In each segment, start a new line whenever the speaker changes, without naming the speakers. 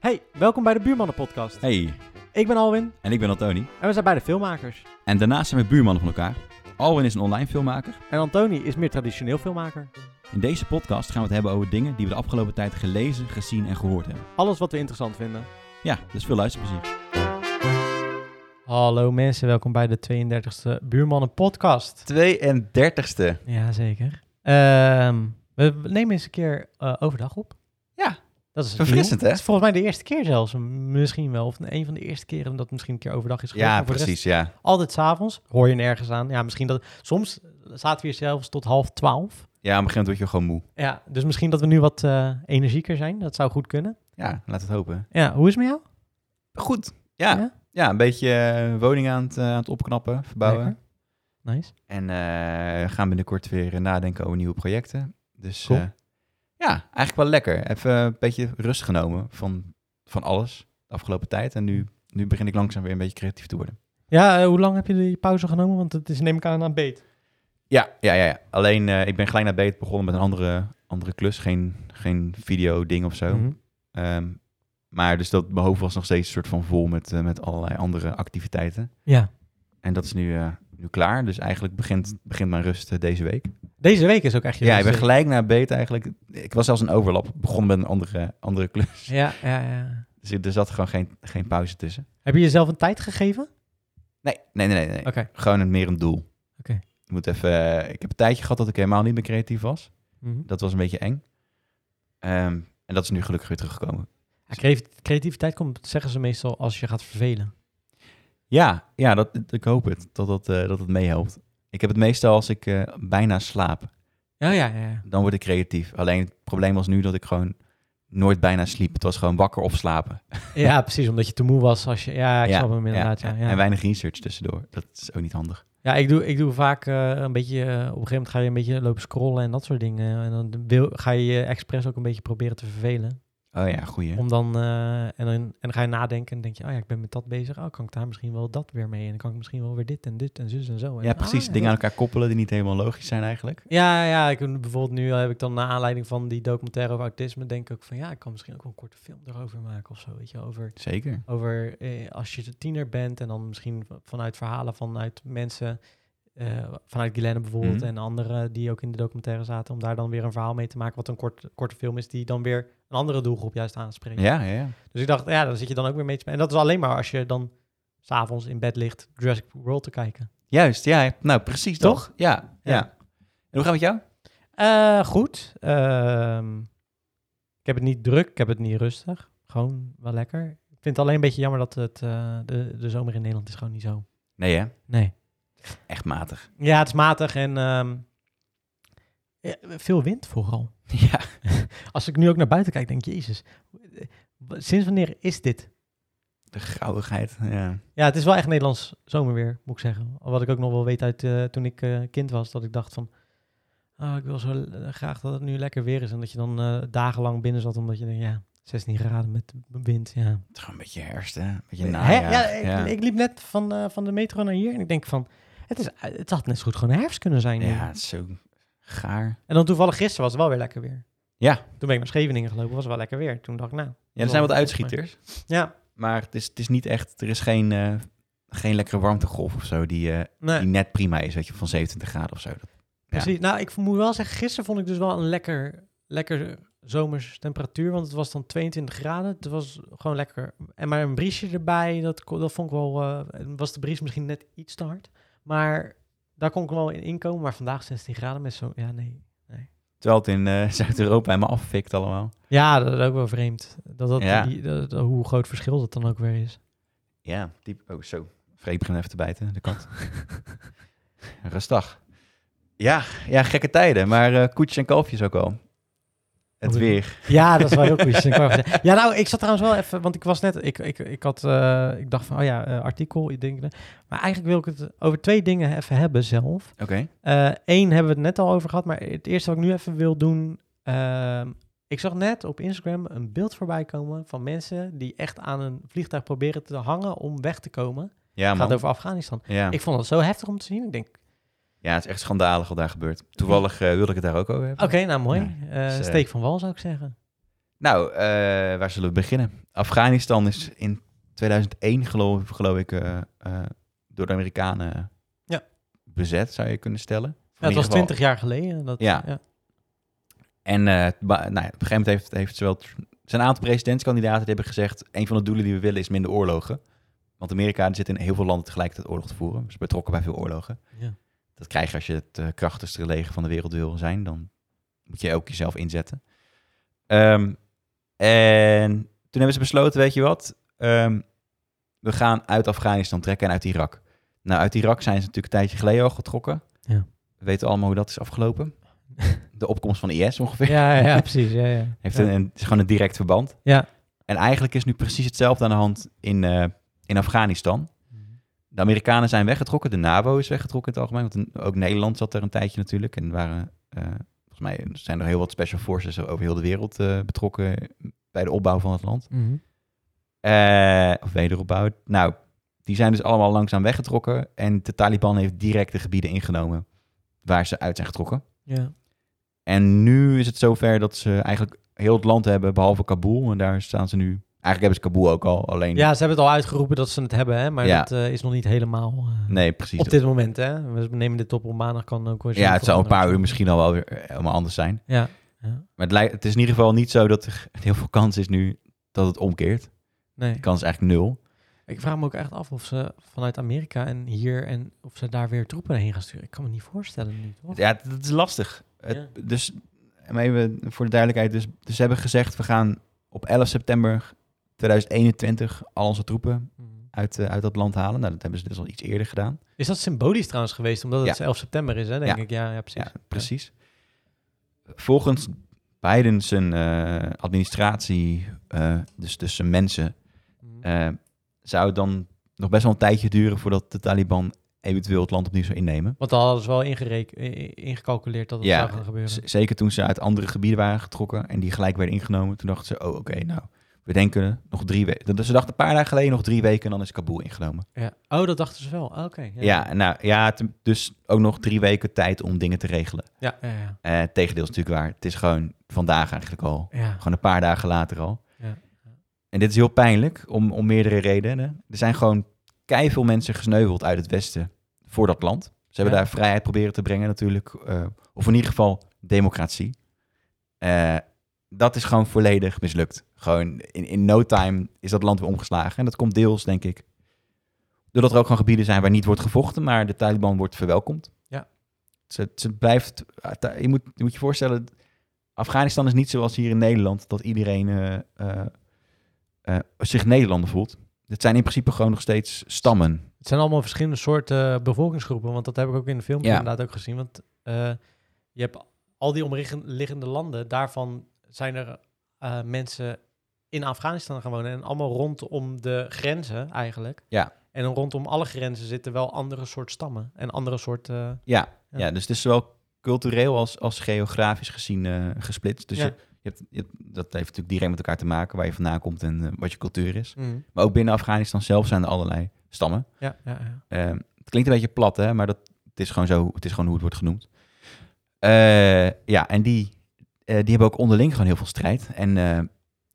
Hey, welkom bij de Buurmannen Podcast.
Hey,
Ik ben Alwin
en ik ben Antoni.
en we zijn beide filmmakers.
En daarnaast zijn we buurmannen van elkaar. Alwin is een online filmmaker.
En Antoni is meer traditioneel filmmaker.
In deze podcast gaan we het hebben over dingen die we de afgelopen tijd gelezen, gezien en gehoord hebben.
Alles wat we interessant vinden.
Ja, dus veel luisterplezier.
Hallo mensen, welkom bij de 32e Buurmannen Podcast.
32ste.
Jazeker. Ehm we nemen eens een keer eh, overdag op.
Ja.
Dat is
Verfrissend, hè?
Het is volgens mij de eerste keer zelfs. Misschien wel. Of een van de eerste keren dat het misschien een keer overdag is geweest.
Ja,
maar voor de rest
precies, ja.
altijd s'avonds. Hoor je nergens aan. Ja, misschien dat... Soms zaten we hier zelfs tot half twaalf.
Ja, op een gegeven moment word je gewoon moe.
Ja, dus misschien dat we nu wat eh, energieker zijn. Dat zou goed kunnen.
Ja, laat het hopen.
Ja, hoe is het met jou?
Goed. Ja, ja? een beetje eh, woning aan het, eh, aan het opknappen, verbouwen.
Lekker. Nice.
En eh, gaan binnenkort weer eh, nadenken over nieuwe projecten. Dus
Cool.
eh, ja, eigenlijk wel lekker. Even een beetje rust genomen van, van alles de afgelopen tijd. En nu, nu begin ik langzaam weer een beetje creatief te worden.
Ja, eh, hoe lang heb je die pauze genomen? Want het is neem ik aan aan beet.
Ja, ja, ja. ja. Alleen eh, ik ben gelijk naar beet begonnen met een andere, andere klus. Geen, geen video ding of zo.
Mhm.
Ehm, maar dus dat, mijn hoofd was nog steeds een soort van vol met, eh, met allerlei andere activiteiten.
Ja.
En dat is nu, eh, nu klaar. Dus eigenlijk begint, begint mijn rust eh, deze week.
Deze week is ook echt je
Ja, ik ben
rustweek.
gelijk naar beet eigenlijk. Ik was zelfs een overlap. Begon met een andere, andere klus.
Ja, ja, ja.
Dus er zat gewoon geen, geen pauze tussen.
Heb je jezelf een tijd gegeven? Oké.
Nee, nee, nee. nee, nee. Gewoon een, meer een doel.
Oké.
Ik, moet even, eh, ik heb een tijdje gehad dat ik helemaal niet meer creatief was.
Mhm.
Dat was een beetje eng. Ehm, en dat is nu gelukkig weer teruggekomen.
Ja, creativ- creativiteit komt, zeggen ze meestal, als je gaat vervelen.
Ja, ja dat, ik hoop het. Dat, dat, eh, dat het meehelpt. Ik heb het meestal als ik eh, bijna slaap.
Ja, ja, ja.
dan word ik creatief. Alleen het probleem was nu dat ik gewoon nooit bijna sliep. Het was gewoon wakker of slapen.
Ja, precies, omdat je te moe was. Als je, ja, ik snap hem inderdaad. Ja, ja.
En weinig research tussendoor. Dat is ook niet handig.
Ja, ik doe, ik doe vaak eh, een beetje, eh, op een gegeven moment ga je een beetje lopen scrollen en dat soort dingen. En dan wil, ga je je expres ook een beetje proberen te vervelen.
Oh ja, goeie.
Om dan, eh, en dan, en dan ga je nadenken en denk je, oh ja, ik ben met dat bezig. Oh, kan ik daar misschien wel dat weer mee? En dan kan ik misschien wel weer dit en dit en zus en zo. En,
Ja,
ah,
precies.
en
Dingen
dat.
aan elkaar koppelen die niet helemaal logisch zijn eigenlijk.
Ja, ja, ik, bijvoorbeeld nu eh, heb ik dan naar aanleiding van die documentaire over autisme, denk ik ook van ja, ik kan misschien ook wel een korte film erover maken of zo, weet je, over
Zeker.
over eh, als je de tiener bent en dan misschien v- vanuit verhalen vanuit mensen, eh, vanuit Guylaine bijvoorbeeld
Mhm.
en anderen die ook in de documentaire zaten, om daar dan weer een verhaal mee te maken wat een kort, korte film is die dan weer een andere doelgroep juist aanspreekt.
Ja, ja, ja.
Dus ik dacht, ja, dan zit je dan ook weer mee te spelen. En dat is alleen maar als je dan s'avonds in bed ligt Jurassic World te kijken.
Juist, ja. Nou, precies
Toch?
toch? Ja, ja,
Ja.
En hoe gaat het met jou?
Eh, goed. Ehm, ik heb het niet druk, ik heb het niet rustig. Gewoon wel lekker. Ik vind het alleen een beetje jammer dat het, eh, de, de zomer in Nederland is gewoon niet zo.
Nee hè?
Nee.
Echt matig.
Ja, het is matig en ehm, ja, veel wind vooral.
Ja.
Als ik nu ook naar buiten kijk, denk ik, jezus, w- sinds wanneer is dit?
De grauwigheid. Ja.
Ja, het is wel echt Nederlands zomerweer, moet ik zeggen. Wat ik ook nog wel weet uit eh, toen ik eh, kind was, dat ik dacht van, oh, ik wil zo eh, graag dat het nu lekker weer is. En dat je dan eh, dagenlang binnen zat, omdat je denkt, ja, 16 graden met wind, ja.
Het is gewoon een beetje herfst hè? Een beetje
Hè?
najaar.
Ja, ik, ik liep net van, eh, van de metro naar hier en ik denk van, het, is, het had net zo goed gewoon herfst kunnen zijn. nu.
ja, het is zo gaar.
En dan toevallig gisteren was het wel weer lekker weer.
Ja.
Toen ben ik naar Scheveningen gelopen, was het wel lekker weer. Toen dacht ik, nou.
Ja, er zijn wat uitschieters.
Ja,
Maar het is, het is niet echt, er is geen, eh, geen lekkere warmtegolf of zo die, eh,
nee,
die net prima is, weet je, van 27 graden of zo. Dat-
precies. Nou, ik moet wel zeggen, gisteren vond ik dus wel een lekker, lekker zomers temperatuur. Want het was dan 22 graden. Het was gewoon lekker. En maar een briesje erbij, dat, kon- dat vond ik wel... eh, was de bries misschien net iets te hard. Maar daar kon ik wel in inkomen. Maar vandaag 16 graden met zo'n... Ja, nee.
Terwijl het in eh, Zuid-Europa helemaal affikt allemaal.
Ja, dat is ook wel vreemd. Dat, dat,
Ja.
die- dat- dat- hoe groot verschil dat dan ook weer is.
Ja, diep. Oh, zo. Freek begint even te bijten, de kant. Rustig. Ja, ja, gekke tijden, maar eh koetjes en kalfjes ook al. Het
Hoe-
weer.
Ja, dat is wel heel goed. Ik wou even zeggen. Ja, nou, ik zat trouwens wel even, want ik was net, ik, ik, ik had, eh, ik dacht van, oh ja, eh, artikel, ik denk, maar eigenlijk wil ik het over twee dingen even hebben zelf.
Oké.
Eén hebben we het net al over gehad, maar het eerste wat ik nu even wil doen, ehm, ik zag net op Instagram een beeld voorbij komen van mensen die echt aan een vliegtuig proberen te hangen om weg te komen.
Ja,
Het gaat
man.
over Afghanistan.
Ja.
Ik vond dat zo heftig om te zien. Ik denk,
ja, het is echt schandalig wat daar gebeurt. Toevallig eh, wilde ik het daar ook over hebben.
oké, nou mooi,
Ja,
Eh,
dus, eh,
steek van wal zou ik zeggen.
Nou, eh, waar zullen we beginnen? Afghanistan is in 2001, geloof, geloof ik, eh, eh, door de Amerikanen
Ja.
bezet, zou je kunnen stellen.
Ja,
In
het was
ieder geval-
twintig jaar geleden. Dat,
Ja. En eh, ba- nou, ja, op een gegeven moment heeft, heeft zowel Tr- zijn aantal presidentskandidaten die hebben gezegd: een van de doelen die we willen is minder oorlogen. Want Amerika zit in heel veel landen tegelijkertijd oorlog te voeren. Ze is betrokken bij veel oorlogen.
Ja.
Dat krijg je als je het eh, krachtigste leger van de wereld wil zijn. Dan moet je ook jezelf inzetten. Ehm, en toen hebben ze besloten: weet je wat? Ehm, we gaan uit Afghanistan trekken en uit Irak. Nou, uit Irak zijn ze natuurlijk een tijdje geleden al getrokken.
Ja.
We weten allemaal hoe dat is afgelopen. De opkomst van IS ongeveer.
Ja, ja, precies. Ja, ja.
Heeft
ja.
een, een- is gewoon een direct verband.
Ja.
En eigenlijk is nu precies hetzelfde aan de hand in, eh, in Afghanistan. De Amerikanen zijn weggetrokken, de NAVO is weggetrokken in het algemeen. Want een- ook Nederland zat er een tijdje natuurlijk. En waren, eh, volgens mij zijn er heel wat special forces over heel de wereld eh, betrokken bij de opbouw van het land.
Mhm.
Eh, of wederopbouw. Nou, die zijn dus allemaal langzaam weggetrokken. En de Taliban heeft direct de gebieden ingenomen waar ze uit zijn getrokken.
Ja.
En nu is het zover dat ze eigenlijk heel het land hebben, behalve Kabul. En daar staan ze nu. Eigenlijk hebben ze Kabul ook al, alleen.
ja, ze hebben het al uitgeroepen dat ze het hebben, hè, maar
Ja.
dat eh, is nog niet helemaal eh,
Nee, precies.
op dit moment. Hè? We nemen dit op op maandag, kan ook wel eens
ja, het zal een paar uur
veranderen.
misschien al wel weer eh, helemaal anders zijn.
Ja.
Maar het, lijkt, het is in ieder geval niet zo dat er heel veel kans is nu dat het omkeert.
Nee.
De kans is eigenlijk nul.
Ik vraag me ook echt af of ze vanuit Amerika en hier en of ze daar weer troepen heen gaan sturen. Ik kan me niet voorstellen nu, toch?
Ja, dat is lastig. Het-
Ja.
Dus maar even voor de duidelijkheid. Dus, dus ze hebben gezegd, we gaan op 11 september 2021 al onze troepen
Mhm.
uit, eh, uit dat land halen. Nou, dat hebben ze dus al iets eerder gedaan.
Is dat symbolisch trouwens geweest, omdat het 11 september is, hè, denk
Ja.
ik? Ja, ja precies.
Ja, precies. Volgens Biden zijn eh, administratie, eh, dus, dus zijn mensen,
Mhm.
eh, zou het dan nog best wel een tijdje duren voordat de Taliban eventueel het land opnieuw zou innemen.
Want dan hadden ze wel ingerek- eh, ingecalculeerd dat het
Ja,
zou gaan gebeuren.
Z- zeker toen ze uit andere gebieden waren getrokken en die gelijk werden ingenomen, toen dachten ze, oh oké, nou, we denken nog drie weken. Dus ze dachten een paar dagen geleden nog drie weken en dan is Kabul ingenomen.
Ja. Oh, dat dachten ze wel. Ah, Oké.
Ja, nou ja, te- dus ook nog drie weken tijd om dingen te regelen.
Ja, ja, ja.
Eh tegendeel is natuurlijk waar. Het is gewoon vandaag eigenlijk al.
ja.
Gewoon een paar dagen later al.
Ja.
En dit is heel pijnlijk om, om meerdere redenen. Er zijn gewoon veel mensen gesneuveld uit het westen voor dat land. Ze hebben
Ja.
daar vrijheid proberen te brengen natuurlijk. eh, of in ieder geval democratie. Eh, dat is gewoon volledig mislukt. Gewoon in, in no time is dat land weer omgeslagen. En dat komt deels, denk ik, doordat er ook gewoon gebieden zijn waar niet wordt gevochten, maar de Taliban wordt verwelkomd.
Ja.
Ze, ze blijft, eh, je moet, je moet je voorstellen, Afghanistan is niet zoals hier in Nederland, dat iedereen eh, eh, eh, zich Nederlander voelt. Het zijn in principe gewoon nog steeds stammen.
Het zijn allemaal verschillende soorten eh, bevolkingsgroepen, want dat heb ik ook in de film
Ja.
inderdaad ook gezien. Want eh, je hebt al die omliggende landen, daarvan zijn er eh, mensen in Afghanistan gaan wonen en allemaal rondom de grenzen eigenlijk.
Ja.
En dan rondom alle grenzen zitten wel andere soort stammen en andere soort... eh,
Ja, ja.
Ja.
dus het is zowel cultureel als, als geografisch gezien eh, gesplitst. Dus
Ja.
je, je hebt, je hebt- dat heeft natuurlijk direct met elkaar te maken, waar je vandaan komt en eh, wat je cultuur is.
Mm.
Maar ook binnen Afghanistan zelf zijn er allerlei stammen.
ja, ja, ja.
Eh, het klinkt een beetje plat, hè, maar dat, het, is gewoon zo, het is gewoon hoe het wordt genoemd. Eh, ja, en die, eh, die hebben ook onderling gewoon heel veel strijd. En eh,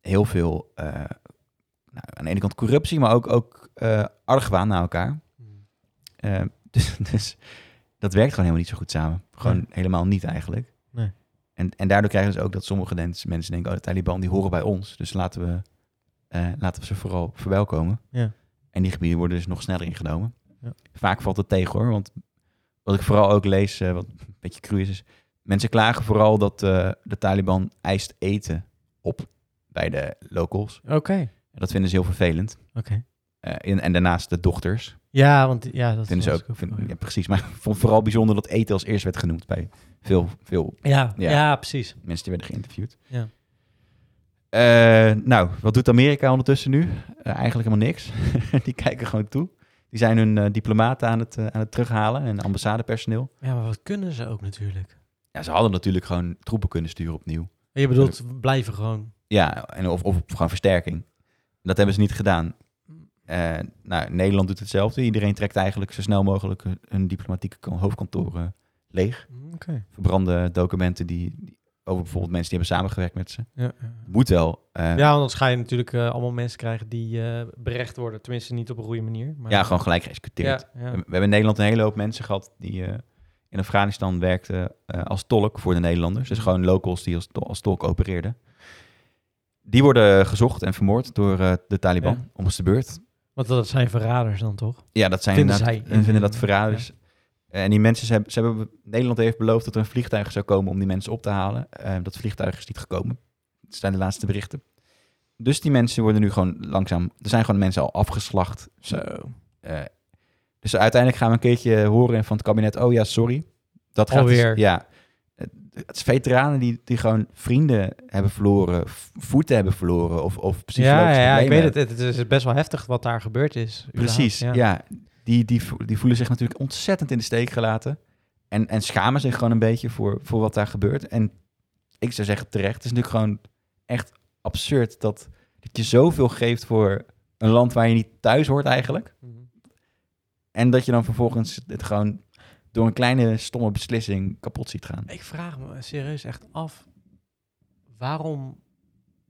heel veel, eh, nou, aan de ene kant corruptie, maar ook, ook eh, argwaan naar elkaar.
Mm.
Eh, dus, dus dat werkt gewoon helemaal niet zo goed samen. Gewoon
Nee.
helemaal niet eigenlijk.
Nee.
En, en daardoor krijgen ze ook dat sommige dens- mensen denken... oh, de Taliban die horen bij ons, dus laten we, eh, laten we ze vooral verwelkomen.
Ja.
En die gebieden worden dus nog sneller ingenomen.
Ja.
Vaak valt het tegen hoor, want wat ik vooral ook lees, eh, wat een beetje cru is... is mensen klagen vooral dat eh, de Taliban eist eten op bij de locals.
Oké.
En dat vinden ze heel vervelend.
Oké.
Eh, en, en daarnaast de dochters...
Ja, want ja, dat
Vinden ze
was
ook,
ik
vind-
wel, ja.
ja, precies. Maar ik vond vooral bijzonder dat eten als eerst werd genoemd bij veel, veel
Ja,
Ja.
ja. precies.
mensen die werden geïnterviewd.
Ja.
Eh, nou, wat doet Amerika ondertussen nu? Eh, eigenlijk helemaal niks. die kijken gewoon toe. Die zijn hun eh, diplomaten aan het, eh, aan het terughalen en ambassadepersoneel.
Ja, maar wat kunnen ze ook natuurlijk?
Ja, ze hadden natuurlijk gewoon troepen kunnen sturen opnieuw.
Je bedoelt blijven gewoon.
Ja, en of, of gewoon versterking. Dat hebben ze niet gedaan. Eh, nou, Nederland doet hetzelfde. Iedereen trekt eigenlijk zo snel mogelijk hun- hun diplomatieke kan- hoofdkantoren leeg.
Mm, Oké.
verbrande documenten die, die over bijvoorbeeld mensen die hebben samengewerkt met ze.
Ja,
Moet wel. eh,
ja, want anders ga je natuurlijk eh, allemaal mensen krijgen die eh, berecht worden. Tenminste, niet op een goede manier. Maar,
ja, gewoon gelijk geëxecuteerd.
Ja, ja.
We we hebben in Nederland een hele hoop mensen gehad die eh, in Afghanistan werkten eh, als tolk voor de Nederlanders. Dus
Mhm.
gewoon locals die als, to- als tolk opereerden. Die worden gezocht en vermoord door eh, de Taliban
Ja.
om de beurt.
Want dat zijn verraders dan toch?
Ja, dat zijn
Vinden
inderdaad-
zij.
en vinden dat verraders. Eh, En die mensen, ze hebben, ze hebben, Nederland heeft beloofd dat er een vliegtuig zou komen om die mensen op te halen. Eh, dat vliegtuig is niet gekomen. Dat zijn de laatste berichten. Dus die mensen worden nu gewoon langzaam. Er zijn gewoon mensen al afgeslacht. Ze- eh, dus uiteindelijk gaan we een keertje horen van het kabinet: oh ja, sorry. Dat gaat dus-
Alweer.
ja. Het het is veteranen die, die gewoon vrienden hebben verloren, v- voeten hebben verloren of, of psychologische
Ja, ja, ja, ik
problemen
weet het. Het is best wel heftig wat daar gebeurd is. überhaupt.
Precies, ja.
Ja.
Die, die, vo- die voelen zich natuurlijk ontzettend in de steek gelaten. En, en schamen zich gewoon een beetje voor, voor wat daar gebeurt. En ik zou zeggen terecht. Het is natuurlijk gewoon echt absurd dat, dat je zoveel geeft voor een land waar je niet thuis hoort eigenlijk.
Mhm.
En dat je dan vervolgens het gewoon door een kleine stomme beslissing kapot ziet gaan.
Ik vraag me serieus echt af waarom,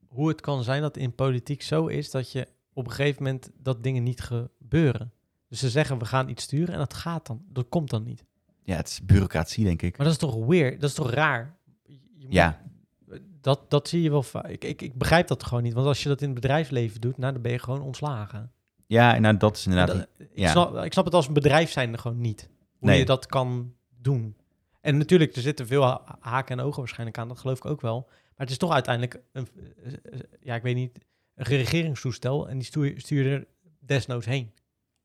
hoe het kan zijn dat in politiek zo is dat je op een gegeven moment dat dingen niet gebeuren. Dus ze zeggen we gaan iets sturen en dat gaat dan, dat komt dan niet.
Ja, het is bureaucratie denk ik.
Maar dat is toch weird, dat is toch raar? Je moet-
Ja,
Dat, dat zie je wel vaak. Ik, ik, ik begrijp dat gewoon niet, want als je dat in het bedrijfsleven doet, nou, dan ben je gewoon ontslagen.
ja nou dat is inderdaad...
Dat- ik,
ja.
snap, ik snap het als een bedrijf zijnde gewoon niet, hoe
Nee.
je dat kan doen. En natuurlijk, er zitten veel ha- haken en ogen waarschijnlijk aan, dat geloof ik ook wel. Maar het is toch uiteindelijk, een, ja, ik weet niet, een regeringstoestel en die stuur, stuur je er desnoods heen.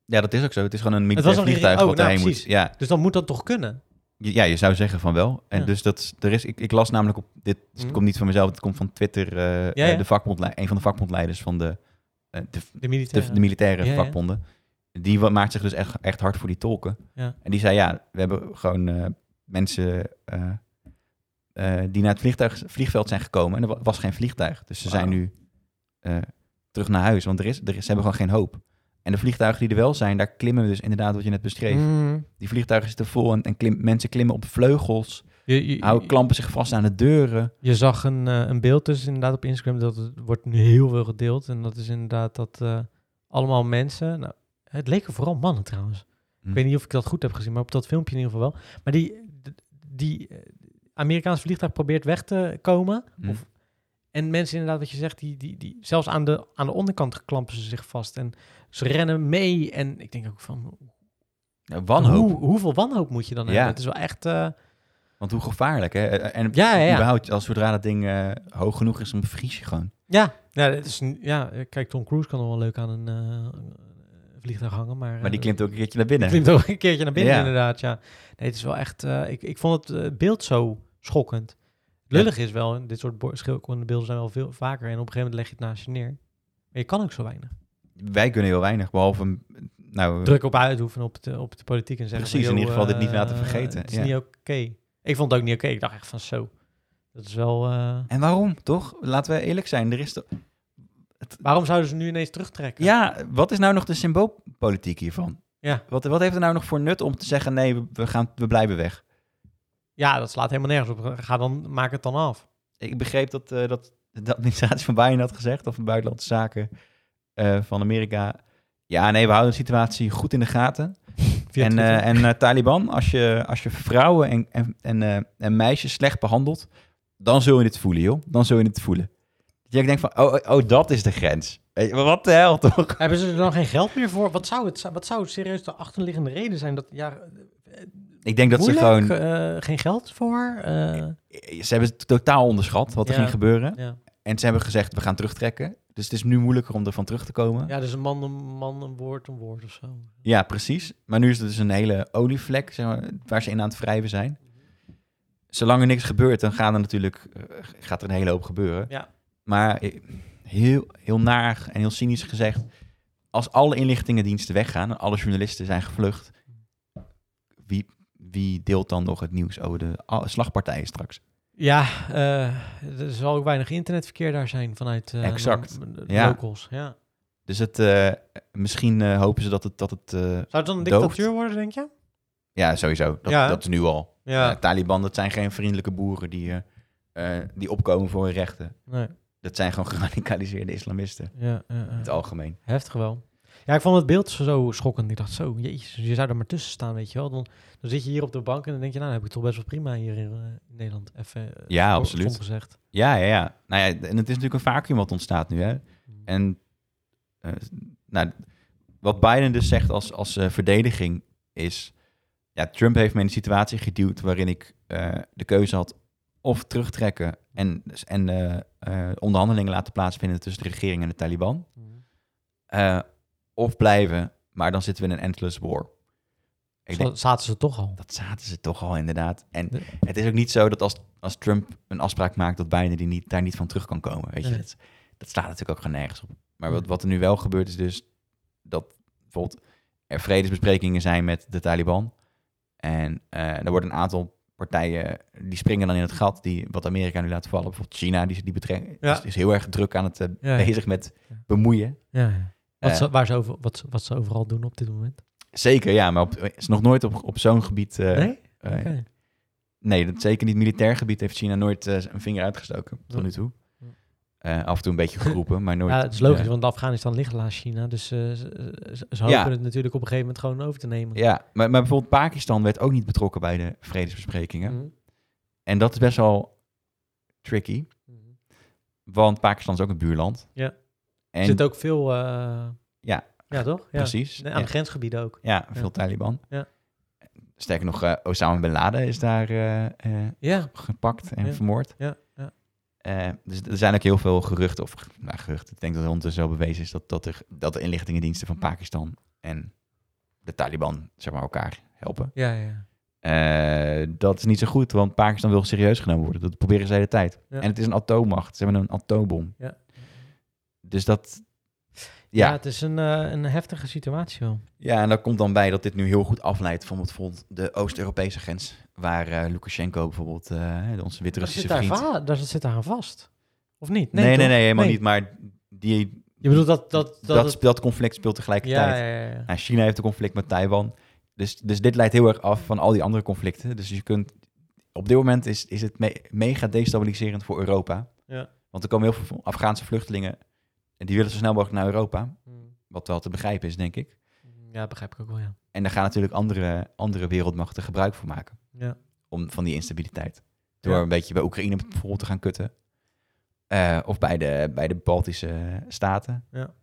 ja, dat is ook zo. Het is gewoon een
Het was een
militair
regering-
vliegtuig
oh, nou,
wat daarheen moet.
precies.
Ja,
Dus dan moet dat toch kunnen?
Ja, je zou zeggen van wel. En
Ja.
dus dat is, er is, ik, ik las namelijk op dit, dus het
Mhm.
komt niet van mezelf, het komt van Twitter, eh, eh,
ja.
de vakbondle- een van de vakbondleiders van de, eh, de,
De
de,
militairen.
de militaire
Ja, ja.
vakbonden. Die wa- maakt zich dus echt, echt hard voor die tolken.
Ja.
En die zei, ja, we hebben gewoon eh, mensen eh, eh, die naar het vliegtuig, vliegveld zijn gekomen en er wa- was geen vliegtuig. Dus ze zijn
Wauw.
nu eh, terug naar huis, want er is, er is, ze hebben gewoon geen hoop. En de vliegtuigen die er wel zijn, daar klimmen we dus inderdaad wat je net beschreef.
Mm.
Die vliegtuigen zitten vol en, en klim- mensen klimmen op vleugels.
Je, je,
Houden klampen zich vast aan de deuren.
je zag een, eh, een beeld dus inderdaad op Instagram, dat het wordt nu heel veel gedeeld. En dat is inderdaad dat eh, allemaal mensen, nou, het leken vooral mannen trouwens.
Hm.
Ik weet niet of ik dat goed heb gezien, maar op dat filmpje in ieder geval wel. Maar die, d- die eh, Amerikaans vliegtuig probeert weg te komen.
Hm.
Of, en mensen inderdaad, wat je zegt, die, die, die, zelfs aan de, aan de onderkant klampen ze zich vast. En ze rennen mee. En ik denk ook van,
Ja, wanhoop.
hoe- hoeveel wanhoop moet je dan
Ja.
hebben? Het is wel echt... eh,
Want hoe gevaarlijk, hè? Eh, En
Ja, ja, ja.
überhaupt, als zodra dat ding eh, hoog genoeg is, dan vries je gewoon.
Ja, ja, het is, een- ja, eh, kijk, Tom Cruise kan nog wel leuk aan een eh, vliegtuig hangen, maar...
Maar die
eh,
klimt ook een keertje naar binnen.
klimt ook een keertje naar binnen,
Ja.
inderdaad, ja. Nee, het is wel echt... eh, ik, ik vond het eh, beeld zo schokkend. Lullig is wel, en dit soort bo- schilderende beelden zijn wel veel vaker. En op een gegeven moment leg je het naast je neer. Maar je kan ook zo weinig.
Wij kunnen heel weinig, behalve... een- Nou,
Druk op uitoefenen op de, op de politiek en zeggen... van,
Precies,
"Yo,
in ieder geval dit niet
eh,
laten vergeten."
Het is
Ja.
niet oké. Ik vond het ook niet oké. Ik dacht echt van zo. Dat is wel... eh,
En waarom, toch? Laten we eerlijk zijn. Er is toch-
waarom zouden ze nu ineens terugtrekken?
Ja, wat is nou nog de symboolpolitiek hiervan?
Ja.
Wat, wat heeft het nou nog voor nut om te zeggen, nee, we- we, gaan, we blijven weg?
ja, dat slaat helemaal nergens op. Ga dan, maak het dan af.
Ik begreep dat, eh, dat de administratie van Biden had gezegd, of van Buitenlandse Zaken eh, van Amerika. Ja, nee, we houden de situatie goed in de gaten.
Via
en
Twitter.
eh, en eh, Taliban, als je, als je vrouwen en, en, en, eh, en meisjes slecht behandelt, dan zul je het voelen, joh. Dan zul je het voelen. Dat je denkt van, oh, oh, oh, dat is de grens. Weet je, Wat de hel, toch?
Hebben ze er dan geen geld meer voor? Wat zou het, wat zou het serieus de achterliggende reden zijn? Dat, ja,
Ik denk dat
moeilijk,
ze gewoon...
eh, geen geld voor? eh,
Ze hebben het totaal onderschat, wat er
Ja.
ging gebeuren.
ja.
En ze hebben gezegd, we gaan terugtrekken. Dus het is nu moeilijker om ervan terug te komen.
ja, dus een man, een man, een woord, een woord of zo.
Ja, precies. Maar nu is het dus een hele olievlek zeg maar, waar ze in aan het wrijven zijn. Zolang er niks gebeurt, dan gaan er natuurlijk, eh, gaat er een hele hoop gebeuren.
Ja.
Maar eh, heel, heel naar en heel cynisch gezegd, als alle inlichtingendiensten weggaan en alle journalisten zijn gevlucht, wie, wie deelt dan nog het nieuws over de a- slagpartijen straks?
Ja, eh, er zal ook weinig internetverkeer daar zijn vanuit eh,
Exact,
de- de
ja.
locals. Ja.
Dus het, eh, misschien eh, hopen ze dat het, dat het eh,
Zou het dan een
Dooft.
dictatuur worden, denk je?
ja, sowieso, dat,
Ja, hè?
dat is nu al.
Ja,
Eh, Taliban, dat zijn geen vriendelijke boeren die eh, eh, die opkomen voor hun rechten.
Nee,
Dat zijn gewoon geradicaliseerde islamisten
ja, ja,
in het
ja.
algemeen.
Heftig wel. Ja, ik vond het beeld zo- zo schokkend. Ik dacht zo, jezus, je zou er maar tussen staan, weet je wel. Dan, dan zit je hier op de bank en dan denk je, nou, dan heb ik het toch best wel prima hier in eh, Nederland. Even eh,
Ja,
som-
absoluut.
som gezegd.
Ja, ja, ja. Nou ja, en het is natuurlijk een vacuüm wat ontstaat nu. Hè?
Mm.
En eh, nou, wat Biden dus zegt als, als eh, verdediging is... Ja, Trump heeft me in een situatie geduwd waarin ik eh, de keuze had... of terugtrekken en, en eh, eh, onderhandelingen laten plaatsvinden... tussen de regering en de Taliban.
Mm.
Eh, of blijven, maar dan zitten we in een endless war. Ik
Zo- zaten ze toch al.
Dat zaten ze toch al inderdaad. En
De-
het is ook niet zo dat als, als Trump een afspraak maakt... dat Biden die niet, daar niet van terug kan komen. Weet je?
Nee.
Dat, dat staat natuurlijk ook gewoon nergens op. Maar
Nee.
wat, wat er nu wel gebeurt is dus... dat bijvoorbeeld er vredesbesprekingen zijn met de Taliban. En eh er wordt een aantal partijen... die springen dan in het gat die, wat Amerika nu laat vallen. Bijvoorbeeld China, die, die betrekt,
Ja.
is, is heel erg druk aan het eh,
Ja, ja.
bezig met
Ja.
bemoeien.
Ja, ja. Wat,
Eh.
ze, waar ze over, wat, ze- wat ze overal doen op dit moment.
Zeker, ja, maar op, is nog nooit op, op zo'n gebied. eh,
nee?
eh,
Oké.
nee, dat zeker niet militair gebied heeft China nooit eh, een vinger uitgestoken tot nu toe.
Ja.
Eh, af en toe een beetje geroepen, maar nooit.
Ja, het is logisch,
eh,
want Afghanistan ligt laatst China. Dus eh, ze, ze- ze
Ja.
hopen het natuurlijk op een gegeven moment gewoon over te nemen.
ja, maar, maar bijvoorbeeld Pakistan werd ook niet betrokken bij de vredesbesprekingen.
Mhm.
En dat is best wel tricky,
Mhm.
want Pakistan is ook een buurland.
Ja.
En,
Er zit ook veel... eh,
Ja.
Ja, toch? Ja.
Precies.
Nee, aan
Ja.
de grensgebieden ook.
Ja,
Ja.
veel Taliban.
Ja.
Sterker nog, eh, Osama Bin Laden is daar eh, eh,
Ja,
gepakt en
Ja.
vermoord.
ja, ja.
Eh, dus er zijn ook heel veel geruchten, of ge- nou, geruchten, ik denk dat het ondertussen wel bewezen is, dat, dat, er, dat de inlichtingendiensten van Pakistan en de Taliban zeg maar, elkaar helpen.
Ja, ja.
Eh, dat is niet zo goed, want Pakistan wil serieus genomen worden. Dat proberen zij de hele tijd.
Ja.
En het is een atoommacht, ze hebben een atoombom.
Ja.
Dus dat,
Ja,
ja. ja.
het is een, eh, een heftige situatie wel.
en daar komt dan bij dat dit nu heel goed afleidt van bijvoorbeeld de Oost-Europese grens, waar eh, Lukashenko bijvoorbeeld, eh, onze Wit-Russische
zit daar,
vriend...
va- daar zit daar aan vast. Of niet?
Nee, nee, nee,
toch?
helemaal
Nee.
niet, maar die...
Je bedoelt dat... Dat, dat,
dat,
het-
sp- dat conflict speelt tegelijkertijd.
ja, ja, ja, ja.
Nou, China heeft een conflict met Taiwan. Dus, dus dit leidt heel erg af van al die andere conflicten. Dus je kunt... Op dit moment is, is het me- mega destabiliserend voor Europa.
Ja.
Want er komen heel veel Afghaanse vluchtelingen... en die willen zo snel mogelijk naar Europa.
Mm.
Wat wel te begrijpen is, denk ik.
Ja, begrijp ik ook wel, ja.
En daar gaan natuurlijk andere, andere wereldmachten gebruik van maken.
Ja,
Om, van die instabiliteit. Door
Ja.
een beetje bij Oekraïne bijvoorbeeld te gaan kutten. Eh, of bij de, bij de Baltische staten.
Ja.
Heb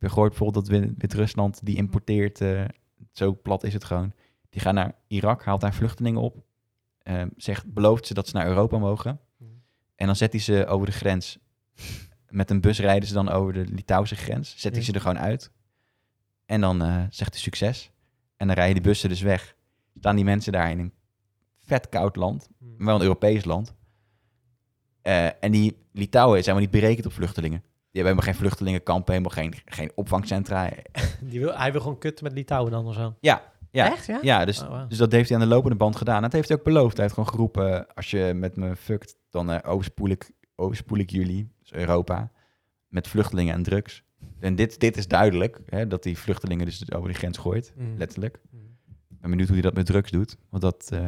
je gehoord bijvoorbeeld dat Wit- Wit-Rusland die importeert, eh, zo plat is het gewoon. Die gaan naar Irak, haalt daar vluchtelingen op. eh, zegt, belooft ze dat ze naar Europa mogen.
Mhm.
En dan zet hij ze over de grens. Met een bus rijden ze dan over de Litouwse grens. Zet hij
Ja.
ze er gewoon uit. En dan eh, zegt hij succes. En dan rijden die bussen dus weg. Staan die mensen daar in een vet koud land
Mm.
maar wel een Europees land. Eh, en die Litouwen zijn maar niet berekend op vluchtelingen. Die hebben helemaal geen vluchtelingenkampen, helemaal geen, geen opvangcentra.
Die wil, hij wil gewoon kut met Litouwen dan of zo.
Ja, ja.
Echt, ja?
Ja, dus,
Oh, wauw.
dus dat heeft hij aan de lopende band gedaan. Dat heeft hij ook beloofd. Hij heeft gewoon geroepen, eh, als je met me fuckt, dan eh overspoel, ik, overspoel ik jullie, dus Europa, met vluchtelingen en drugs. En dit, dit is duidelijk, hè, dat hij vluchtelingen dus over de grens gooit,
Mm.
letterlijk.
Mm.
Ik ben benieuwd hoe hij dat met drugs doet, want dat, eh,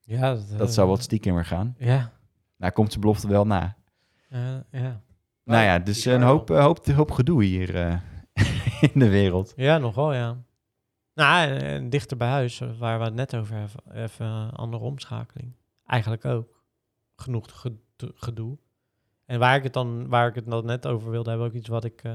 Ja, dat, eh,
dat zou wat stiekemer gaan.
Ja,
Nou, komt zijn belofte wel na.
eh, ja.
Nou ja, dus een hoop, eh, hoop, hoop gedoe hier eh, in de wereld.
Ja, nogal, ja. Nou, en, en dichter bij huis, eh, waar we het net over hebben, even een andere omschakeling. Eigenlijk ook. Genoeg gedo- gedoe. En waar ik het dan, waar ik het dan net over wilde hebben, ook iets wat ik, eh,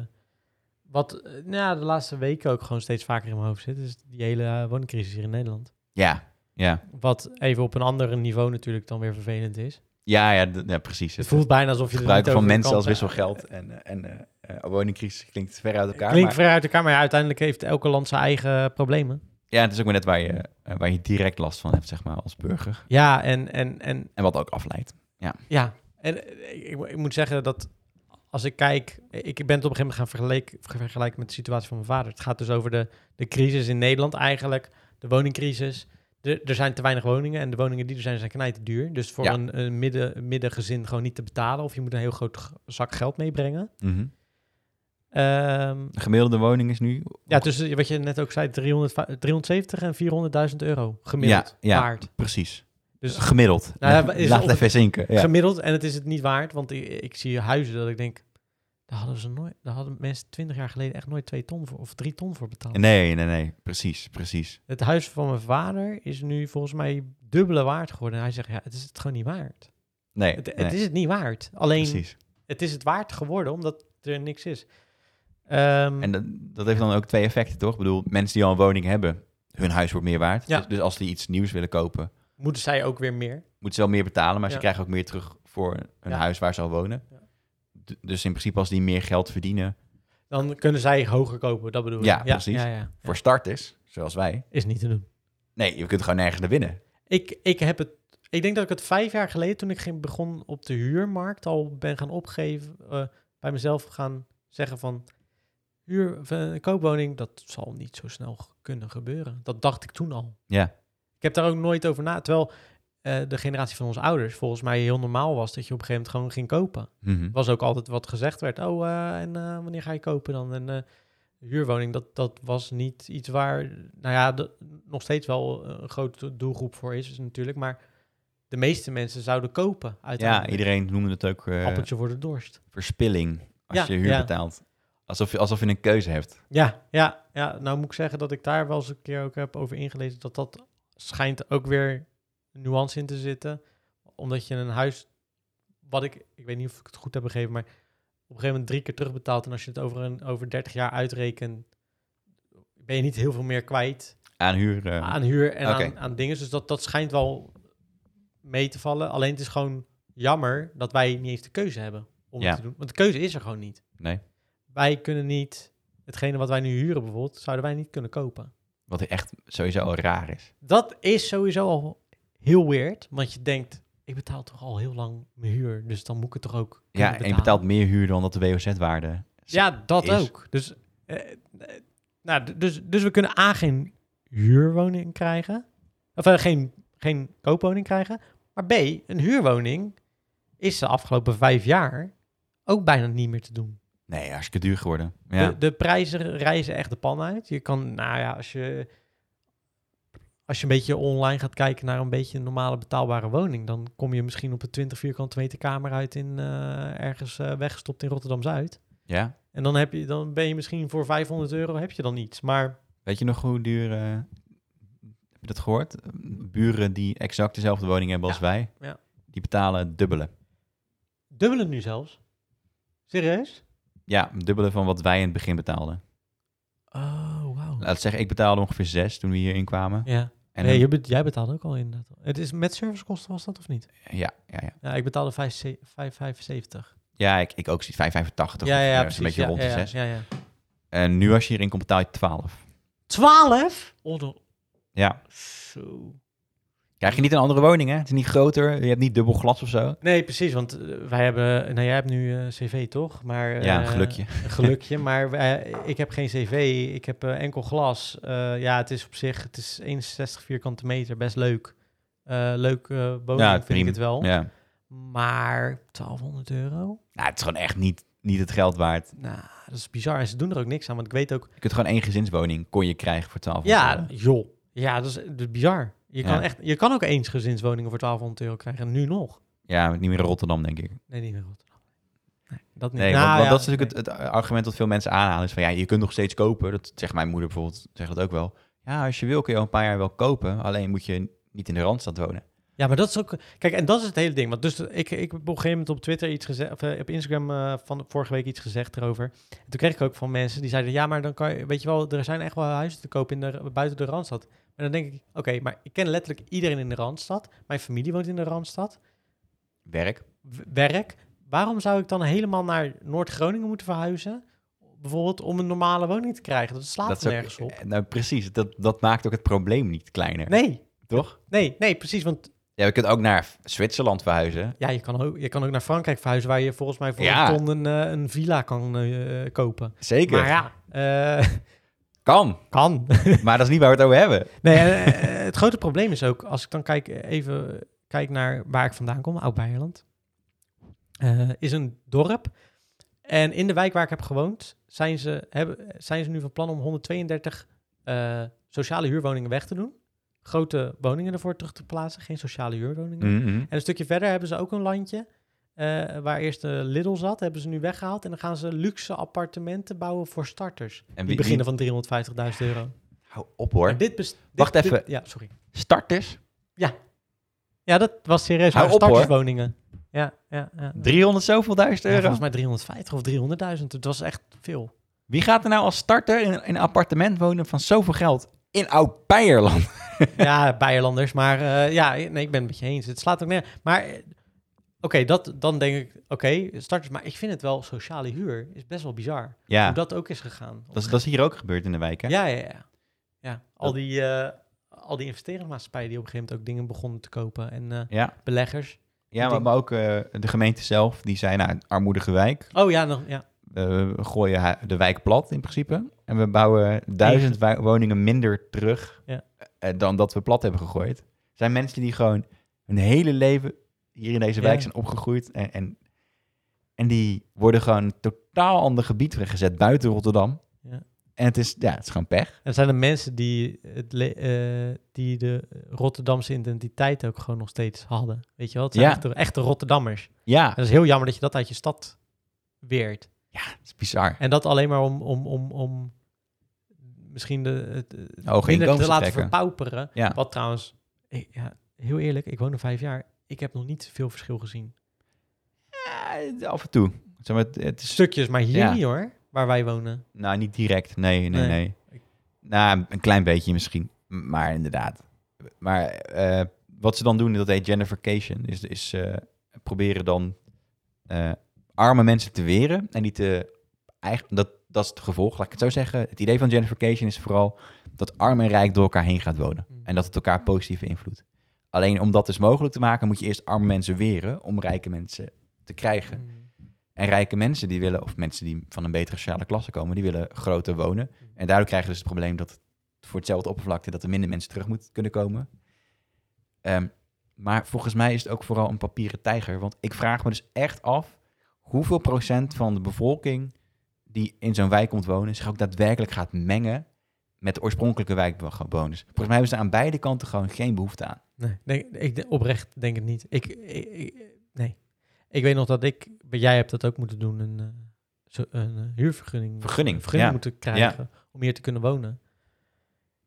wat eh, nou, ja, de laatste weken ook gewoon steeds vaker in mijn hoofd zit, is die hele eh, woningcrisis hier in Nederland.
Ja, ja.
Wat even op een ander niveau natuurlijk dan weer vervelend is.
Ja, ja, d- ja precies.
Het voelt bijna alsof je
het
er niet
gebruiken van
over
mensen
kan
als
praten.
wisselgeld en, eh, en eh, eh, woningcrisis klinkt ver uit elkaar.
Klinkt
maar,
ver uit elkaar, maar ja, uiteindelijk heeft elke land zijn eigen problemen.
Ja, het is ook maar net waar je, eh, waar je direct last van hebt, zeg maar, als burger.
Ja, en, en, en
En wat ook afleidt.
Ja, en eh, ik, ik mo- ik moet zeggen dat als ik kijk, ik ben het op een gegeven moment gaan vergelijk- vergelijken met de situatie van mijn vader. Het gaat dus over de, de crisis in Nederland eigenlijk, de woningcrisis. Er- er zijn te weinig woningen en de woningen die er zijn, zijn knijten duur. Dus voor
Ja.
een, een midden, een middengezin gewoon niet te betalen of je moet een heel groot g- zak geld meebrengen. Ehm,
De gemiddelde woning is nu...
ja, dus tussen wat je net ook zei, 300, 370 en 400.000 euro gemiddeld
Ja, ja.
waard.
Precies.
Dus
Gemiddeld.
Nou ja,
Laat-
is
Laat
op-
het even zinken. Ja.
gemiddeld, en het is het niet waard, want ik, ik zie huizen dat ik denk, daar hadden ze nooit, daar hadden mensen twintig jaar geleden echt nooit twee ton voor of drie ton voor betaald.
Nee, nee, nee. Precies, precies.
Het huis van mijn vader is nu volgens mij dubbele waard geworden. En hij zegt, ja, het is het gewoon niet waard.
Nee,
Het,
nee,
het is het niet waard. Alleen,
precies.
het is het waard geworden omdat er niks is. Ehm,
En dat, dat heeft dan ook twee effecten, toch? Ik bedoel, mensen die al een woning hebben, hun huis wordt meer waard.
Ja.
Dus, dus als die iets nieuws willen kopen,
moeten zij ook weer meer?
moeten ze wel meer betalen, maar ze
Ja.
krijgen ook meer terug voor een
Ja.
huis waar ze al wonen.
Ja.
D- Dus in principe als die meer geld verdienen
Dan kunnen zij hoger kopen, dat bedoel ik.
Ja, precies.
Ja, ja.
voor starters, zoals wij,
Is niet te doen.
nee, je kunt gewoon nergens naar winnen.
Ik, ik heb het. Ik denk dat ik het vijf jaar geleden, toen ik ging, begon op de huurmarkt, al ben gaan opgeven. eh, bij mezelf gaan zeggen van. Huur, of, eh, een koopwoning, dat zal niet zo snel g- kunnen gebeuren. Dat dacht ik toen al.
Ja.
Ik heb daar ook nooit over na. Terwijl eh, de generatie van onze ouders volgens mij heel normaal was dat je op een gegeven moment gewoon ging kopen.
Mhm.
was ook altijd wat gezegd werd. Oh, eh, en eh, wanneer ga je kopen dan? En eh, huurwoning, dat, dat was niet iets waar, nou ja, de- nog steeds wel eh, een grote doelgroep voor is, is natuurlijk. Maar de meeste mensen zouden kopen
Ja,
uiteindelijk.
iedereen noemde het ook eh,
Appeltje voor de dorst.
verspilling als
Ja,
je huur
ja.
betaalt. Alsof je, alsof je een keuze hebt.
Ja, ja, ja, nou moet ik zeggen dat ik daar wel eens een keer ook heb over ingelezen. Dat dat schijnt ook weer nuance in te zitten. Omdat je een huis, wat ik, ik weet niet of ik het goed heb begrepen, maar op een gegeven moment drie keer terugbetaalt. En als je het over, een, over 30 jaar uitrekent, ben je niet heel veel meer kwijt
Aan huur. eh,
aan huur en
Oké.
aan, aan dingen. Dus dat, dat schijnt wel mee te vallen. Alleen het is gewoon jammer dat wij niet eens de keuze hebben om
Ja.
het te doen. Want de keuze is er gewoon niet
Nee.
wij kunnen niet hetgene wat wij nu huren bijvoorbeeld, zouden wij niet kunnen kopen.
Wat echt sowieso al raar is.
Dat is sowieso al heel weird, want je denkt, ik betaal toch al heel lang mijn huur, dus dan moet ik het toch ook kunnen
Ja, en je
betalen.
betaalt meer huur dan dat de WOZ-waarde.
Ja, dat
is-
ook. Dus, eh, eh, nou, d- dus, dus we kunnen A, geen huurwoning krijgen, of eh, geen, geen koopwoning krijgen, maar B, een huurwoning is de afgelopen vijf jaar ook bijna niet meer te doen.
Nee, hartstikke duur geworden. Ja.
De, de prijzen reizen echt de pan uit. Je kan, nou ja, als je, als je een beetje online gaat kijken naar een beetje een normale betaalbare woning, dan kom je misschien op een 20 vierkante meter kamer uit in eh, ergens eh, weggestopt in Rotterdam Zuid.
ja.
En dan, heb je, dan ben je misschien voor 500 euro heb je dan iets. Maar
Weet je nog hoe duur... eh, heb je dat gehoord? Buren die exact dezelfde woning hebben als wij,
ja.
die betalen het dubbele.
dubbelen nu zelfs. Serieus?
Ja, het dubbele van wat wij in het begin betaalden.
Oh, wauw.
Laat ik zeggen, ik betaalde ongeveer zes toen we hierin kwamen.
Ja,
En
nee,
hun-
je bet- jij betaalt ook al inderdaad. Het is met servicekosten was dat of niet?
ja, ja, ja.
Ja, ik betaalde 5,75.
ja ik, ik ook zoiets
Ja, ja,
5,85. of,
ja,
eh,
precies.
Een beetje
ja,
rond de
ja,
6.
Ja, ja.
En nu als je hierin komt betaal je 12.
12? Oh, dan-
Ja.
Zo.
Krijg je niet een andere woning, hè? Het is niet groter, je hebt niet dubbel glas of zo.
Nee, precies, want eh, wij hebben... Nou, jij hebt nu eh, cv, toch? Maar, eh,
ja, een gelukje.
Een gelukje, maar wij- ik heb geen cv, ik heb eh, enkel glas. Eh, ja, het is op zich, het is 61 vierkante meter, best leuk. Eh leuk eh woning
Ja,
vind
prima.
ik het wel.
Ja.
Maar 1200 euro?
Nou, het is gewoon echt niet, niet het geld waard.
Nou, dat is bizar. En ze doen er ook niks aan, want ik weet ook...
Je kunt gewoon één gezinswoning kon je krijgen voor 12
Ja, joh. Ja, dat is, dat is bizar. Je,
Ja.
kan echt, je kan ook eens gezinswoningen voor 1200 euro krijgen, en nu nog.
Ja, niet meer in Rotterdam, denk ik.
Nee, niet in Rotterdam. Nee, dat niet.
Nee,
Nou
want,
ja,
want dat is
nee.
natuurlijk het, het argument dat veel mensen aanhalen. Is van, ja, je kunt nog steeds kopen. Dat zegt mijn moeder bijvoorbeeld, zegt dat ook wel. Ja, als je wil kun je al een paar jaar wel kopen. Alleen moet je niet in de Randstad wonen.
Ja, maar dat is ook... Kijk, en dat is het hele ding. Want dus ik, ik heb op een gegeven moment op Twitter iets gezegd... of eh, op Instagram eh, van vorige week iets gezegd erover. En toen kreeg ik ook van mensen die zeiden... Ja, maar dan kan je... Weet je wel, er zijn echt wel huizen te koop in de, buiten de Randstad. Maar dan denk ik... Oké, maar ik ken letterlijk iedereen in de Randstad. Mijn familie woont in de Randstad.
Werk.
w- werk. Waarom zou ik dan helemaal naar Noord-Groningen moeten verhuizen? Bijvoorbeeld om een normale woning te krijgen. Dat slaat
dat
er nergens
ook-
op.
eh, Nou, precies. Dat, dat maakt ook het probleem niet kleiner.
Nee,
Toch?
nee, nee, precies. Want
Ja, je kunt ook naar Zwitserland verhuizen.
ja, je, kan ook, je kan ook naar Frankrijk verhuizen... waar je volgens mij voor
Ja.
een ton een, eh, een villa kan eh, kopen.
Zeker.
Maar ja, eh,
Kan.
kan.
Maar dat is niet waar we het over hebben.
nee, eh, eh, het grote probleem is ook... als ik dan kijk, eh, even kijk naar waar ik vandaan kom, Oud-Beierland... eh, is een dorp. En in de wijk waar ik heb gewoond... zijn ze, hebben, zijn ze nu van plan om 132 eh, sociale huurwoningen weg te doen. grote woningen ervoor terug te plaatsen. Geen sociale huurwoningen.
Mhm.
En een stukje verder hebben ze ook een landje. eh, waar eerst de Lidl zat, hebben ze nu weggehaald. En dan gaan ze luxe appartementen bouwen voor starters.
En
Die
wie,
beginnen
wie,
van 350.000 euro.
hou op hoor.
En dit best- dit-
Wacht
dit-
even.
Ja, sorry.
Starters?
Ja, dat was serieus.
Hou
Maar
op, hoor.
starterswoningen. Ja, ja, ja.
300 zoveel duizend
Ja,
euro?
volgens mij 350 of 300.000. Het was echt veel.
Wie gaat er nou als starter in, in een appartement wonen van zoveel geld in Oud-Beierland?
ja, Beierlanders. Maar eh, ja, nee, ik ben het met je eens. Het slaat ook neer. Maar eh, oké, dat, dan denk ik, oké, starters. Maar ik vind het wel, sociale huur is best wel bizar.
Ja,
Hoe dat ook is gegaan.
dat is, dat is hier ook gebeurd in de wijken.
Ja, ja, ja. ja. Al, die, eh, al die investeringsmaatschappijen die op een gegeven moment ook dingen begonnen te kopen. En eh,
Ja,
beleggers.
ja maar,
denk-
maar ook eh, de gemeente zelf, die zei nou, armoedige wijk.
Oh ja, nog, ja.
Eh, we gooien hu- de wijk plat in principe. En we bouwen duizend wijk- woningen minder terug
Ja.
eh, dan dat we plat hebben gegooid. Er zijn mensen die gewoon hun hele leven hier in deze
Ja.
wijk zijn opgegroeid. En, en, en die worden gewoon een totaal ander gebied weggezet buiten Rotterdam.
Ja.
En het is, ja, het is gewoon pech.
En zijn er mensen die, het le- eh, die de Rotterdamse identiteit ook gewoon nog steeds hadden. Weet je wel? Het zijn
Ja.
echte, echte Rotterdammers.
Ja,
Het is heel jammer dat je dat uit je stad weert.
het is bizar.
En dat alleen maar om, om, om, om misschien de, het eh,
Hoge
minder
inkomens
te
te
laten
trekken.
verpauperen.
Ja.
Wat trouwens, eh, ja, heel eerlijk, ik woon er vijf jaar. Ik heb nog niet veel verschil gezien.
Eh, af en toe. Zeg maar, het, het is,
Stukjes, maar hier
Ja.
niet hoor, waar wij wonen.
nou, niet direct. Nee, nee,
Nee.
nee. Nou, een klein beetje misschien. M- Maar inderdaad. Maar eh, wat ze dan doen, dat heet gentrification. Is, is eh, proberen dan eh, arme mensen te weren. En die te... Eigenlijk, dat, dat is het gevolg, laat ik het zo zeggen. Het idee van gentrification is vooral dat arm en rijk door elkaar heen gaat wonen.
Mm.
En dat het elkaar positief beïnvloedt. Alleen om dat dus mogelijk te maken, moet je eerst arme mensen weren om rijke mensen te krijgen.
Hmm.
En rijke mensen die willen, of mensen die van een betere sociale klasse komen, die willen groter wonen. En daardoor krijgen we dus het probleem dat het voor hetzelfde oppervlakte dat er minder mensen terug moeten kunnen komen. Ehm, maar volgens mij is het ook vooral een papieren tijger. Want ik vraag me dus echt af hoeveel procent van de bevolking die in zo'n wijk komt wonen, zich ook daadwerkelijk gaat mengen met de oorspronkelijke wijkbewoners. Volgens mij hebben ze daar aan beide kanten gewoon geen behoefte aan.
Nee, nee, ik de- oprecht denk het niet. Ik, ik, ik- nee. Ik weet nog dat ik, maar jij hebt dat ook moeten doen, een, eh, zo- een eh, huurvergunning,
Vergunning,
vergunning
ja.
moeten krijgen om hier te kunnen wonen.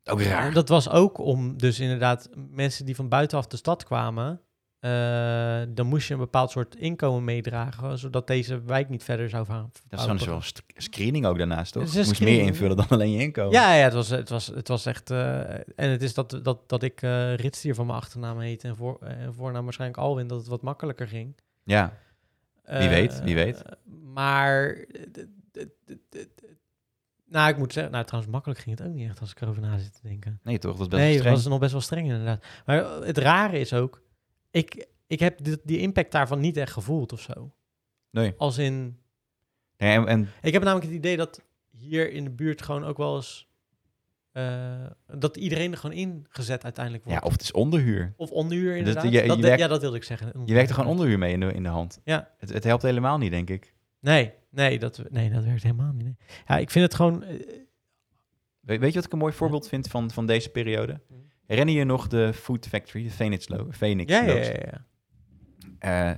Ook raar.
En dat was ook om dus inderdaad mensen die van buitenaf de stad kwamen, eh, dan moest je een bepaald soort inkomen meedragen, zodat deze wijk niet verder zou gaan.
Dat is gewoon
verpauperen.
zo'n st- screening ook daarnaast, toch?
Ah, Het is
Je
een
moest meer
screening.
invullen dan alleen je inkomen.
Ja, ja het, was, het, was, het was echt. eh, en het is dat, dat, dat ik eh Ritstier van mijn achternaam heet en, voor, en voornaam waarschijnlijk Alwin, dat het wat makkelijker ging.
ja. Wie
Eh,
weet, wie weet.
eh, maar. d- d- d- d- d- Nou, ik moet zeggen, nou trouwens, makkelijk ging het ook niet echt als ik erover na zit te denken.
Nee, toch? Dat is best
Nee, dat
streng.
was nog best wel streng inderdaad. Maar eh, het rare is ook, ik, ik heb die, die impact daarvan niet echt gevoeld of zo.
Nee.
Als in,
Nee, en, en
ik heb namelijk het idee dat hier in de buurt gewoon ook wel eens, eh, dat iedereen er gewoon ingezet uiteindelijk
ja,
wordt.
of het is onderhuur.
of onderhuur
dat-
inderdaad.
je- je
dat,
werkt-
ja, dat wilde ik zeggen.
Je werkt er gewoon onderhuur mee in de, in de hand.
Ja.
Het, het helpt helemaal niet, denk ik.
Nee, nee, dat, nee, dat werkt helemaal niet. nee. Ja, ik vind het gewoon, eh,
We- weet je wat ik een mooi voorbeeld vind van, van deze periode?
Mhm.
Herinner je nog de Food Factory, de Phoenix Lo- Phoenix
ja, ja,
Loos?
ja, ja.
Eh,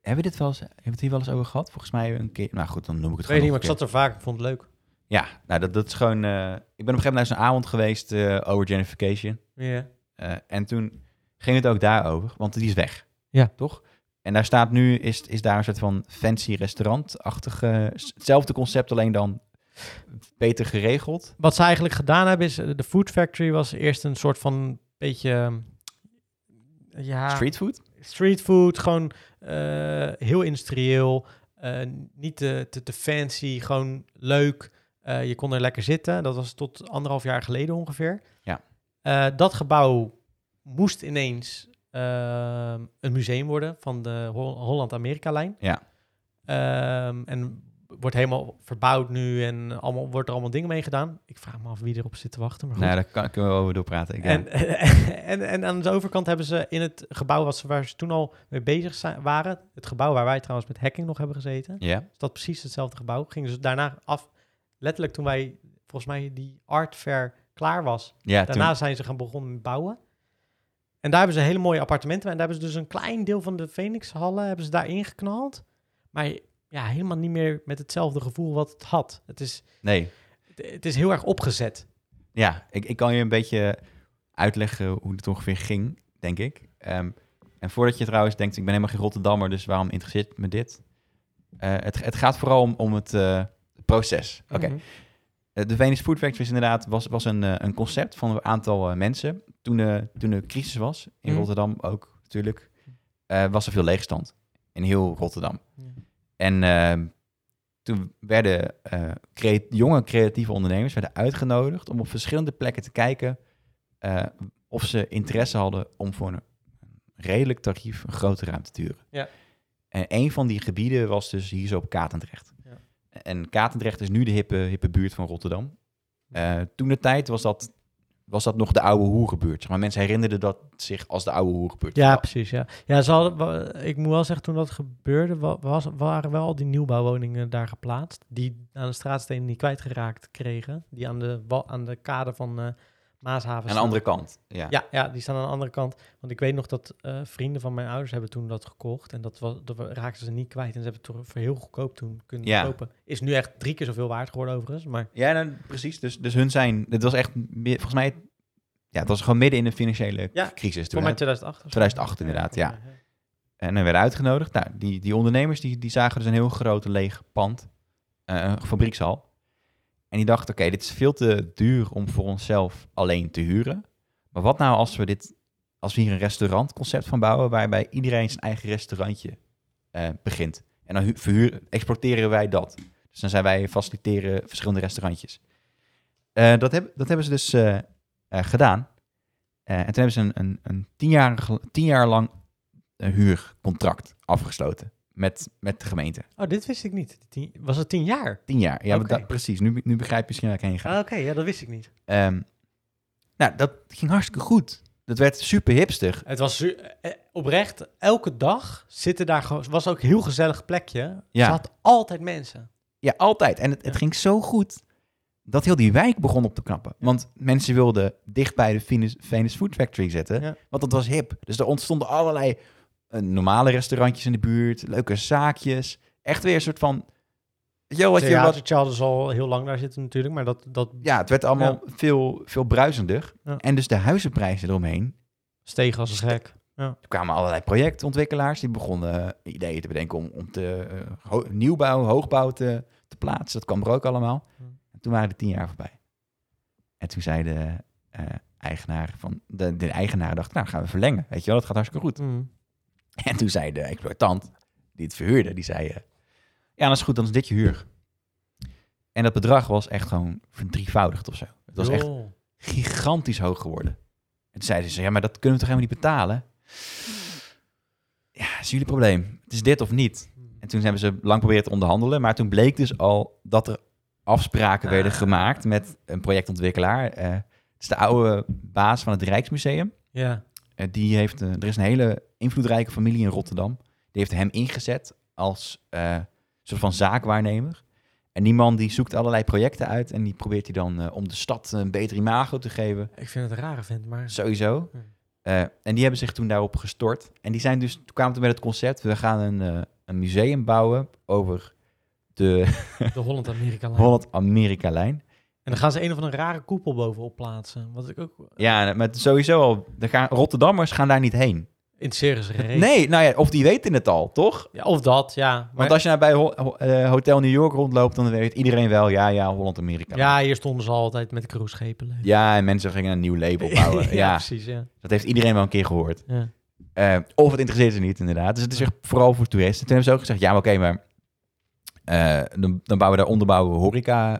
hebben we dit wel eens, hebben we het hier wel eens over gehad? Volgens mij een keer. Nou goed, dan noem ik het
Ik weet niet,
gewoon
maar ik
nog een
zat er vaak, ik vond het leuk.
keer. Ja, nou dat, dat is gewoon... eh, ik ben op een gegeven moment naar zo'n avond geweest eh, over gentrification.
Ja.
Eh, en toen ging het ook daarover, want die is weg.
Ja.
Toch? En daar staat nu, is, is daar een soort van fancy restaurant-achtig, eh, s- hetzelfde concept, alleen dan beter geregeld.
wat ze eigenlijk gedaan hebben is, eh, de Food Factory was eerst een soort van beetje, eh, ja,
Streetfood?
street food, gewoon eh, heel industrieel, eh, niet te, te, te fancy, gewoon leuk. Eh, je kon er lekker zitten, dat was tot anderhalf jaar geleden ongeveer.
Ja.
Eh, dat gebouw moest ineens ehm, een museum worden van de Hol- Holland-Amerika-lijn.
Ja.
Ehm, en wordt helemaal verbouwd nu en allemaal, wordt er allemaal dingen mee gedaan. Ik vraag me af wie erop zit te wachten. Maar goed.
Nou, daar kan, kunnen we over doorpraten. Ik,
En, en, en aan de overkant hebben ze in het gebouw wat ze, waar ze toen al mee bezig zijn, waren, het gebouw waar wij trouwens met hacking nog hebben gezeten,
ja.
is dat precies hetzelfde gebouw. Gingen ze daarna af, letterlijk toen wij volgens mij die art fair klaar was.
Ja,
Daarna zijn ze gaan begonnen met bouwen. En daar hebben ze hele mooie appartementen. En daar hebben ze dus een klein deel van de Phoenix-hallen hebben ze daarin geknald. Maar ja, helemaal niet meer met hetzelfde gevoel wat het had. Het is,
toen- Nee,
het is heel erg opgezet.
ja, ik, ik kan je een beetje uitleggen hoe het ongeveer ging, denk ik. Ehm, en voordat je trouwens denkt, ik ben helemaal geen Rotterdammer, dus waarom interesseert me dit? Eh, het, het gaat vooral om, om het eh, proces. Oké.
Mhm.
Eh, de Venus Food Factory is inderdaad was, was een, eh, een concept van een aantal eh, mensen. Toen, de toen de crisis was, in
Mhm.
Rotterdam ook natuurlijk, eh, was er veel leegstand. In heel Rotterdam.
Ja.
En eh, toen werden eh, crea- jonge creatieve ondernemers werden uitgenodigd om op verschillende plekken te kijken eh, of ze interesse hadden om voor een redelijk tarief een grote ruimte te huren.
Ja.
En een van die gebieden was dus hier zo op Katendrecht.
Ja.
En Katendrecht is nu de hippe, hippe buurt van Rotterdam. Eh, toen de tijd was dat, was dat nog de oude hoerenbuurt. Zeg maar mensen herinnerden dat zich als de oude hoerenbuurt.
Ja, precies. Ja, ja ze hadden, wa- ik moet wel zeggen, toen dat gebeurde, wa- was, waren wel al die nieuwbouwwoningen daar geplaatst. Die aan de straatstenen niet kwijtgeraakt kregen. Die aan de, wa- aan de kade van eh, Maashaven
Aan de
staan.
andere kant. Ja.
Ja, ja, die staan aan de andere kant. Want ik weet nog dat eh, vrienden van mijn ouders hebben toen dat gekocht. En dat, was, dat wa- raakten ze niet kwijt. En ze hebben het toch voor heel goedkoop toen kunnen
Ja.
kopen. Is nu echt drie keer zoveel waard geworden overigens. Maar
Ja, nou, precies. Dus, dus hun zijn... Het was echt... mi- Volgens mij... Ja, het was gewoon midden in de financiële
Ja,
crisis
voor
toen.
mij
hè?
2008 of zo.
2008 inderdaad, ja. En dan werden uitgenodigd. Nou, die, die ondernemers die, die zagen dus een heel groot leeg pand. eh, een fabriekshal. En die dachten, oké, dit is veel te duur om voor onszelf alleen te huren. Maar wat nou als we, dit, als we hier een restaurantconcept van bouwen... waarbij iedereen zijn eigen restaurantje eh, begint. En dan hu- verhuur, exporteren wij dat. Dus dan zijn wij faciliteren verschillende restaurantjes. Eh, dat, heb, dat hebben ze dus eh, eh, gedaan. Eh, en toen hebben ze een, een, een tienjarig, tien jaar lang een huurcontract afgesloten met, met de gemeente.
Oh, dit wist ik niet. Tien- was het tien jaar?
Tien jaar. Ja, want
Oké.
dat- precies. Nu, nu begrijp je misschien waar ik heen ga.
Ah, Oké, ja, dat wist ik niet.
Ehm, nou, dat ging hartstikke goed. Dat werd super hipster.
Het was zu- eh, oprecht, elke dag zitten daar gewoon. was ook een heel gezellig plekje.
Ja.
Er zat altijd mensen.
Ja, altijd. En het, het
Ja.
ging zo goed dat heel die wijk begon op te knappen. Want mensen wilden dicht bij de Venus, Venus Food Factory zetten,
Ja.
want dat was hip. Dus er ontstonden allerlei eh, normale restaurantjes in de buurt, leuke zaakjes. Echt weer een soort van... weet je wel, Wat je, wat,
Theatertje hadden ze al heel lang daar zitten natuurlijk, maar dat, dat
ja, het werd allemaal veel, veel bruisender.
Ja.
En dus de huizenprijzen eromheen.
steeg als een gek.
Er kwamen allerlei projectontwikkelaars die begonnen eh, ideeën te bedenken om, om te, eh, ho- nieuwbouw, hoogbouw te, te plaatsen. Dat kwam er ook allemaal.
Hm.
En toen waren de tien jaar voorbij. En toen zei de eh, eigenaar van de, de eigenaar dacht, nou gaan we verlengen. Weet je wel, dat gaat hartstikke goed.
Mm.
En toen zei de exploitant, die het verhuurde, die zei... eh, ja, dat is goed, dan is dit je huur. En dat bedrag was echt gewoon verdrievoudigd of zo. Het was echt
Joh.
gigantisch hoog geworden. En toen zeiden ze, ja, maar dat kunnen we toch helemaal niet betalen? Ja, dat is jullie probleem. Het is dit of niet. En toen hebben ze lang proberen te onderhandelen. Maar toen bleek dus al dat er afspraken werden gemaakt met een projectontwikkelaar. Eh, het is de oude baas van het Rijksmuseum.
Ja.
Eh, die heeft, eh, er is een hele invloedrijke familie in Rotterdam. Die heeft hem ingezet als eh, soort van zaakwaarnemer. En die man die zoekt allerlei projecten uit en die probeert hij dan eh, om de stad een beter imago te geven.
Ik vind het een rare vent, maar...
Sowieso.
Hmm.
Eh, en die hebben zich toen daarop gestort. En die zijn dus, toen kwamen toen met het concept, we gaan een, eh, een museum bouwen over de
De Holland-Amerika-lijn.
Holland-Amerika-lijn.
En dan gaan ze een of andere rare koepel bovenop plaatsen. Wat ik ook...
Ja, maar sowieso al, er gaan, Rotterdammers gaan daar niet heen.
Interesseren ze geen reet.
Nee, nou ja, of die weten het al, toch?
Ja, of dat, ja. Maar,
Want als je nou bij ho- ho- eh, Hotel New York rondloopt, dan weet iedereen wel, ja, ja, Holland-Amerika.
ja, hier stonden ze altijd met cruiseschepen. leuk.
Ja, en mensen gingen een nieuw label bouwen. ja,
ja, precies, ja.
dat heeft iedereen wel een keer gehoord.
ja.
Eh, of het interesseert ze niet, inderdaad. Dus het is echt vooral voor toeristen. Toen hebben ze ook gezegd, ja, maar oké, maar eh, dan, dan bouwen we daar onderbouwen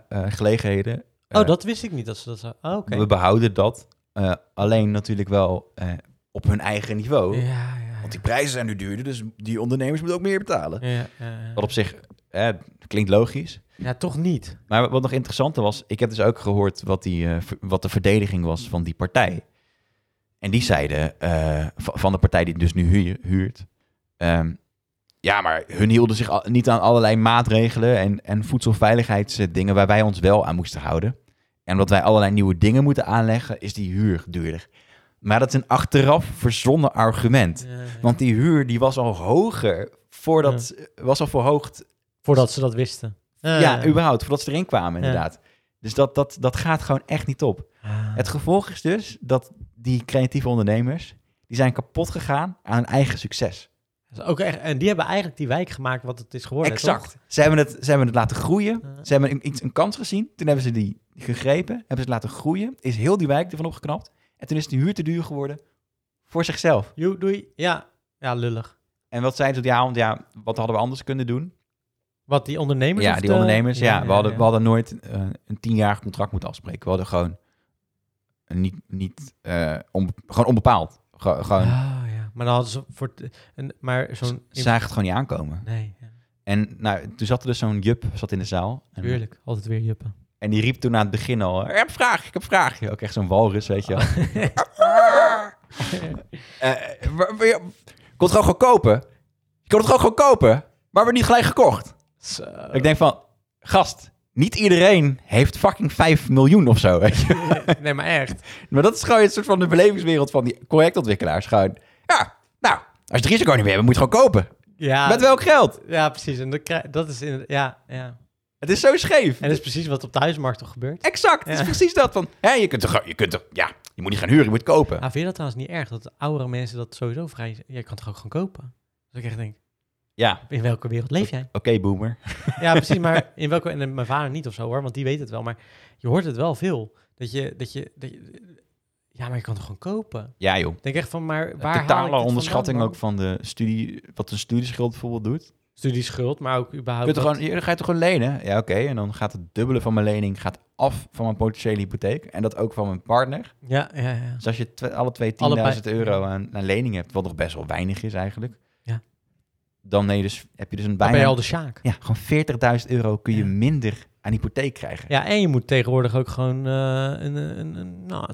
horeca-gelegenheden.
Oh, dat wist ik niet dat ze dat zo... Oh, oké.
We behouden dat, eh, alleen natuurlijk wel eh, op hun eigen niveau.
Ja, ja, ja.
Want die prijzen zijn nu duurder, dus die ondernemers moeten ook meer betalen.
Ja, ja, ja.
Wat op zich eh, klinkt logisch.
ja, toch niet.
Maar wat nog interessanter was, ik heb dus ook gehoord wat, die, eh, ver- wat de verdediging was van die partij. En die zeiden, eh, va- van de partij die het dus nu hu- huurt, ehm, ja, maar hun hielden zich al- niet aan allerlei maatregelen en, en voedselveiligheidsdingen waar wij ons wel aan moesten houden. En omdat wij allerlei nieuwe dingen moeten aanleggen, is die huur duurder. Maar dat is een achteraf verzonnen argument.
Ja, ja.
Want die huur die was al hoger voordat was al verhoogd.
Voordat ze dat wisten.
Ja,
Eh,
überhaupt, voordat ze erin kwamen,
Ja.
inderdaad. Dus dat, dat, dat gaat gewoon echt niet op.
ah,
Het gevolg is dus dat die creatieve ondernemers, die zijn kapot gegaan aan hun eigen succes.
dat is ook echt, en die hebben eigenlijk die wijk gemaakt wat het is geworden.
Exact. Ze hebben, het, ze hebben het laten groeien.
Ja.
Ze hebben een- iets, een kans gezien. Toen hebben ze die gegrepen. Hebben ze het laten groeien. Is heel die wijk ervan opgeknapt. En toen is de huur te duur geworden voor zichzelf.
Joe, doei. Ja. ja, lullig.
En wat zeiden ze? Ja, want ja, wat hadden we anders kunnen doen?
Wat die ondernemers.
ja,
of
die
de-
ondernemers. Ja, we, hadden,
ja.
we hadden nooit eh, een tienjarig contract moeten afspreken. We hadden gewoon een niet, niet eh, onbe- gewoon onbepaald. Ge- gewoon,
Ah, ja. Maar dan hadden ze voor. t- Een, maar zo'n.
ze zagen het gewoon niet aankomen.
Nee, ja.
En nou, toen zat er dus zo'n Jup zat in de zaal. En-
tuurlijk. Altijd weer juppen.
En die riep toen aan het begin al: Ik heb een vraag, ik heb een vraag. Ook echt zo'n walrus, weet je wel. Eh, wa- wa- je kon het gewoon gewoon kopen. Je kon het gewoon gewoon kopen, maar we hebben niet gelijk gekocht.
Zo.
Ik denk van, gast, niet iedereen heeft fucking 5 miljoen of zo, weet je.
Nee, maar echt.
Maar dat is gewoon een soort van de belevingswereld van die projectontwikkelaars. Gewoon, ja, nou, als je het risico niet meer hebt, moet je het gewoon kopen.
Ja,
Met welk geld?
ja precies. En dan krijg- dat is in, ja, ja.
Het is zo scheef.
En dat is precies wat op de huismarkt toch gebeurt.
Exact, het is
Ja.
precies dat van, hè, je kunt toch, gewoon- je kunt toch, ja, je moet niet gaan huren, je moet kopen.
Ah, vind je dat trouwens niet erg? Dat oudere mensen dat sowieso vrij... Jij kan het toch ook gewoon kopen? Dat ik echt denk,
Ja,
in welke wereld leef jij?
oké, boomer.
Ja, precies, maar in welke... En eh, mijn vader niet of zo hoor, want die weet het wel. Maar je hoort het wel veel. Dat je... Dat je, dat je ja, maar je kan het gewoon kopen.
Ja, joh.
Ik denk echt van, maar waar haal ik dit
Totale
vandaan,
onderschatting
man?
ook van de studie, wat een studieschuld bijvoorbeeld doet.
Oh, Studieschuld, maar ook
Je
überhaupt...
kunt er gewoon, je- dan ga je toch gewoon lenen? Ja, oké. En dan gaat het dubbele van mijn lening gaat af van mijn potentiële hypotheek. En dat ook van mijn partner.
Ja, ja, ja.
Dus als je twe- alle twee 10.000
Allebei.
euro aan, aan lening hebt, wat nog best wel weinig is eigenlijk.
Ja.
Dan nee, dus, heb je dus een
Dan ben
bijna...
je al de sjaak.
Ja, gewoon 40.000 euro kun je
Ja.
minder aan hypotheek krijgen.
Ja, en je moet tegenwoordig ook gewoon eh, een, een, een, nou,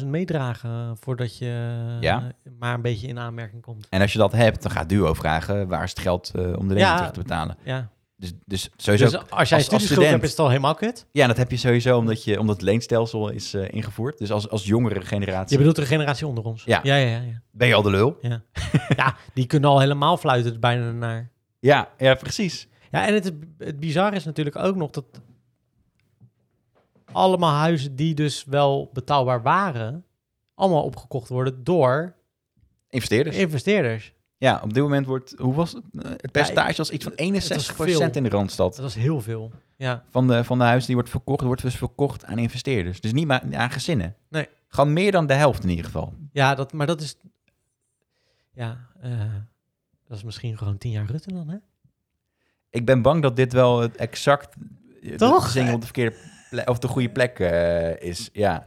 20.000 meedragen voordat je eh,
Ja.
maar een beetje in aanmerking komt.
En als je dat hebt, dan gaat Duo vragen waar is het geld eh, om de lening
Ja.
terug te betalen.
Ja.
Dus, dus sowieso...
Dus als jij
als
studieschuld
student-
hebt, is het al helemaal kut.
ja, dat heb je sowieso omdat, je, omdat het leenstelsel is eh, ingevoerd. Dus als, als jongere
Je
generatie
bedoelt de generatie onder ons.
Ja.
Ja, ja, ja.
ben je al de lul.
ja, die kunnen al helemaal fluiten het bijna naar.
Ja, ja precies.
Ja, en het, het bizarre is natuurlijk ook nog dat allemaal huizen die dus wel betaalbaar waren, allemaal opgekocht worden door
Investeerders.
investeerders.
Ja, op dit moment wordt, hoe was het? Eh, Het percentage was iets van 61%
veel.
in de Randstad.
Dat was heel veel. Ja,
Van de, van de huizen die wordt verkocht, wordt dus verkocht aan investeerders. Dus niet maar aan gezinnen.
Nee.
Gewoon meer dan de helft in ieder geval.
ja dat, maar dat is... Ja, eh, dat is misschien gewoon tien jaar Rutte dan, hè?
Ik ben bang dat dit wel het exact... eh,
Toch?
De single op de verkeerde plek, of de goede plek eh, is. Ja,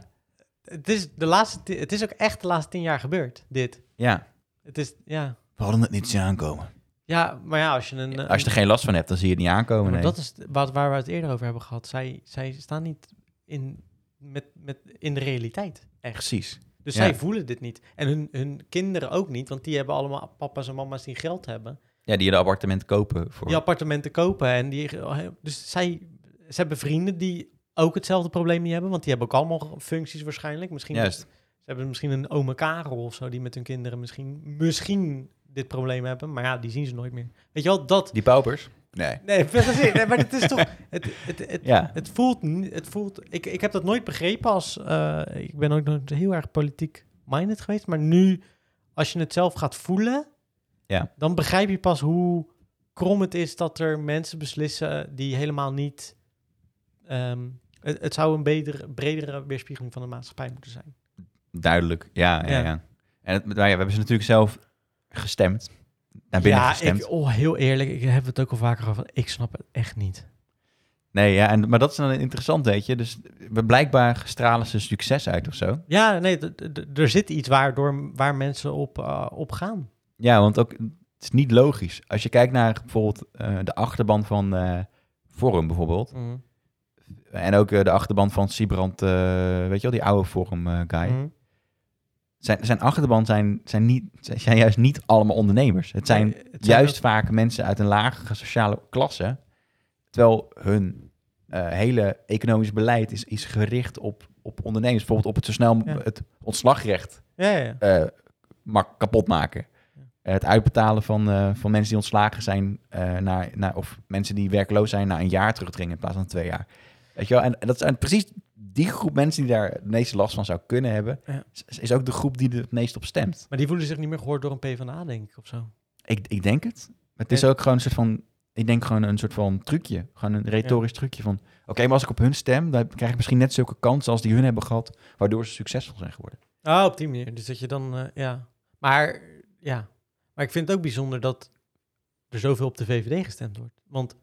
Het is, de laatste, ti- het is ook echt de laatste tien jaar gebeurd, dit.
ja.
Het is, ja...
We hadden het niet zien aankomen.
Ja, maar ja, als je een... eh,
Als je er geen last van hebt, dan zie je het niet aankomen.
Maar
nee.
dat is t- wat, waar we het eerder over hebben gehad. Zij, zij staan niet in, met, met, in de realiteit. Echt.
Precies.
Dus
Ja.
zij voelen dit niet. En hun, hun kinderen ook niet, want die hebben allemaal papa's en mama's die geld hebben.
Ja, die een appartement kopen voor...
Die appartementen kopen. En die, dus zij, ze hebben vrienden die ook hetzelfde probleem niet hebben, want die hebben ook allemaal functies waarschijnlijk. Misschien,
Juist.
Ze hebben misschien een ome Karel of zo, die met hun kinderen misschien, misschien dit probleem hebben. Maar ja, die zien ze nooit meer. Weet je wel, dat...
Die paupers? Nee.
Nee, precies. Nee, maar het is toch... Het, het, het,
Ja.
Het voelt, ni- het voelt ik, ik heb dat nooit begrepen als, eh, ik ben ook nooit heel erg politiek minded geweest, maar nu, als je het zelf gaat voelen,
Ja.
dan begrijp je pas hoe krom het is dat er mensen beslissen die helemaal niet, ehm, het, het zou een betere, bredere weerspiegeling van de maatschappij moeten zijn.
Duidelijk, ja. ja,
Ja.
ja. En het, maar ja, we hebben ze natuurlijk zelf gestemd. Naar binnen
ja,
gestemd.
ik, oh, heel eerlijk, ik heb het ook al vaker over, ik snap het echt niet.
Nee, ja, en, maar dat is dan interessant, weet je. Dus we- blijkbaar stralen ze succes uit of zo.
Ja, nee, d- d- d- er zit iets waardoor, waar mensen op, eh, op gaan.
Ja, want ook, het is niet logisch. Als je kijkt naar bijvoorbeeld eh, de achterban van eh Forum bijvoorbeeld. En ook eh, de achterban van Siebrand, eh, weet je wel, die oude Forum eh, guy.
Mhm.
Zijn, zijn achterban zijn, zijn, niet, zijn- zijn juist niet allemaal ondernemers. Het zijn
Nee, het
juist
ook-
vaak mensen uit een lagere sociale klasse. Terwijl hun eh, hele economisch beleid is, is gericht op, op ondernemers. Bijvoorbeeld op het zo snel
Ja.
het ontslagrecht
Ja, ja, ja.
eh, mak- kapot maken.
Ja.
Eh, het uitbetalen van, eh, van mensen die ontslagen zijn, eh, naar, naar, of mensen die werkloos zijn, na een jaar terugdringen in plaats van twee jaar. Weet je wel? En, en dat zijn precies die groep mensen die daar het meeste last van zou kunnen hebben,
Ja.
is, is ook de groep die er het meest op stemt.
Maar die voelen zich niet meer gehoord door een PvdA, denk ik, of zo.
Ik, ik denk het. Het is
En-
ook gewoon een soort van. Ik denk gewoon een soort van trucje. Gewoon een retorisch trucje van. Oké, maar als ik op hun stem, dan krijg ik misschien net zulke kansen als die hun hebben gehad. Waardoor ze succesvol zijn geworden.
Oh, op die manier. Dus dat je dan, eh, ja. Maar, ja. Maar ik vind het ook bijzonder dat er zoveel op de VVD gestemd wordt. Want, eh,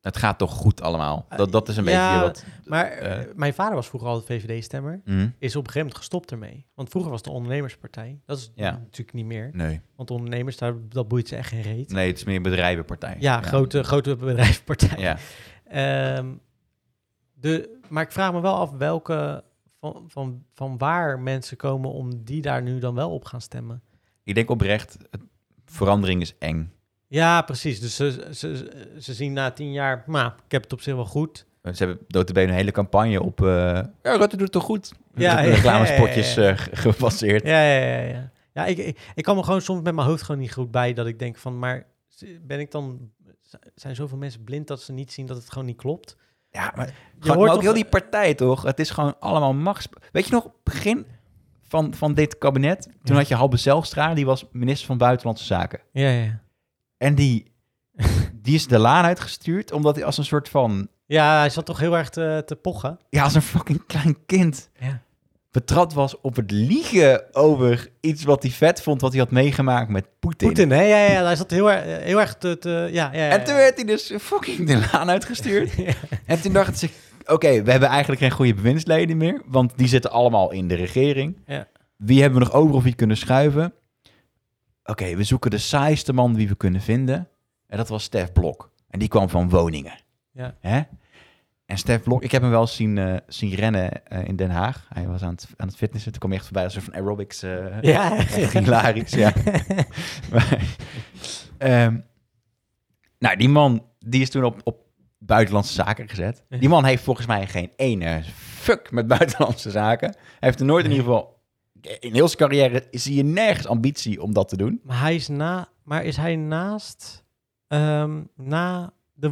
Het gaat toch goed allemaal. Dat, dat is een
Ah, Ja,
beetje wat.
maar
eh,
eh, mijn vader was vroeger altijd VVD-stemmer.
Mm.
Is op een gegeven moment gestopt ermee. Want vroeger was het de ondernemerspartij. Dat is
Ja.
natuurlijk niet meer.
Nee.
Want de ondernemers, daar, dat boeit ze echt geen reet.
nee, het is meer een bedrijvenpartij.
Ja, Grote, grote bedrijfspartij.
Ja.
Ehm, de, maar ik vraag me wel af welke van, van, van waar mensen komen om die daar nu dan wel op gaan stemmen.
Ik denk oprecht, het- verandering is eng.
Ja, precies. Dus ze, ze, ze zien na tien jaar, maar ik heb het op zich wel goed.
Ze hebben notabene een hele campagne op... eh, ja, Rutte doet het toch goed?
Ja,
Op
ja, ja,
reclamespotjes
ja, ja.
eh, ge- gebaseerd.
Ja, ja, ja. ja. ja ik, ik, ik kan me gewoon soms met mijn hoofd gewoon niet goed bij dat ik denk van, maar ben ik dan, zijn zoveel mensen blind dat ze niet zien dat het gewoon niet klopt?
Ja, maar,
Je
gewoon,
hoort
maar ook
toch-
heel die partij toch? Het is gewoon allemaal machts... Weet je nog, begin van, van dit kabinet, toen
Ja.
had je Halbe Zijlstra, die was minister van Buitenlandse Zaken.
Ja, ja, ja.
En die, die is de laan uitgestuurd, omdat hij als een soort van...
Ja, hij zat toch heel erg te, te pochen.
Ja, als een fucking klein kind
Ja.
betrapt was op het liegen over iets wat hij vet vond, wat hij had meegemaakt met Poetin.
Poetin, hè? Ja, ja, ja, hij zat heel erg, heel erg te, te ja, ja, ja,
En toen werd hij dus fucking de laan uitgestuurd.
ja.
En toen dachten ze, oké, we hebben eigenlijk geen goede bewindsleden meer, want die zitten allemaal in de regering.
Ja.
Wie hebben we nog over of wie kunnen schuiven? Oké, we zoeken de saaiste man die we kunnen vinden. En dat was Stef Blok. En die kwam van Woningen.
Ja.
Hè? En Stef Blok, ik heb hem wel eens zien, eh, zien rennen eh, in Den Haag. Hij was aan het, aan het fitnessen. Toen kwam hij echt voorbij als een soort van aerobics. eh,
Ja,
Echt hilarisch, ja. Maar, ehm, nou, die man die is toen op, op buitenlandse zaken gezet. Die man heeft volgens mij geen ene fuck met buitenlandse zaken. Hij heeft er nooit in
Nee.
ieder geval... In heel zijn carrière zie je nergens ambitie om dat te doen.
Maar hij is na, maar is hij naast, ehm, na de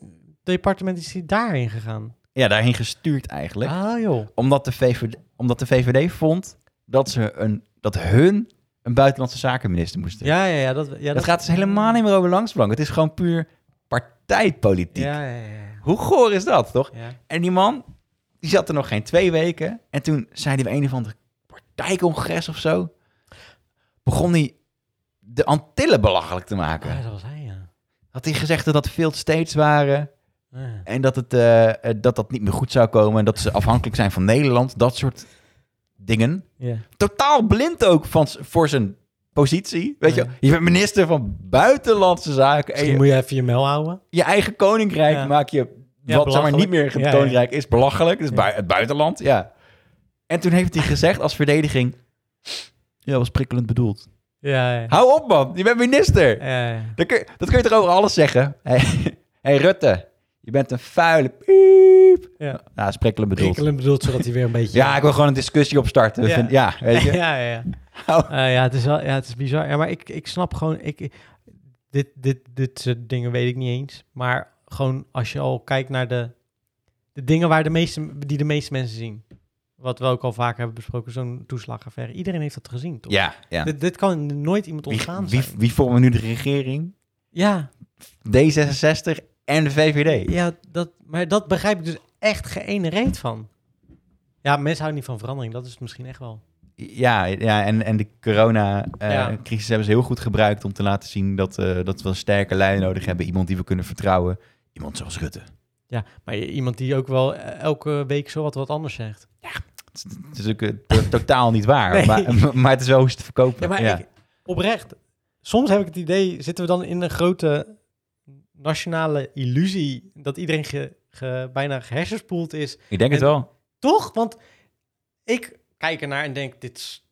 woningdepartement is hij daarin gegaan?
Ja, daarheen gestuurd eigenlijk.
Ah joh.
Omdat, de VVD, omdat de VVD vond dat, ze een, dat hun een buitenlandse zakenminister moesten.
Ja, ja, ja. Dat, ja,
dat, gaat dus helemaal niet meer over langsbelang. Het is gewoon puur partijpolitiek.
Ja, ja, ja.
Hoe goor is dat, toch?
ja.
En die man, die zat er nog geen twee weken. En toen zei hij bij een of ander partijcongres of zo... begon hij de Antillen belachelijk te
Ah,
maken.
dat was hij, ja.
Had hij gezegd dat dat field steeds waren...
Ja.
en dat, het, eh, eh, dat dat niet meer goed zou komen... en dat ze afhankelijk zijn van Nederland. Dat soort dingen.
Ja.
Totaal blind ook van, s- voor zijn positie. Weet je,
Ja.
wel. je bent minister van Buitenlandse Zaken... en
Misschien
je,
moet je even je mel houden.
je eigen koninkrijk
Ja.
maak je
Ja,
wat zeg maar
belachelijk.
niet meer het
Ja, ja.
koninkrijk is belachelijk. Dus
Ja.
bui- het buitenland, ja. En toen heeft hij gezegd als verdediging, ja, was prikkelend bedoeld.
Ja, ja.
Hou op man, je bent minister.
Ja, ja.
Dat kun, je- dat kun je toch over alles zeggen. hey, hey, Rutte, je bent een vuile piep.
Ja.
Ja, is prikkelend bedoeld.
Prikkelen bedoeld, zodat hij weer een beetje...
Ja, ik wil gewoon een discussie opstarten.
Ja.
Ja, ja weet je. Oh.
ja, ja, ja.
Hou-
Eh, ja, het is wel, ja, het is bizar. Ja, maar ik, ik snap gewoon, ik, ik- dit, dit, dit soort dingen weet ik niet eens. Maar gewoon als je al kijkt naar de, de dingen waar de meeste, die de meeste mensen zien. Wat we ook al vaak hebben besproken, zo'n toeslagaffaire. Iedereen heeft dat gezien, toch?
Ja, ja.
Dit, dit kan nooit iemand
Wie,
ontgaan
wie,
zijn.
wie vormen nu de regering?
Ja,
D66 en de VVD.
ja dat, maar dat begrijp ik dus echt geen ene reet van. Ja, mensen houden niet van verandering. Dat is het misschien echt wel.
Ja, ja en, en de
Ja.
corona-crisis hebben ze heel goed gebruikt om te laten zien dat, eh, dat we een sterke leider nodig hebben. Iemand die we kunnen vertrouwen. Iemand zoals Rutte.
Ja, maar iemand die ook wel eh, elke week zowat wat anders zegt.
Het is, het is ook eh, to- totaal niet waar,
Nee.
maar, maar het is wel hoe ze het verkopen.
Ja, maar
ja.
ik- oprecht, soms heb ik het idee, zitten we dan in een grote nationale illusie dat iedereen ge, ge- bijna gehersenspoeld is.
Ik denk het
en-
wel.
Toch? Want ik kijk ernaar en denk, dit is-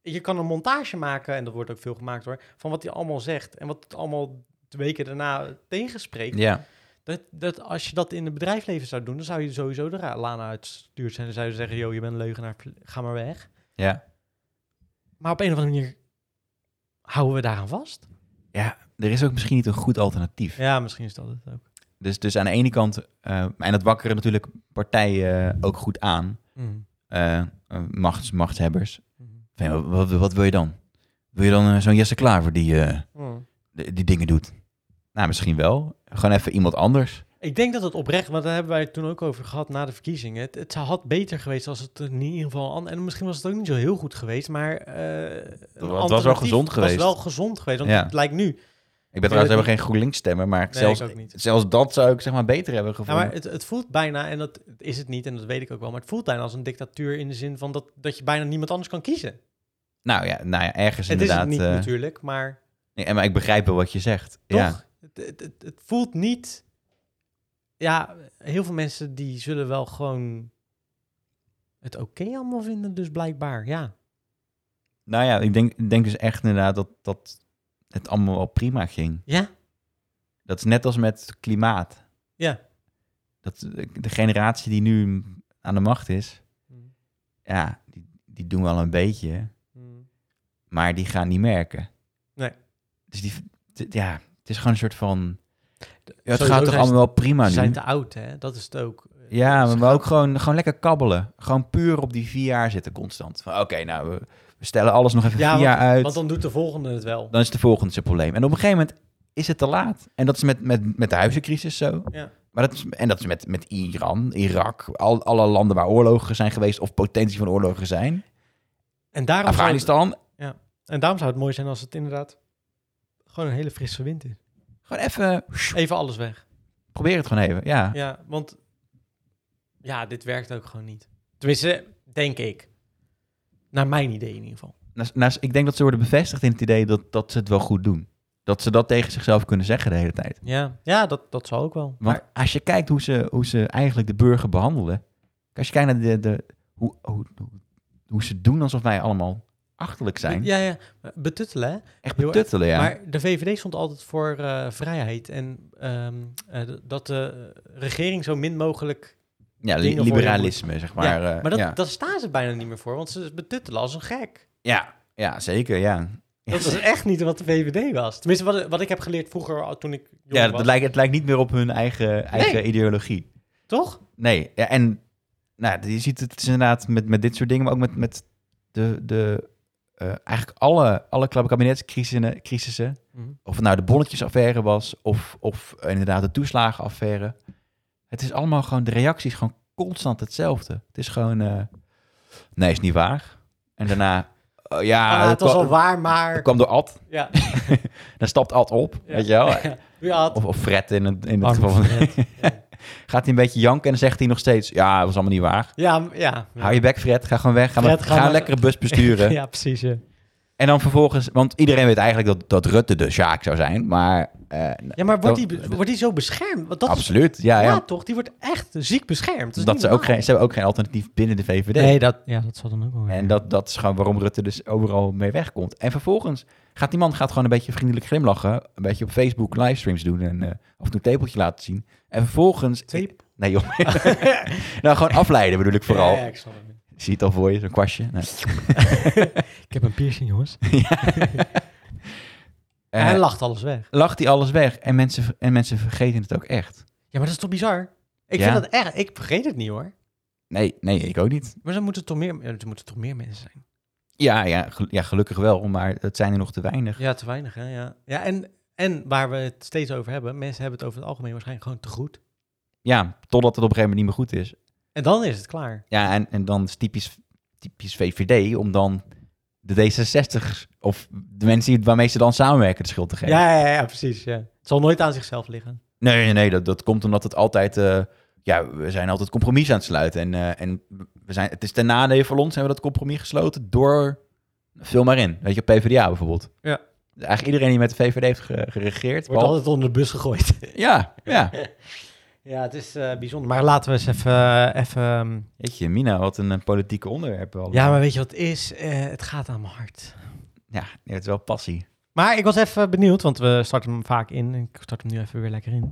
je kan een montage maken, en dat wordt ook veel gemaakt hoor, van wat hij allemaal zegt en wat het allemaal de weken daarna tegenspreekt.
Ja.
Dat, dat als je dat in het bedrijfsleven zou doen, dan zou je sowieso de ra- laan uitsturen. En dan zou je zeggen, joh, je bent een leugenaar, vl- ga maar weg.
Ja.
Maar op een of andere manier houden we daaraan vast.
ja, er is ook misschien niet een goed alternatief.
Ja, misschien is dat het ook.
Dus, dus aan de ene kant, eh, en dat wakkeren natuurlijk partijen eh, ook goed aan, eh, eh, machts, machtshebbers. Van, ja, wat, wat wil je dan? Wil je dan eh, zo'n Jesse Klaver die, eh, die die dingen doet? Nou, misschien wel. Gewoon even iemand anders.
Ik denk dat het oprecht, want daar hebben wij het toen ook over gehad na de verkiezingen. Het, het had beter geweest als het in ieder geval... an- En misschien was het ook niet zo heel goed geweest, maar... eh, een
wel
alternatief
gezond geweest.
was wel gezond geweest, want
Ja.
het lijkt nu...
Ik ben
Ja, dat-
trouwens helemaal geen GroenLinks stemmer, maar
Nee,
zelfs,
ik ook niet.
zelfs dat zou ik zeg maar beter hebben
Ja,
gevonden.
maar het, het voelt bijna, en dat is het niet, en dat weet ik ook wel... maar het voelt bijna als een dictatuur in de zin van dat, dat je bijna niemand anders kan kiezen.
Nou ja, nou ja ergens
Het is
inderdaad.
het niet
eh,
natuurlijk, maar
nee, maar ik begrijp wel wat je zegt.
toch,
Ja.
het, het, het, het voelt niet... Ja, heel veel mensen die zullen wel gewoon het oké allemaal vinden, dus blijkbaar, ja.
Nou ja, ik denk, ik denk dus echt inderdaad dat, dat het allemaal wel prima ging.
Ja?
Dat is net als met klimaat.
Ja.
Dat de de generatie die nu aan de macht is, ja, die, die doen wel een beetje, Nou, maar die gaan niet merken.
Nee.
Dus die, d- ja, het is gewoon een soort van. ja, het
Sowieso
gaat toch
zijn
allemaal wel prima
Ze
nu.
zijn te oud, hè? Dat is het ook.
Ja, maar,
Ze
maar ook gewoon, gewoon lekker kabbelen. Gewoon puur op die vier jaar zitten constant. Van, Oké, nou, we, we stellen alles nog even
Ja,
vier jaar uit.
Want dan doet de volgende het wel.
dan is de volgende zijn probleem. En op een gegeven moment is het te laat. En dat is met, met, met de huizencrisis zo.
Ja.
Maar dat is, en dat is met, met Iran, Irak, al, alle landen waar oorlogen zijn geweest of potentie van oorlogen zijn.
En daarom, zou het,
Afghanistan,
en daarom zou het mooi zijn als het inderdaad gewoon een hele frisse wind is.
gewoon even,
Even alles weg.
probeer het gewoon even. Ja,
Ja, want ja, dit werkt ook gewoon niet. Tenminste, denk ik. Naar mijn idee in ieder geval.
Nou, nou, ik denk dat ze worden bevestigd in het idee dat, dat ze het wel goed doen. Dat ze dat tegen zichzelf kunnen zeggen de hele tijd.
Ja, ja dat, dat zal ook wel.
Want als je kijkt hoe ze, hoe ze eigenlijk de burger behandelen. Als je kijkt naar de, de, hoe, hoe, hoe ze doen alsof wij allemaal achterlijk zijn.
Ja, ja. Betuttelen, hè?
Echt
heel erg.
betuttelen, ja.
Maar de VVD stond altijd voor eh, vrijheid. En ehm, eh, d- dat de regering zo min mogelijk
Ja, li-
dingen voor je
liberalisme, zeg maar.
Ja,
Ja,
Maar dat,
Eh, ja.
daar staan ze bijna niet meer voor, want ze betuttelen als een gek.
ja, ja, zeker, ja.
Dat was echt niet wat de VVD was. Tenminste, wat, wat ik heb geleerd vroeger al toen ik jong
Ja,
was.
dat lijkt, het lijkt niet meer op hun eigen, eigen ideologie.
Toch?
Nee, ja, en nou, je ziet het is inderdaad met, met dit soort dingen, maar ook met, met de, de eh, eigenlijk alle, alle kabinetscrisissen, crisissen,
Mhm.
of het nou de bonnetjesaffaire was, of, of inderdaad de toeslagenaffaire. Het is allemaal gewoon, de reactie is gewoon constant hetzelfde. Het is gewoon, eh, nee, is niet waar. En daarna, oh ja,
Ah,
dat
het was
kwam-
al waar,
dat
maar...
kwam door Ad.
Ja.
Dan stapt Ad op,
Ja.
weet je wel.
Ja, het-
Of, of Fred in het, in het
Arme
geval. Van,
Fred. Ja.
gaat hij een beetje janken en dan zegt hij nog steeds... Ja, dat was allemaal niet waar.
Ja, m- ja.
Hou je bek, Fred. Ga gewoon weg. Ga,
Fred,
maar,
ga
ga een
maar-
lekkere bus besturen.
Ja, precies. Ja,
En dan vervolgens... Want iedereen weet eigenlijk dat, dat Rutte de Sjaak zou zijn. Maar eh,
ja maar wordt die, be- wordt die zo beschermd? Want dat is-
absoluut, ja.
ja,
ja,
toch? Die wordt echt ziek beschermd.
dat ze, ook geen, ze hebben ook geen alternatief binnen de VVD.
Nee, dat, ja, dat zal dan ook wel.
En dat, dat is gewoon waarom Rutte dus overal mee wegkomt. En vervolgens gaat die man gaat gewoon een beetje vriendelijk glimlachen. Een beetje op Facebook livestreams doen. En, eh, af en toe een tepeltje laten zien. En vervolgens...
Tape?
Nee joh. nou, gewoon afleiden bedoel ik vooral.
Ja, ja, ik, snap het.
Zie je het al voor je, zo'n kwastje. Nee.
ik heb een piercing, jongens.
Eh,
hij lacht alles weg.
lacht hij alles weg en mensen, en mensen vergeten het ook echt.
Ja, maar dat is toch bizar? Ik
Ja.
vind dat echt... Ik vergeet het niet, hoor.
Nee, nee, ik ook niet.
Maar dan moeten toch meer, ja, er moeten toch meer mensen zijn?
Ja, ja, gel- ja, gelukkig wel, maar het zijn er nog te weinig.
Ja, te weinig, hè? Ja, ja en, en waar we het steeds over hebben, mensen hebben het over het algemeen waarschijnlijk gewoon te goed.
Ja, totdat het op een gegeven moment niet meer goed is.
En dan is het klaar.
Ja, en, en dan is typisch, typisch VVD om dan de D66's of de mensen die- waarmee ze dan samenwerken de schuld te geven.
Ja, ja, ja, precies. Ja. Het zal nooit aan zichzelf liggen.
Nee, nee, nee, dat, dat komt omdat het altijd... eh, ja, we zijn altijd compromis aan het sluiten. En, eh, en we zijn, het is ten nadele van ons, hebben we dat compromis gesloten door... Vul maar in. Weet je, PvdA bijvoorbeeld.
Ja.
Eigenlijk iedereen die met de VVD heeft ge- geregeerd.
Het wordt
behalve-
altijd onder de bus gegooid.
Ja, ja.
ja, het is eh, bijzonder. Maar laten we eens even... even ehm,
Jeetje, Mina, wat een, eh, politieke onderwerp. Wel.
ja, maar weet je wat het is? Eh, het gaat aan mijn hart.
ja, nee, het is wel passie.
Maar ik was even benieuwd, want we starten hem vaak in. Ik start hem nu even weer lekker in.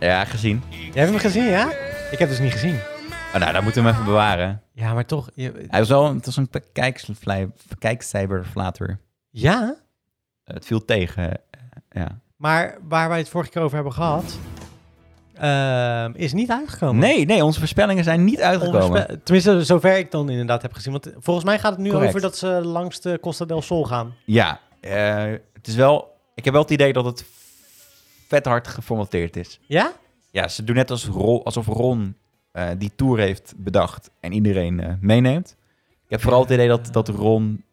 Ja, gezien.
Jij hebt hem gezien, ja? Ik heb dus niet gezien.
Oh, nou, dat moeten we hem even bewaren.
Ja, maar toch. je-
Hij was wel een, het was een kijksvlij- kijkcijferflater.
ja,
Het viel tegen. eh, Ja.
maar waar wij het vorige keer over hebben gehad, ehm, is niet uitgekomen.
Oh, Nee, nee, onze voorspellingen zijn niet uitgekomen.
Onverspe- Tenminste, zover ik dan inderdaad heb gezien. Want volgens mij gaat het nu
Correct.
over dat ze langs de Costa del Sol gaan.
Ja, eh, het is wel. Ik heb wel het idee dat het vet hard geformateerd is.
Ja?
Ja, ze doen net als Ron, alsof Ron eh, die tour heeft bedacht en iedereen eh, meeneemt. Ik heb vooral het idee dat, dat Ron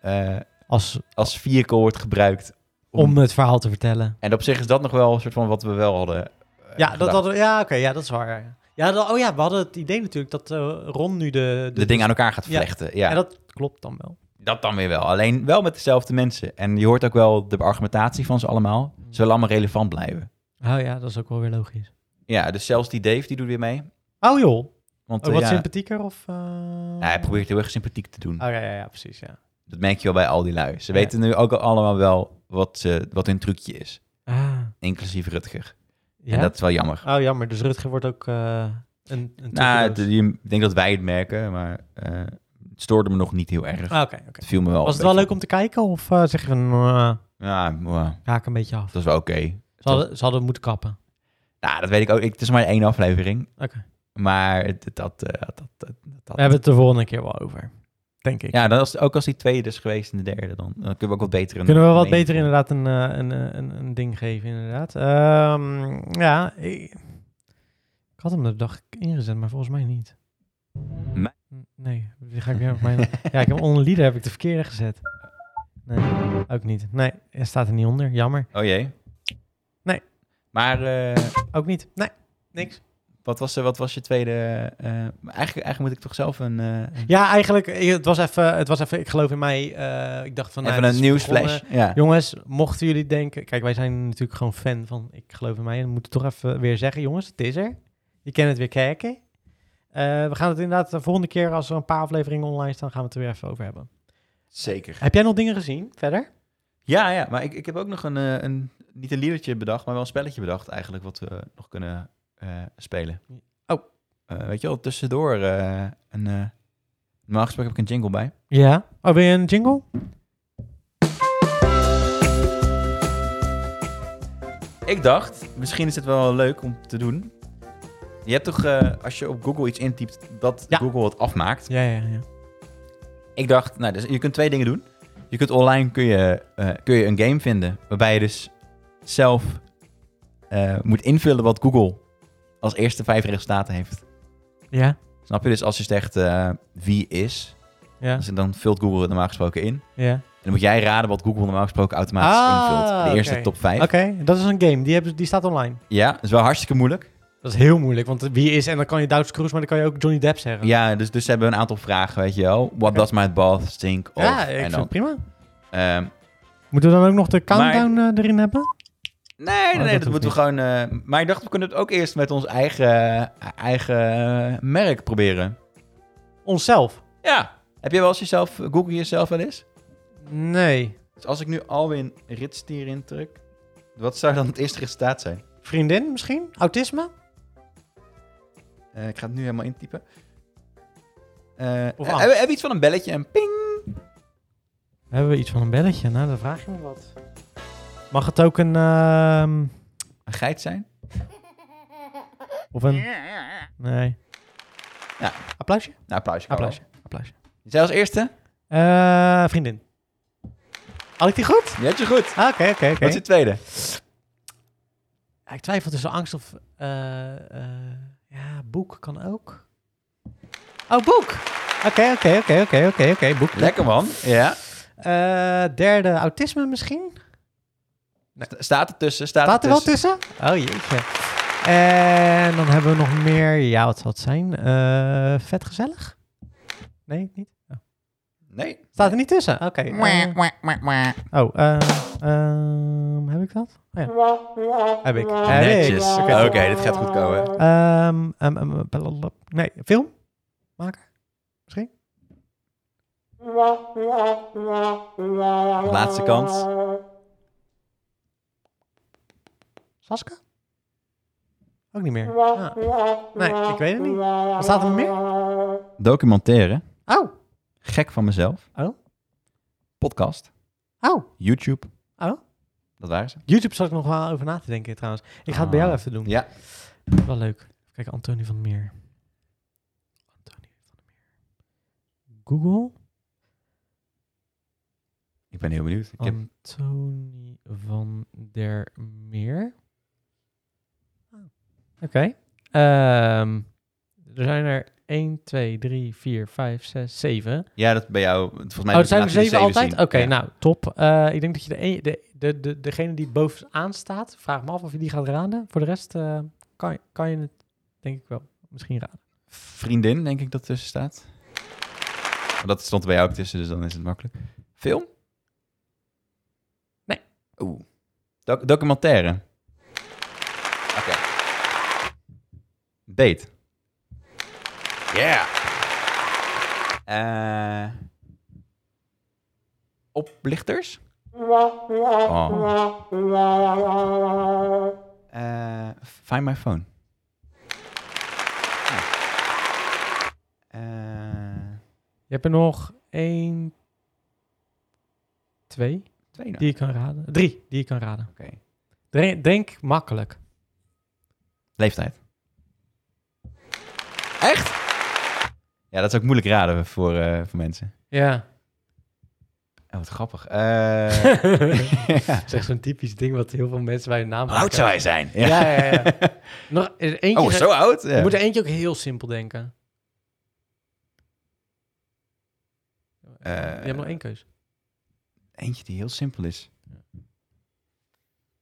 eh,
Als,
als vehicle wordt gebruikt. Om-
om het verhaal te vertellen.
En op zich is dat nog wel een soort van wat we wel hadden. eh,
Ja, dat,
gedacht.
hadden we- ja oké, ja, dat is waar. Ja, dat- oh ja, we hadden het idee natuurlijk dat eh, Ron nu de...
de ding aan elkaar gaat
Ja.
vlechten. Ja,
En
dat...
dat klopt dan wel.
dan weer wel. Alleen wel met dezelfde mensen. En je hoort ook wel de argumentatie van ze allemaal. Ze willen allemaal relevant blijven.
Oh ja, dat is ook wel weer logisch.
Ja, dus zelfs die Dave die doet weer mee.
Oh joh, Oh,
Want eh,
wat
ja,
sympathieker of... eh?
ja, hij probeert heel erg sympathiek te doen.
Oh ja, ja, ja, precies, ja.
Dat merk je wel bij al die lui. Ze
Ja.
weten nu ook allemaal wel wat, ze, wat hun trucje is.
Ah,
Inclusief Rutger.
ja?
En dat is wel jammer.
Oh jammer, dus Rutger wordt ook eh, een... een dus.
nou, het-
tussendoos.
je- ik denk dat wij het merken, maar eh, het stoorde me nog niet heel erg.
Ah, Oké, oké.
Het viel me wel.
Was
een
het wel leuk
beetje
om te kijken of eh, zeg je van... "Mwah,
op. Ja, mwah,
raak een beetje af?
dat is wel oké.
Ze hadden, ze hadden moeten kappen.
Nou, dat weet ik ook. Ik, het is maar één aflevering.
Oké.
Maar het- het- dat... eh, dat, dat, dat-
We hebben het de volgende keer wel over. Denk ik.
Ja, dan als, ook als die tweede is geweest en de derde, dan, dan kunnen we ook wat beter... een-
Kunnen we wat
een
beter
mening-
inderdaad een, eh, een, eh, een, een ding geven, inderdaad. Ehm, ja, ik, ik had hem de dag ingezet, maar volgens mij niet.
Mij-
Nee, die ga ik weer op mijn... ja, ik heb onder lieder heb ik de verkeerde gezet. Nee, ook niet. Nee, hij staat er niet onder. Jammer.
Oh jee.
Nee.
Maar eh,
Ook niet. Nee, niks.
wat, was, eh, wat was je tweede... eh, eigenlijk, eigenlijk moet ik toch zelf een... eh, een-
Ja, eigenlijk, eh, het was even, het was even ik geloof in mij, eh, ik dacht van... nou,
even
het
een
is begonnen.
nieuwsflash. Ja.
Jongens, mochten jullie denken... Kijk, wij zijn natuurlijk gewoon fan van Ik Geloof in Mij. En we moeten toch even weer zeggen, jongens, het is er. Je kan het weer kijken. Eh, we gaan het inderdaad de volgende keer, als er een paar afleveringen online staan, gaan we het er weer even over hebben.
Zeker.
Heb jij nog dingen gezien verder?
Ja, ja. Maar ik, ik heb ook nog een, eh, een... Niet een liedertje bedacht, maar wel een spelletje bedacht eigenlijk... wat we nog kunnen eh, spelen.
Oh.
Eh, weet je wel, tussendoor eh, een... eh normaal gesproken heb ik een jingle bij.
Ja. Oh, wil je een jingle?
Ik dacht, misschien is het wel leuk om te doen. Je hebt toch, eh, als je op Google iets intypt, dat
Ja.
Google het afmaakt.
Ja, ja, ja.
Ik dacht, nou, dus je kunt twee dingen doen. Je kunt online kun je, eh, kun je een game vinden waarbij je dus zelf eh, moet invullen wat Google als eerste vijf resultaten heeft.
Ja,
Snap je? Dus als je zegt eh, wie is,
ja,
dus dan vult Google het normaal gesproken in.
ja.
En dan moet jij raden wat Google normaal gesproken automatisch
Ah,
invult. De eerste
oké.
top vijf.
Oké, dat is een game. Die, hebben, die staat online.
Ja, dat is wel hartstikke moeilijk.
Dat is heel moeilijk, want wie is... En dan kan je Duits Cruise, maar dan kan je ook Johnny Depp zeggen.
Ja, dus, dus ze hebben een aantal vragen, weet je wel. What does my bath stink of?
Ja, ik
en
vind
dan,
het prima.
ehm,
Moeten we dan ook nog de
Maar-
countdown eh, erin hebben?
nee, nee,
Oh, dat
nee, dat,
hoeft
moeten we
niet.
gewoon... eh, maar ik dacht, we kunnen het ook eerst met ons eigen, eigen eh, merk proberen.
Onszelf?
Ja. Heb je wel eens jezelf, eh, Google jezelf wel eens?
Nee.
Dus als ik nu Alwin Ritstier indruk, wat zou dan het eerste resultaat zijn?
Vriendin misschien? Autisme?
Eh, ik ga het nu helemaal intypen. Eh, eh,
Of
hebben
aan.
we- hebben we iets van een belletje en ping?
Hebben we iets van een belletje? Nou, dan vraag je me wat. Mag het ook een... ehm,
Een geit zijn?
of een... Nee.
Ja.
Applausje?
Nou, applausje. Carlo.
Applausje. Applausje.
Jij als eerste?
Eh, vriendin. Had ik die goed?
Je hebt je goed.
Ah, Oké, oké,
Wat
oké.
is je tweede?
Ja, Ik twijfel tussen angst of... eh, eh, ja, boek kan ook. Oh, boek! Oké, oké, oké, oké, oké, oké, boek.
Lekker man. Ja.
Eh, derde, autisme misschien?
Sta- Staat er tussen, staat,
Staat er
er
wel
tussen.
tussen? Oh jeetje. En dan hebben we nog meer. Ja, wat zal het zijn? Eh, vet gezellig? Nee, niet.
Nee.
Staat er niet tussen? Oké. eh, oh, eh, ehm, heb ik dat? Oh, ja. Heb ik. Heb ik.
Netjes. Oké,
Ah, Oké.
dit gaat goed komen.
Ehm, ehm, ehm, blablabla. nee, film?
Laatste kans.
Saska? Ook niet meer. Ah. Nee, ik weet het niet. Wat staat er nog meer?
Documentaire.
Oh,
Gek van mezelf.
Oh.
Podcast.
oh.
YouTube.
Oh.
Dat waren ze.
YouTube zat ik nog wel over na te denken trouwens. Ik ga het bij jou even doen.
Ja.
Wel leuk. Even kijken, Antonie van der Meer. Antonie van der Meer. Google.
Ik ben heel benieuwd. Ik heb,
Antonie van der Meer. Oh. Oké. Ehm, er zijn er 1, 2, 3, 4, 5, 6, 7.
ja, dat bij jou. Volgens mij
Oh, het zijn Oh, er
laat je
zeven altijd? Oké,
zien. Ja.
nou, top. Eh, ik denk dat je de, een- de, de, de, degene die bovenaan staat, vraag me af of je die gaat raden. Voor de rest eh, kan, je- kan je het denk ik wel misschien raden.
Vriendin, denk ik dat tussen staat. Maar dat stond er bij jou ook tussen, dus dan is het makkelijk. Film?
Nee.
Oeh. Doc- documentaire. Oké. Date. Yeah. Eh, oplichters? Oh. Eh, find my phone. Eh,
Je hebt er nog één, twee
twee nou.
die je kan raden. Drie die je kan raden.
Oké.
Dre- Denk makkelijk.
Leeftijd. Echt? Ja, dat is ook moeilijk raden voor, eh, voor mensen.
Ja.
Oh, wat grappig. Eh
Dat is echt zo'n typisch ding wat heel veel mensen bij hun naam
Hoe oud zou hij zijn? Ja.
Ja, ja, ja. Nog er is eentje.
Oh, zo oud?
Je
Ja.
moet er eentje ook heel simpel denken.
Eh,
je hebt nog één keus.
Eentje die heel simpel is.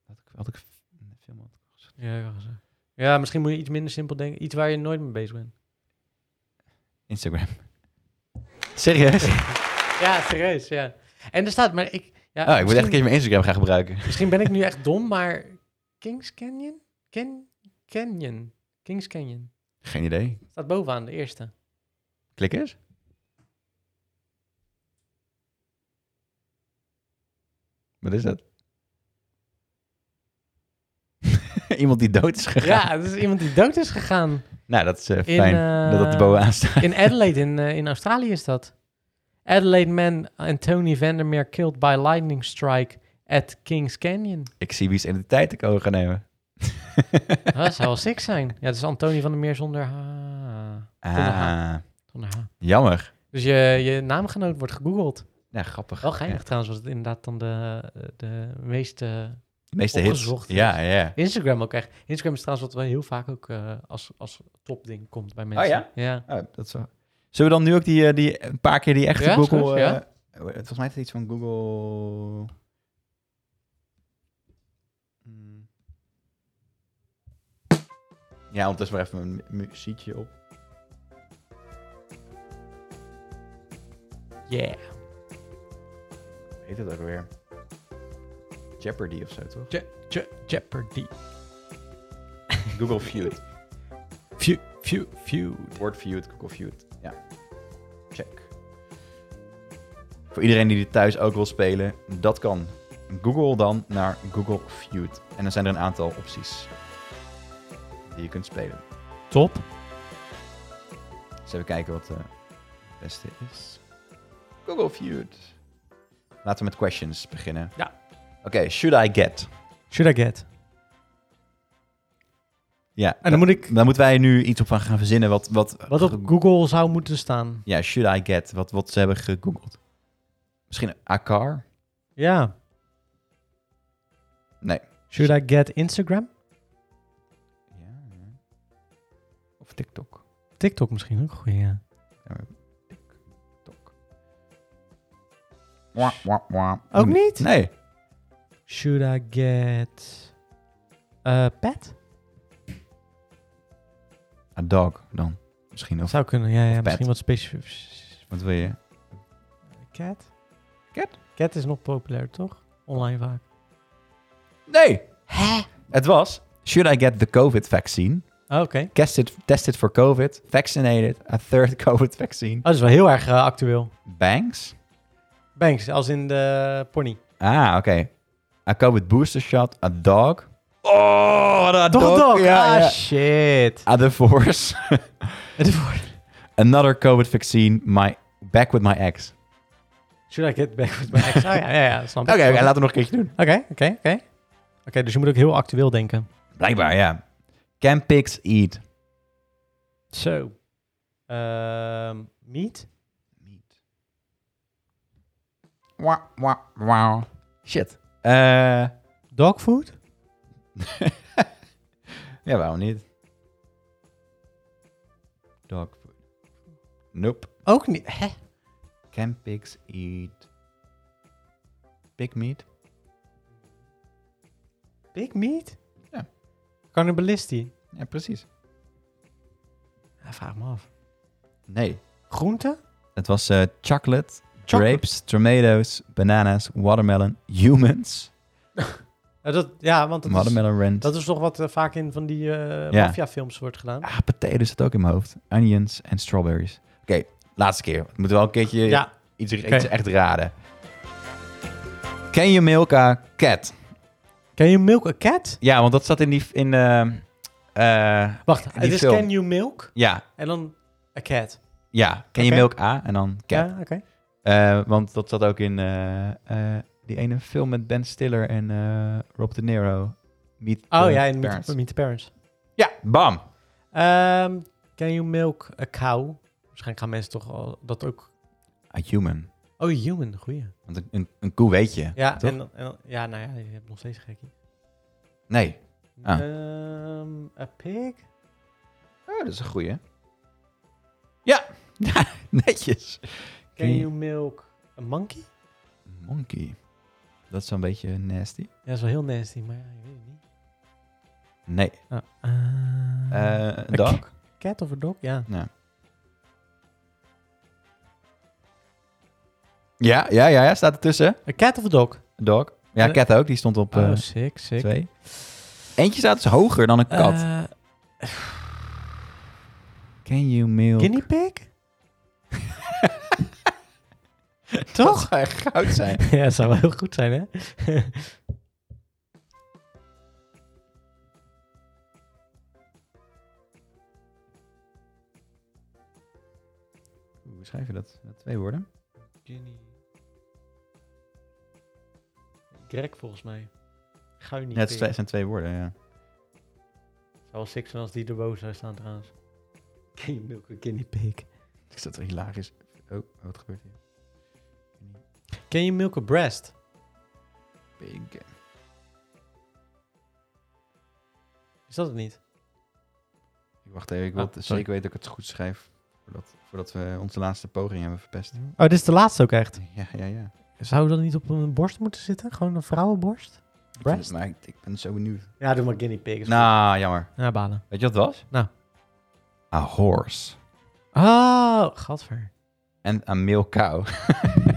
Had ik, had ik een film had.
Ja, ik wou zeggen. ja, misschien moet je iets minder simpel denken. Iets waar je nooit mee bezig bent.
Instagram. Oh, Serieus?
Ja, serieus, ja. En er staat, maar ik... Ja,
Oh, ik moet echt
misschien,
een keer mijn Instagram gaan gebruiken.
misschien ben ik nu echt dom, maar... Kings Canyon? Ken, Canyon. Kings Canyon.
Geen idee.
Staat bovenaan, de eerste.
Klik eens. Wat is dat? Iemand die dood is gegaan.
Ja, dat is iemand die dood is gegaan.
Nou, dat is eh,
In,
fijn dat dat er
eh,
bovenaan staat.
In Adelaide, in, eh, in Australië is dat. Adelaide man en Tony Vandermeer killed by lightning strike at Kings Canyon.
Ik zie wie's identiteit ik over ga nemen.
Ah, Dat zou wel sick zijn. Ja, dat is Antonie van der Meer zonder H.
Ah,
Zonder H.
jammer.
Dus je, je naamgenoot wordt gegoogeld.
Ja, grappig.
Wel geinig
Ja,
trouwens, was het inderdaad dan de, de meeste...
de meeste hits.
Opgezocht is.
Ja, ja.
Instagram ook echt. Instagram is trouwens wat wel heel vaak ook eh, als, als topding komt bij mensen.
ja?
Ja.
Oh, dat is wel- Zullen we dan nu ook die, eh, die een paar keer die echte
Ja, is
Google...
goed,
eh,
ja.
Volgens mij is het iets van Google... Hmm. Ja, ondertussen maar even een mu- muziekje op.
Yeah.
Hoe heet het ook weer? Jeopardy of zo, toch?
Je, Je- Jeopardy.
Google Feud.
View, view, view.
Word Feud, Google Feud. Ja. Check. Voor iedereen die dit thuis ook wil spelen, dat kan. Google dan naar Google Feud. En dan zijn er een aantal opties die je kunt spelen.
Top.
Dus even kijken wat eh, het beste is. Google Feud. Laten we met questions beginnen.
Ja.
Oké, should I get?
Should I get?
Ja.
En dan moet ik...
Dan moeten wij nu iets op gaan verzinnen wat... Wat,
Wat op Google zou moeten staan.
Ja, should I get? Wat, wat ze hebben gegoogeld. Misschien a car?
Ja.
Nee.
Should I get Instagram?
Ja. Of TikTok.
TikTok misschien ook goed, ja.
TikTok. Wah, wah, wah.
Ook niet?
Nee.
Hmm. Nou, Should I get... eh pet?
A dog dan. Misschien
Dat
of.
zou kunnen, ja. ja
pet.
misschien wat specifiek.
Wat wil je?
Cat?
Cat?
Cat is nog populair, toch? Online vaak.
Nee. Het was. Should I get the COVID vaccine?
Oh, Oké.
Tested, tested for COVID. Vaccinated. A third COVID vaccine.
dat is wel heel erg eh, actueel.
Banks.
Banks, als in de pony.
Ah, oké. A COVID booster shot. A dog. Oh, wat een
Toch een
dok.
dok?
Ja,
ah,
ja.
shit.
Ah, the force.
Het wordt-
Another COVID vaccine. My, back with my ex.
Should I get back with my ex? Ah, ja, ja, ja, snap ik.
Oké, oké, laten we nog een keertje doen.
Oké, oké, oké. Oké, dus je moet ook heel actueel denken.
Blijkbaar, ja. Can pigs eat?
Zo. Ehm meat?
Wah, wah, wah. Shit. Eh,
Dog food?
ja, waarom niet? Dog food. Nope.
Ook niet. Hè?
Can pigs eat pig meat?
Big meat?
Ja.
Cannibalistie?
Ja, precies.
Ja, vraag me af.
Nee.
Groente?
Het was eh, chocolate,
Chocolate?
grapes, tomatoes, bananas, watermelon, humans,
Ja, dat, ja want dat is,
watermelon rent.
dat is toch wat eh, vaak in van die eh
Ja.
maffiafilms wordt gedaan.
Ah, potato zit ook in mijn hoofd. Onions en strawberries. Oké, laatste keer. We moeten wel een keertje
Ja.
iets, iets
Oké.
echt raden. Ken je milk a cat?
Can you milk a cat?
Ja, want dat zat in die... In, eh, eh,
Wacht,
Die
het is
film.
can you milk
ja,
en dan a cat.
ja. Ken
Oké.
je milk a en dan cat.
Ja, oké.
Eh, want dat zat ook in eh, eh, die ene film met Ben Stiller en eh, Rob De Niro. Meet
Oh
the
ja, in
Parents.
meet, meet the Parents.
Ja, bam.
Ehm, can you milk a cow? Waarschijnlijk gaan mensen toch al dat ook...
A human.
Oh, human, goeie.
Want een, een, een koe weet je.
Ja,
toch?
en, dan- en, dan- ja nou ja, je hebt nog steeds gekkie.
Nee. Ah.
Ehm, a pig?
Oh, dat is een goeie. Ja, netjes.
Can
Oké.
you milk a monkey?
Monkey. Dat is wel een beetje nasty.
Ja, dat is wel heel nasty, maar ja, ik weet het niet.
Nee.
Ah, eh,
Eh, een
Een
dog?
k- cat of a dog, ja.
Ja, ja, ja, ja, staat ertussen.
Een cat of a dog?
Een dog. Ja,
Eh,
cat ook. Die stond op eh,
oh, sick, sick.
twee. Eentje staat dus hoger dan een kat.
Eh,
Can you milk?
guinea pig?
Dat
Toch?
zou echt goud zijn.
ja, dat zou wel heel goed zijn, hè?
Hoe schrijf je dat? Met twee woorden.
Guinea. Greg, volgens mij. Guinea
Ja, het
pig.
sta- zijn twee woorden, ja.
Zou wel sick zijn als die erboven zou staan, trouwens. Can you milk a guinea pig?
Ik zat er hilarisch. Oh, wat gebeurt hier?
Can you milk a breast?
Pig.
Is dat het niet?
Wacht even, ik wil
Oh,
het
sorry.
zeker weten dat ik het goed schrijf. Voordat, voordat we onze laatste poging hebben verpest.
Oh, dit is de laatste ook echt.
Ja, ja, ja.
Zou dat niet op een borst moeten zitten? Gewoon een vrouwenborst? Breast?
Maar ik, ik ben zo benieuwd.
Ja, doe maar guinea pig. is
Nou, jammer.
goed. Ja, balen.
Weet je wat het was?
Nou.
A horse.
Oh, gadver.
En een meelkou.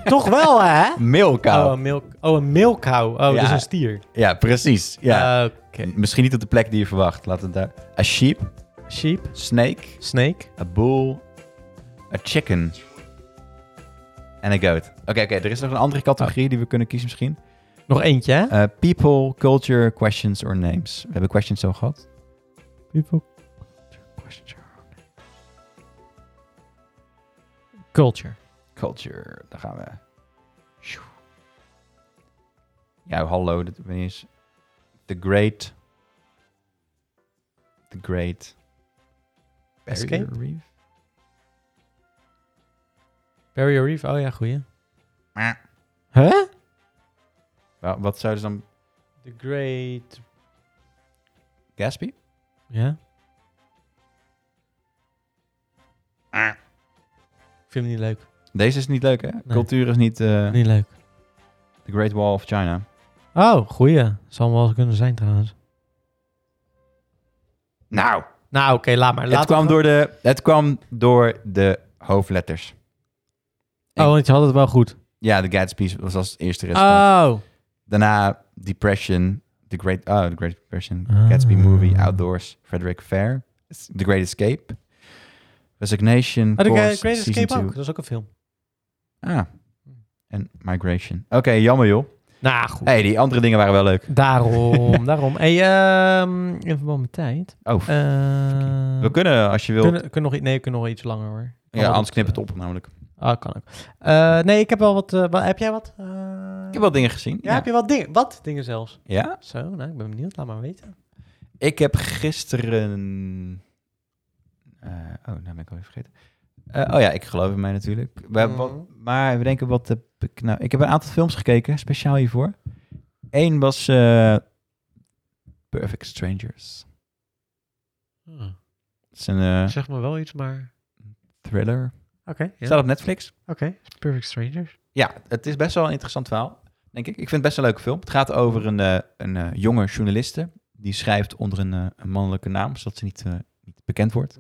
Toch wel, hè?
meelkou.
Oh, een milk, oh, een milkkou. Oh,
Ja.
dus een stier. Eh,
ja, precies. Ja.
Oké.
Misschien niet op de plek die je verwacht. Laat het daar. A sheep,
Sheep,
snake,
snake.
a bull, a chicken. En een goat. Oké, oké. Er is nog een andere categorie die we kunnen kiezen misschien.
Nog eentje, hè?
Eh, people, culture, questions or names. We hebben questions zo gehad.
People. Culture.
Culture, daar gaan we. Sjoe. Ja, hallo, dat ben je eens. The Great. The Great.
Escape?
Barrier Reef?
Barrier Reef. Oh ja, goeie.
Meh.
Huh?
Wa- wat zouden ze dan.
The Great...
Gatsby?
Ja?
Ah.
Ik vind hem niet leuk.
Deze is niet leuk, hè? Cultuur is niet. eh,
Niet leuk.
The Great Wall of China.
Oh, goeie. Zal wel kunnen zijn, trouwens.
Nou,
Nou, oké, laat maar.
het
Laat
kwam, door de, het kwam door de hoofdletters.
Oh, want je had het wel goed.
Ja, de Gatsby was als eerste restaurant.
Oh.
Daarna Depression, The Great, oh, The Great Depression,
Ah.
Gatsby Movie, Outdoors, Frederick Fair, The Great Escape, Resignation,
Oh, de Great
Course,
Great
Season
Escape ook.
Two.
Dat is ook een film.
Ah, en Migration. Oké, jammer joh.
Nou, goed.
hey, die andere dingen waren wel leuk.
Daarom, daarom. Hey, ehm, in verband met tijd.
Oh,
eh,
we kunnen als je wilt.
kunnen, kunnen nog, iets- nee, we kunnen nog iets langer hoor. Kan
ja,
wel
anders
wat,
knip het op namelijk.
eh, Ah, kan ook. Eh, nee, ik heb wel wat... eh, wa- heb jij wat? Eh,
Ik heb wel dingen gezien.
Ja, heb je wat dingen? Wat dingen zelfs?
ja.
Zo, nou, ik ben benieuwd. Laat maar weten.
Ik heb gisteren. eh, oh, nou ben ik al even vergeten. Eh, oh ja, ik geloof in mij natuurlijk. We hebben wat-
Mhm.
maar we denken wat. heb ik, nou, ik heb een aantal films gekeken, speciaal hiervoor. Eén was eh, Perfect Strangers. Het is een eh,
Ah, Zeg me wel iets, maar...
thriller.
Oké, ja.
Staat op Netflix.
Oké, Perfect Strangers.
Ja, het is best wel een interessant verhaal, denk ik. Ik vind het best een leuke film. Het gaat over een, eh, een eh, jonge journaliste. Die schrijft onder een, eh, een mannelijke naam, zodat ze niet, eh, niet bekend wordt.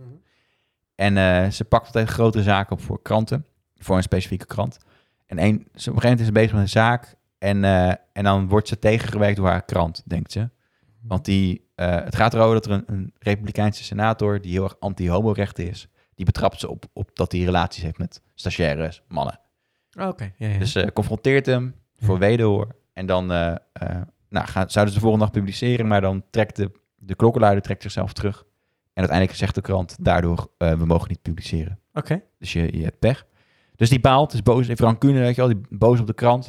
En eh, ze pakt altijd grote zaken op voor kranten, voor een specifieke krant. En één, ze, op een gegeven moment is ze bezig met een zaak en, eh, en dan wordt ze tegengewerkt door haar krant, denkt ze. Want die, eh, het gaat erover dat er een, een republikeinse senator die heel erg anti-homorechten is, die betrapt ze op, op dat hij relaties heeft met stagiaires, mannen.
Oké, ja, ja.
Dus ze confronteert hem voor
Mhm. Ja.
wederhoor. En dan eh, eh, nou, gaan, zouden ze de volgende dag publiceren, maar dan trekt de, de klokkenluider trekt zichzelf terug. En uiteindelijk zegt de krant daardoor, eh, we mogen niet publiceren.
Oké.
Dus je, je hebt pech. Dus die baalt, is boos, heeft rancune, weet je wel, die boos op de krant.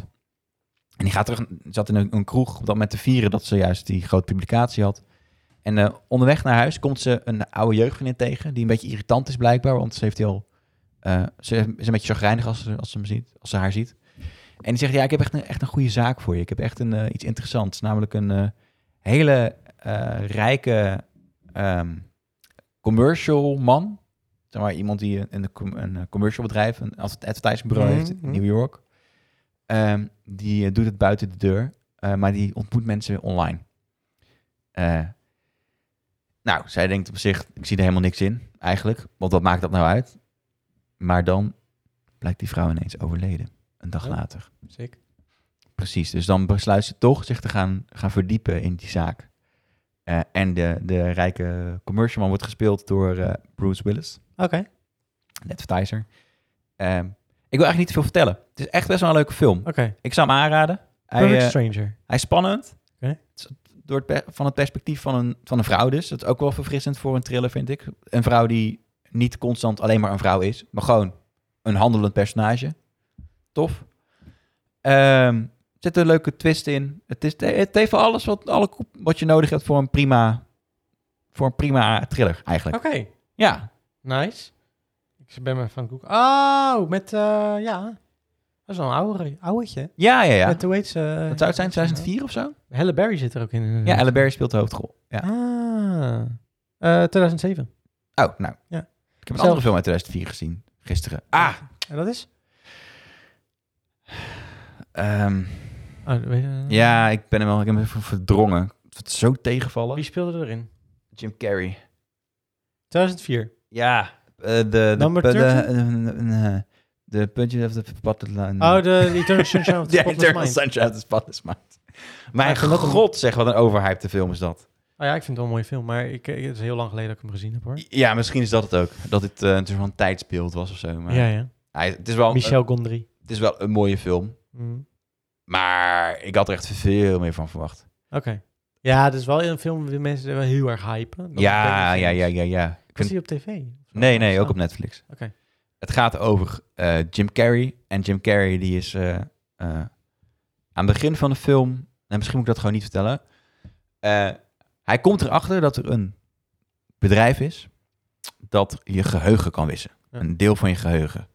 En die gaat terug, zat in een, een kroeg op dat moment te vieren dat ze juist die grote publicatie had. En eh, onderweg naar huis komt ze een oude jeugdvriendin tegen, die een beetje irritant is blijkbaar, want ze heeft heel... eh, ze is een beetje chagrijnig als ze, als, ze hem ziet, als ze haar ziet. En die zegt, ja, ik heb echt een, echt een goede zaak voor je. Ik heb echt een, eh, iets interessants, namelijk een eh, hele eh, rijke ehm, commercial man zeg maar, iemand die een, een, com- een eh, commercial bedrijf, een adver- advertisingbureau heeft in
Mhm.
New York. Ehm, die eh, doet het buiten de deur, eh, maar die ontmoet mensen online. Eh, nou, zij denkt op zich, ik zie er helemaal niks in, eigenlijk. Want wat maakt dat nou uit? Maar dan blijkt die vrouw ineens overleden, een dag
Oh.
later.
Sick.
Precies, dus dan besluit ze toch zich te gaan, gaan verdiepen in die zaak. Eh, en de, de rijke commercialman wordt gespeeld door eh, Bruce Willis
Oké.
een advertiser. Ehm, ik wil eigenlijk niet te veel vertellen. Het is echt best wel een leuke film.
Oké.
Ik zou hem aanraden. Hij,
Perfect
eh,
Stranger.
hij is spannend.
Oké.
Het is Door het per- van het perspectief van een, van een vrouw dus. Dat is ook wel verfrissend voor een thriller, vind ik. Een vrouw die niet constant alleen maar een vrouw is. Maar gewoon een handelend personage. Tof. Ehm, er zit een leuke twist in. Het, is, het heeft wel alles wat, alle, wat je nodig hebt voor een prima, voor een prima thriller
Oké.
eigenlijk. Ja,
Nice. Ik ben maar van Google. Oh, met, eh, ja. Dat is wel een oude, ouwetje.
ja, ja. ja.
Met, hoe heet ze? Eh,
Wat zou het zijn? 2004 of zo?
Halle Berry zit er ook in. inderdaad.
Ja, Ellen Berry speelt de hoofdrol. Ja.
Ah. Eh, 2007.
Oh, nou.
Ja.
Ik heb een
Zelf-
andere film uit 2004 gezien, gisteren. Ah!
En dat is?
ehm,
Oh, weet je-
ja, ik ben hem wel ik heb hem even verdrongen. Het is zo
Wie
tegenvallen.
speelde erin?
Jim Carrey.
2004.
Ja. eh, de, de,
Number
de,
13?
de, de- de puntje of de spotted line.
Oh, de Eternal Sunshine of the
Ja,
Spotless
Eternal
Mind.
Sunshine of the Spotless Mind. Mijn
ik vind dat een-
god, zeg, wat een overhypte film is dat.
Oh ja, ik vind het wel een mooie film, maar ik, ik- het is heel lang geleden dat ik hem gezien heb hoor.
Ja, misschien is dat het ook. Dat het eh, een soort van tijdsbeeld was of zo. Maar Oh, eh.
Ja, ja.
hij, het, is wel,
Michel Gondry.
het is wel een mooie film.
Mm.
Maar ik had er echt veel meer van verwacht.
Oké. Ja, het is wel een film die mensen wel heel erg hypen. Dat
Ja,
betekent-
ja, ja, ja, ja. Ik
Was
vind-
die op tv?
Nee, nee, ook op Netflix.
Oké.
Het gaat over eh, Jim Carrey. En Jim Carrey die is eh, eh, aan het begin van de film... Nou, misschien moet ik dat gewoon niet vertellen. Eh, hij komt erachter dat er een bedrijf is... dat je geheugen kan wissen.
Ja.
Een deel van je geheugen.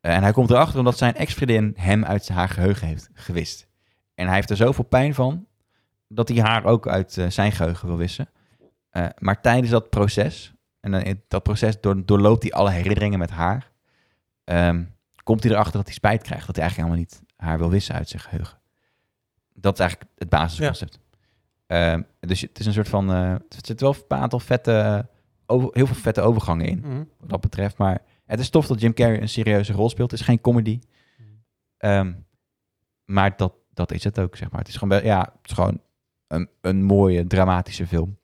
Eh, en hij komt erachter omdat zijn ex-vriendin hem uit haar geheugen heeft gewist. En hij heeft er zoveel pijn van... dat hij haar ook uit eh, zijn geheugen wil wissen. Eh, maar tijdens dat proces... En dan in dat proces door, doorloopt hij alle herinneringen met haar. Ehm, komt hij erachter dat hij spijt krijgt. Dat hij eigenlijk helemaal niet haar wil wissen uit zijn geheugen. Dat is eigenlijk het basisconcept. Ehm, dus het is een soort van... eh het zit wel een aantal vette... eh, Over, heel veel vette overgangen in,
Mhm.
wat dat betreft. Maar het is tof dat Jim Carrey een serieuze rol speelt. Het is geen comedy. Ehm, maar dat, dat is het ook, zeg maar. Het is gewoon, be- ja, het is gewoon een, een mooie, dramatische film.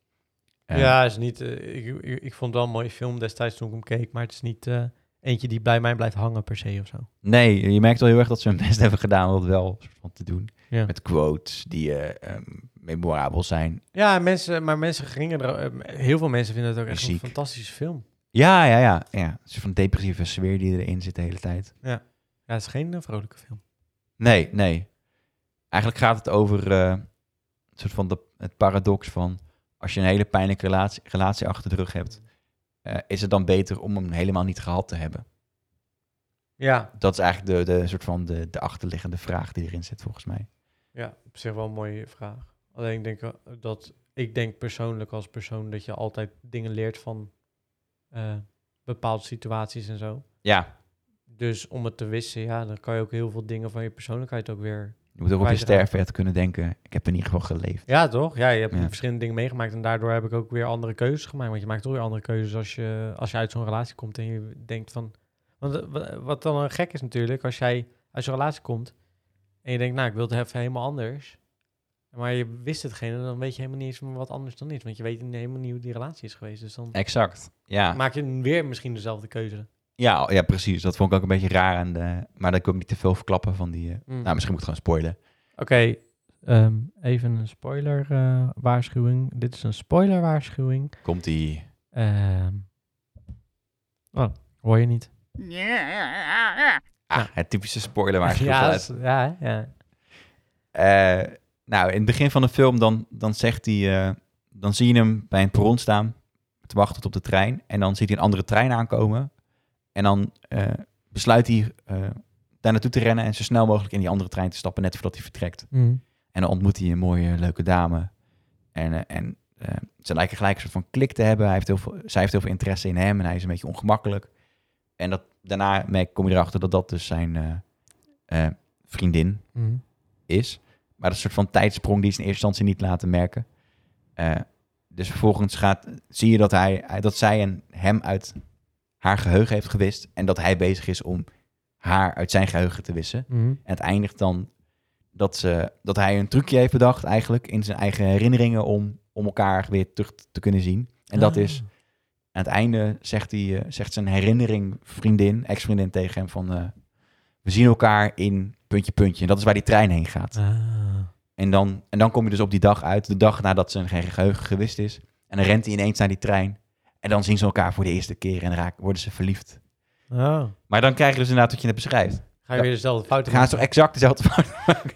Ehm,
Ja, is niet, eh, ik, ik, ik vond het wel een mooie film destijds toen ik hem keek, maar het is niet eh, eentje die bij mij blijft hangen per se of zo.
Nee, je merkt wel heel erg dat ze hun best hebben gedaan om dat wel soort van te doen.
Ja.
Met quotes die eh, ehm, memorabel zijn.
Ja, mensen, maar mensen gingen er... eh, Heel veel mensen vinden het ook echt
Muziek.
een fantastische film.
Ja, ja, ja. ja. Een soort van depressieve sfeer die erin zit de hele tijd.
Ja, het is geen eh, vrolijke film.
Nee, nee. Eigenlijk gaat het over eh, een soort van de, het paradox van... als je een hele pijnlijke relatie, relatie achter de rug hebt... eh, is het dan beter om hem helemaal niet gehad te hebben?
Ja,
Dat is eigenlijk de, de, soort van de, de achterliggende vraag die erin zit, volgens mij.
ja, op zich wel een mooie vraag. Alleen ik denk eh, dat... Ik denk persoonlijk als persoon dat je altijd dingen leert van eh, bepaalde situaties en zo.
Ja,
Dus om het te wissen, ja, dan kan je ook heel veel dingen van je persoonlijkheid ook weer...
je moet ook op je
Wij dragen-
sterfbed kunnen denken... ik heb in ieder geval geleefd.
Ja, toch? Ja, je hebt
Ja.
verschillende dingen meegemaakt en daardoor heb ik ook weer andere keuzes gemaakt. Want je maakt toch weer andere keuzes als je, als je uit zo'n relatie komt en je denkt van... Want eh, wa- wat dan een gek is natuurlijk, als jij uit zo'n relatie komt en je denkt, nou, ik wil het even helemaal anders. Maar je wist hetgene, dan weet je helemaal niet eens meer wat anders dan is. Want je weet niet- helemaal niet hoe die relatie is geweest. Dus dan
Exact, ja.
maak je weer misschien dezelfde keuze.
Ja, oh, ja, precies. Dat vond ik ook een beetje raar. En, eh, maar dat kan ik niet te veel verklappen van die... eh,
Mm.
Nou, misschien moet ik gewoon spoilen.
Oké, ehm, even een spoiler eh, waarschuwing. Dit is een spoiler waarschuwing.
Komt die...
Ehm, oh, hoor je niet.
Ah, het typische spoiler waar ik
ja,
veel
dat is- ja, ja.
Eh, nou, in het begin van de film dan, dan zegt hij... eh, dan zie je hem bij een perron staan, te wachten tot op de trein. En dan ziet hij een andere trein aankomen. En dan eh, besluit hij eh, daar naartoe te rennen en zo snel mogelijk in die andere trein te stappen, net voordat hij vertrekt.
Mm.
En dan ontmoet hij een mooie, leuke dame. En, eh, en eh, ze lijken gelijk een soort van klik te hebben. Hij heeft heel veel, zij heeft heel veel interesse in hem en hij is een beetje ongemakkelijk. En dat, daarna merk, kom je erachter dat dat dus zijn eh, eh, vriendin
Mm.
is. Maar dat soort van tijdsprong die ze in eerste instantie niet laten merken. Eh, dus vervolgens gaat, zie je dat, hij, hij- dat zij en hem uit haar geheugen heeft gewist. En dat hij bezig is om haar uit zijn geheugen te wissen.
Mm.
En het eindigt dan dat, ze, dat hij een trucje heeft bedacht eigenlijk in zijn eigen herinneringen om, om elkaar weer terug te kunnen zien. En
Ah.
dat is aan het einde zegt, hij, eh, zegt zijn herinnering vriendin, ex-vriendin tegen hem van... eh, we zien elkaar in puntje, puntje. En dat is waar die trein heen gaat.
Ah.
En dan, en dan kom je dus op die dag uit, de dag nadat zijn ge- geheugen gewist is. En dan rent hij ineens naar die trein. En dan zien ze elkaar voor de eerste keer en raak, worden ze verliefd.
Oh.
Maar dan krijg je dus inderdaad wat je net beschrijft.
Ga je weer dezelfde fouten
Gaan ze toch exact dezelfde fout?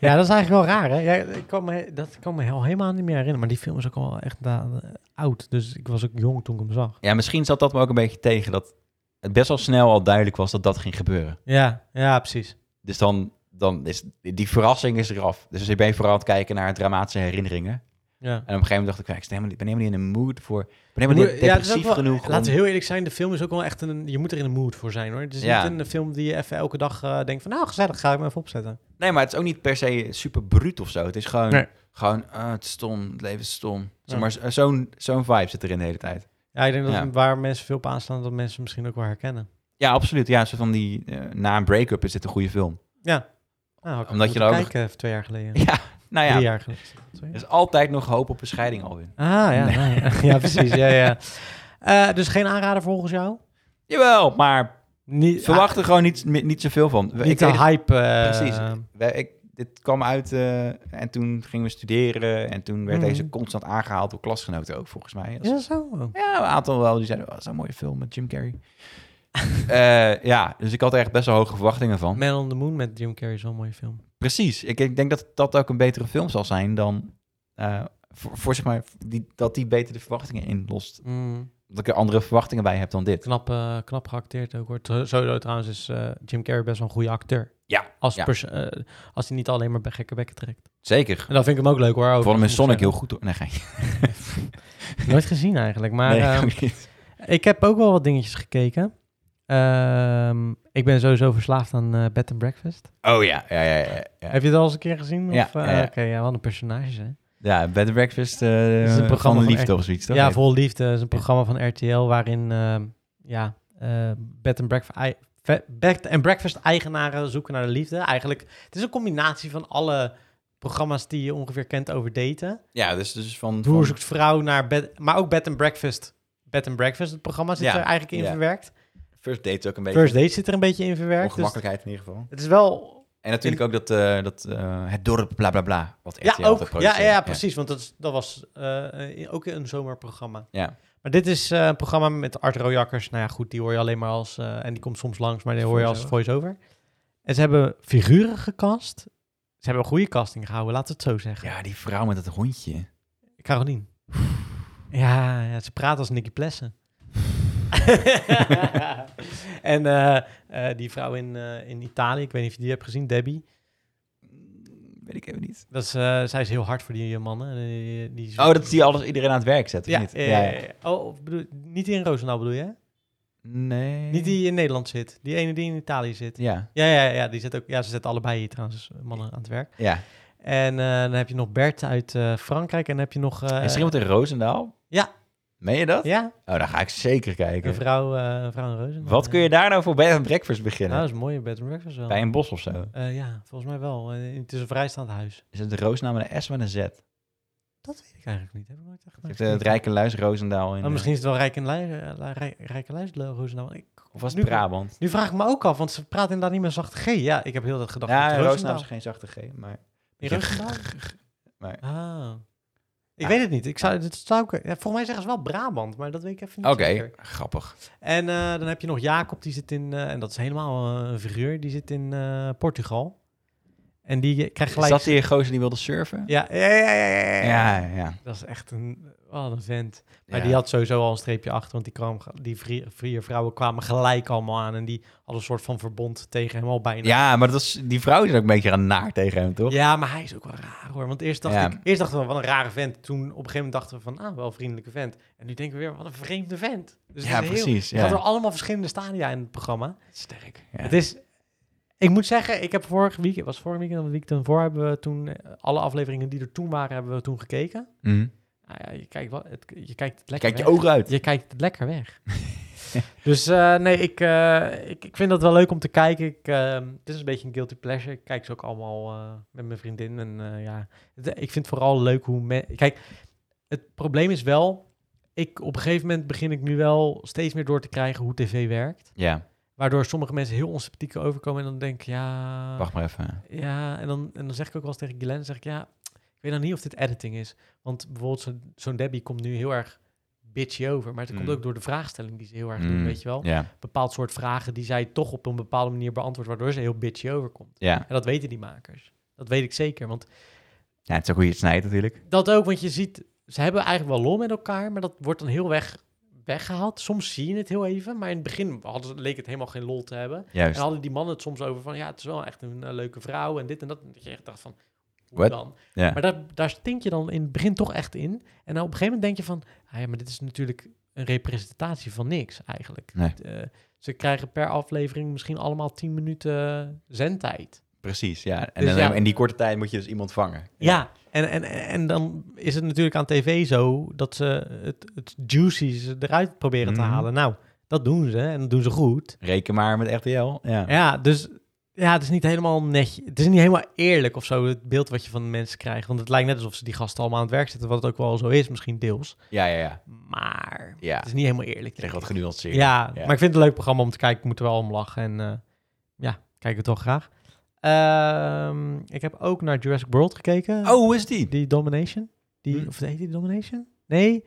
Ja, dat is eigenlijk wel raar, hè? Ja, ik kan me, dat kan me heel, helemaal niet meer herinneren. Maar die film is ook al echt eh, oud. Dus ik was ook jong toen ik hem zag.
Ja, misschien zat dat me ook een beetje tegen. Dat het best wel snel al duidelijk was dat dat ging gebeuren.
Ja, ja precies.
Dus dan, dan is die verrassing is eraf. Dus ik ben vooral aan het kijken naar dramatische herinneringen.
Ja.
En op een gegeven moment dacht ik, ik ben helemaal niet- ik ben helemaal niet in de mood voor... Ik ben helemaal
Ja,
niet
het is ook
depressief
wel-
genoeg. om-
Laten we heel eerlijk zijn, de film is ook wel echt een... Je moet er in de mood voor zijn, hoor. Het is
Ja.
niet een film die je even elke dag eh, denkt van... Nou, gezellig, ga ik me even opzetten.
Nee, maar het is ook niet per se super bruut of zo. Het is gewoon,
Nee.
gewoon ah, het is stom, het leven is stom. Zeg
Ja.
maar, zo- zo'n zo'n vibe zit erin de hele tijd.
Ja, ik denk dat
Ja.
waar mensen veel op aanstaan... dat mensen misschien ook wel herkennen.
Ja, absoluut. Ja, zo van die, eh, na een break-up is dit een goede film.
Nou, had ik
Omdat je
moeten
er ook nog-
kijken even twee jaar geleden.
Ja, nou ja,
Drie
er
jaar geleden. Twee jaar?
is altijd nog hoop op een scheiding alweer.
Ah, ja.
Nee.
nou ja. ja, precies. Ja, ja. Eh, dus geen aanrader volgens jou?
Jawel, maar
Niet,
verwacht er gewoon niet, niet zoveel
ah,
van.
niet
ik
de
weet het-
hype. eh,
Precies. Wij- ik, dit kwam uit eh, en toen gingen we studeren. En toen werd
Mhm.
deze constant aangehaald door klasgenoten ook, volgens mij.
Is dat zo? Oh.
Ja, een aantal wel. Die zeiden, oh, dat is een mooie film met Jim Carrey. Eh, ja, dus ik had er echt best wel hoge verwachtingen van.
Man on the Moon met Jim Carrey is wel een mooie film.
Precies. Ik, ik denk dat dat ook een betere film zal zijn dan... eh, voor, voor, zeg maar, die, dat die beter de verwachtingen inlost. Dat ik er andere verwachtingen bij heb dan dit.
Knap, eh, knap geacteerd ook hoor. Tr- Sowieso trouwens is eh, Jim Carrey best wel een goede acteur.
Ja,
Als,
ja.
pers- eh, als hij niet alleen maar bij gekke bekken trekt.
zeker.
En dan vind ik hem ook leuk hoor.
Ik
ook,
vond hem in
moet ik
Sonic heel
zeggen.
goed. Hoor. Nee, geen.
Nooit gezien eigenlijk. Maar
nee,
ehm,
ook niet.
ik heb ook wel wat dingetjes gekeken. Ehm, ik ben sowieso verslaafd aan eh, Bed and Breakfast.
Oh ja, ja, ja. ja, ja.
Heb je het al eens een keer gezien?
Ja,
Of, eh,
ja, ja.
Oké, ja, wat een personage hè.
Ja, Bed and Breakfast eh
is een programma
van
van
liefde
echt-
of zoiets, toch?
ja, Vol Liefde is een programma van RTL waarin ehm, ja, eh, bed, and breakfast, ei- ve- bed and breakfast eigenaren zoeken naar de liefde. Eigenlijk, het is een combinatie van alle programma's die je ongeveer kent over daten.
ja dus, dus van...
Hoe
van
zoekt vrouw naar bed, maar ook bed and breakfast. Bed and breakfast, het programma zit
Ja,
er eigenlijk in
ja.
verwerkt.
first date ook een beetje.
First Date zit er een beetje in verwerkt. Dus
Ongemakkelijkheid in ieder geval.
het is wel
En natuurlijk ook dat, eh, dat eh, het dorp bla bla bla. Wat RTL
Ja,
altijd
ook. Ja,
produceert.
ja, ja, precies. Want dat, is- dat was eh, eh, ook een zomerprogramma.
Ja.
Maar dit is eh, een programma met Art Rojakkers. Nou ja, goed, die hoor je alleen maar als... eh, en die komt soms langs, maar die hoor je als voice-over. En ze hebben figuren gecast. Ze hebben een goede casting gehouden, laten we het zo zeggen.
Ja, die vrouw met dat hondje.
Carolien. Ja, ja, ze praat als Nicky Plessen. en eh, eh, die vrouw in, eh, in Italië, ik weet niet of je die hebt gezien, Debbie.
Weet ik even niet.
Dat is, eh, zij is heel hard voor die eh, mannen. En, eh, die,
Oh, dat zie alles iedereen aan het werk zet, of
ja,
niet?
ja, ja, ja. Oh, of bedoel, niet die in Roosendaal bedoel je? hè?
Nee.
Niet die in Nederland zit. Die ene die in Italië zit.
Ja,
Ja, ja, ja, die zit ook, ja ze zetten allebei hier trouwens dus mannen aan het werk.
ja.
En eh, dan heb je nog Bert uit eh, Frankrijk. En dan heb je nog... eh,
is er iemand in Roosendaal?
ja.
Meen je dat?
ja,
Oh, dan ga ik zeker
een
kijken.
vrouw, eh, een vrouw in Roosendaal.
Wat kun je daar nou voor bij een breakfast beginnen?
Nou, dat is een mooie bed and breakfast wel.
bij een bos of zo.
Eh, ja, volgens mij wel. Eh, het is een vrijstaand huis.
Is het een Roosendaal met een S met een Z?
Nou,
Het
Dat weet ik eigenlijk niet. Heb ik nooit echt naar
heeft, eh,
gekeken.
het Rijke Luis Roosendaal in.
Oh,
eh,
misschien is het wel Rijk en Lui- eh, Lu- Rijk- Rijk en Luis, Lu- Roosendaal. Ik,
Of was
nu,
het Brabant?
Nu vraag ik me ook af, want ze praten inderdaad niet meer zacht G. Ja, ik heb heel dat gedacht.
ja,
dat het
Roosendaal.
Roosendaal.
is geen zachte G, maar...
In
Ja.
Roosendaal?
maar...
Ah. Ik
Ja.
weet het niet. Ik zou, dat zou ik, ja, volgens mij zeggen ze wel Brabant, maar dat weet ik even
Oké,
niet zeker.
grappig.
En eh, dan heb je nog Jacob, die zit in... eh, en dat is helemaal eh, een figuur. Die zit in eh, Portugal. En die eh, krijgt
Is
gelijk...
dat die gozer die wilde surfen?
Ja, ja, ja, ja, ja, ja.
Ja, ja.
Dat is echt een... Wat een vent. Maar
Ja.
die had sowieso al een streepje achter, want die, kwam, die vier, vier vrouwen kwamen gelijk allemaal aan. En die hadden een soort van verbond tegen hem al bijna.
Ja, maar dat was, die vrouw is ook een beetje aan naar tegen hem, toch?
Ja, dus maar hij is ook wel raar hoor. Want eerst, dacht
Ja.
ik, eerst dachten we, wat een rare vent. Toen op een gegeven moment dachten we van, ah, wel een vriendelijke vent. En nu denken we weer, wat een vreemde vent. Dus
Ja,
het is heel-
precies,
Het gaat
ja.
door allemaal verschillende stadia in het programma.
Sterk.
Het is... Ik moet zeggen, ik heb vorige week, het was vorige week en de week daarvoor, hebben we toen eh, alle afleveringen die er toen waren, hebben we toen gekeken. Nou ja, je kijkt, wel, het, je kijkt het lekker
Mhm. Kijk je
weg.
ogen uit.
Je kijkt het lekker weg. dus eh, nee, ik, eh, ik, ik vind dat wel leuk om te kijken. Ik, eh, het is een beetje een guilty pleasure. Ik kijk ze ook allemaal eh, met mijn vriendin. En eh, ja, het- ik vind het vooral leuk hoe... me- Kijk, het probleem is wel... Ik, op een gegeven moment begin ik nu wel steeds meer door te krijgen hoe tv werkt.
Ja,
Waardoor sommige mensen heel onsympathiek overkomen. En dan denk ik, ja...
wacht maar even.
Ja, en dan, en dan zeg ik ook wel eens tegen Glenn, zeg ik, ja, ik weet nou niet of dit editing is. Want bijvoorbeeld zo- zo'n Debbie komt nu heel erg bitchy over. Maar het komt
Mm.
ook door de vraagstelling die ze heel erg
Mm,
doen, weet je wel.
Ja,
Bepaald soort vragen die zij toch op een bepaalde manier beantwoordt, waardoor ze heel bitchy overkomt.
ja.
En dat weten die makers. Dat weet ik zeker, want
ja, het is ook hoe je het snijdt natuurlijk.
dat ook, want je ziet, ze hebben eigenlijk wel lol met elkaar, maar dat wordt dan heel weg, weggehaald. Soms zie je het heel even, maar in het begin hadden, ze- leek het helemaal geen lol te hebben. En
Juist.
hadden die mannen het soms over van, ja, het is wel echt een eh, leuke vrouw en dit en dat. En dat je echt dacht van, hoe
Wat?
dan?
Ja.
Maar daar, daar stink je dan in het begin toch echt in. En dan op een gegeven moment denk je van, ah ja, maar dit is natuurlijk een representatie van niks eigenlijk.
Nee.
Eh, ze krijgen per aflevering misschien allemaal 10 minuten zendtijd.
Precies, ja. En
Dus
dan,
ja.
in die korte tijd moet je dus iemand vangen.
Ja, en, en, en dan is het natuurlijk aan tv zo dat ze het, het juicies eruit proberen te
Mhm.
halen. Nou, dat doen ze en dat doen ze goed.
Reken maar met RTL. Ja.
Ja, dus ja, het is niet helemaal netjes. Het is niet helemaal eerlijk of zo, het beeld wat je van de mensen krijgt. Want het lijkt net alsof ze die gasten allemaal aan het werk zetten, wat het ook wel zo is, misschien deels.
Ja, ja, ja.
Maar
Ja,
het is niet helemaal eerlijk.
je
denk
legt wat
ik.
genuanceerd.
Ja,
Ja.
maar ik vind het een leuk programma om te kijken. Ik moet er wel om lachen en eh, ja, kijk het wel graag. Ehm, ik heb ook naar Jurassic World gekeken.
Oh, hoe is die?
Die Domination. Die,
Hm.
Of heet die Domination? Nee.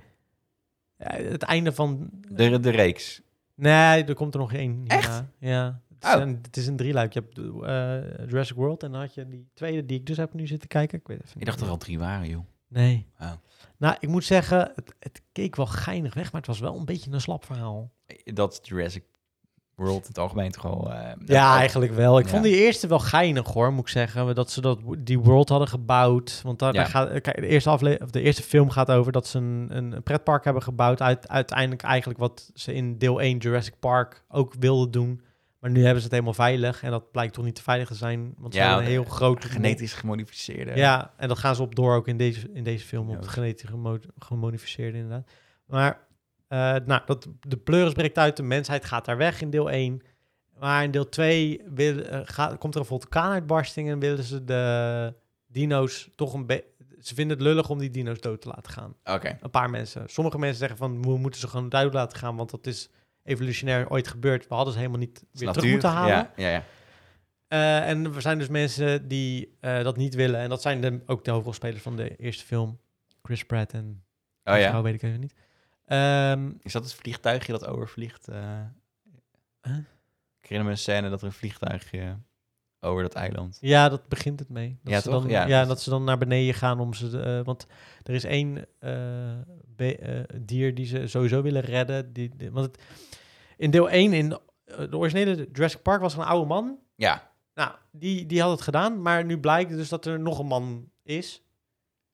Ja, het einde van...
De, de reeks.
Nee, er komt er nog één. hierna.
Echt?
Ja. Het is,
Oh.
een, het is een drieluik. Je hebt eh, Jurassic World en dan had je die tweede die ik dus heb nu zitten kijken. Ik weet even
Ik
niet
dacht er
meer.
al drie waren, joh.
Nee.
Oh.
Nou, ik moet zeggen, het, het keek wel geinig weg, maar het was wel een beetje een slap verhaal.
Dat Jurassic World in het algemeen toch al... eh,
Ja,
dat-
eigenlijk wel. Ik
Ja.
vond die eerste wel geinig hoor, moet ik zeggen. Dat ze dat, die world hadden gebouwd. Want daar,
Ja.
daar gaat, kijk, de, eerste afle- of de eerste film gaat over dat ze een, een pretpark hebben gebouwd. Uit, uiteindelijk eigenlijk wat ze in deel 1 Jurassic Park ook wilden doen. Maar nu hebben ze het helemaal veilig. En dat blijkt toch niet te veilig te zijn. Want ze
Ja,
hebben een heel
de-
groot...
Genetisch gemodificeerde.
Ja, en dat gaan ze op door ook in deze, in deze film. Op
Ja.
het genetisch gemo- gemodificeerde inderdaad. Maar eh, nou, dat, de pleuris breekt uit. De mensheid gaat daar weg in deel 1. Maar in deel 2 wil, eh, gaat, komt er een vulkaanuitbarsting... en willen ze de dino's toch een beetje... Ze vinden het lullig om die dino's dood te laten gaan.
Oké.
Een paar mensen. Sommige mensen zeggen van... we moeten ze gewoon dood laten gaan... want dat is evolutionair ooit gebeurd. We hadden ze helemaal niet weer terug
Natuur,
moeten halen.
Ja, ja, ja.
Eh, Eh, en er zijn dus mensen die eh, dat niet willen. En dat zijn de, ook de hoofdrolspelers van de eerste film. Chris Pratt en
Oh ja.
vrouw weet ik even niet. Ehm,
Is dat het vliegtuigje dat overvliegt? eh?
Huh?
Ik herinner me een scène dat er een vliegtuigje over dat eiland.
ja, dat begint het mee. Dat
Ja,
ze
toch?
Dan,
Ja,
ja,
dat-
dat ze dan naar beneden gaan om ze... eh, want er is één eh, be- eh, dier die ze sowieso willen redden. Die, die- want het, in deel 1, in eh, de originele Jurassic Park, was er een oude man.
Ja,
Nou, die, die had het gedaan, maar nu blijkt dus dat er nog een man is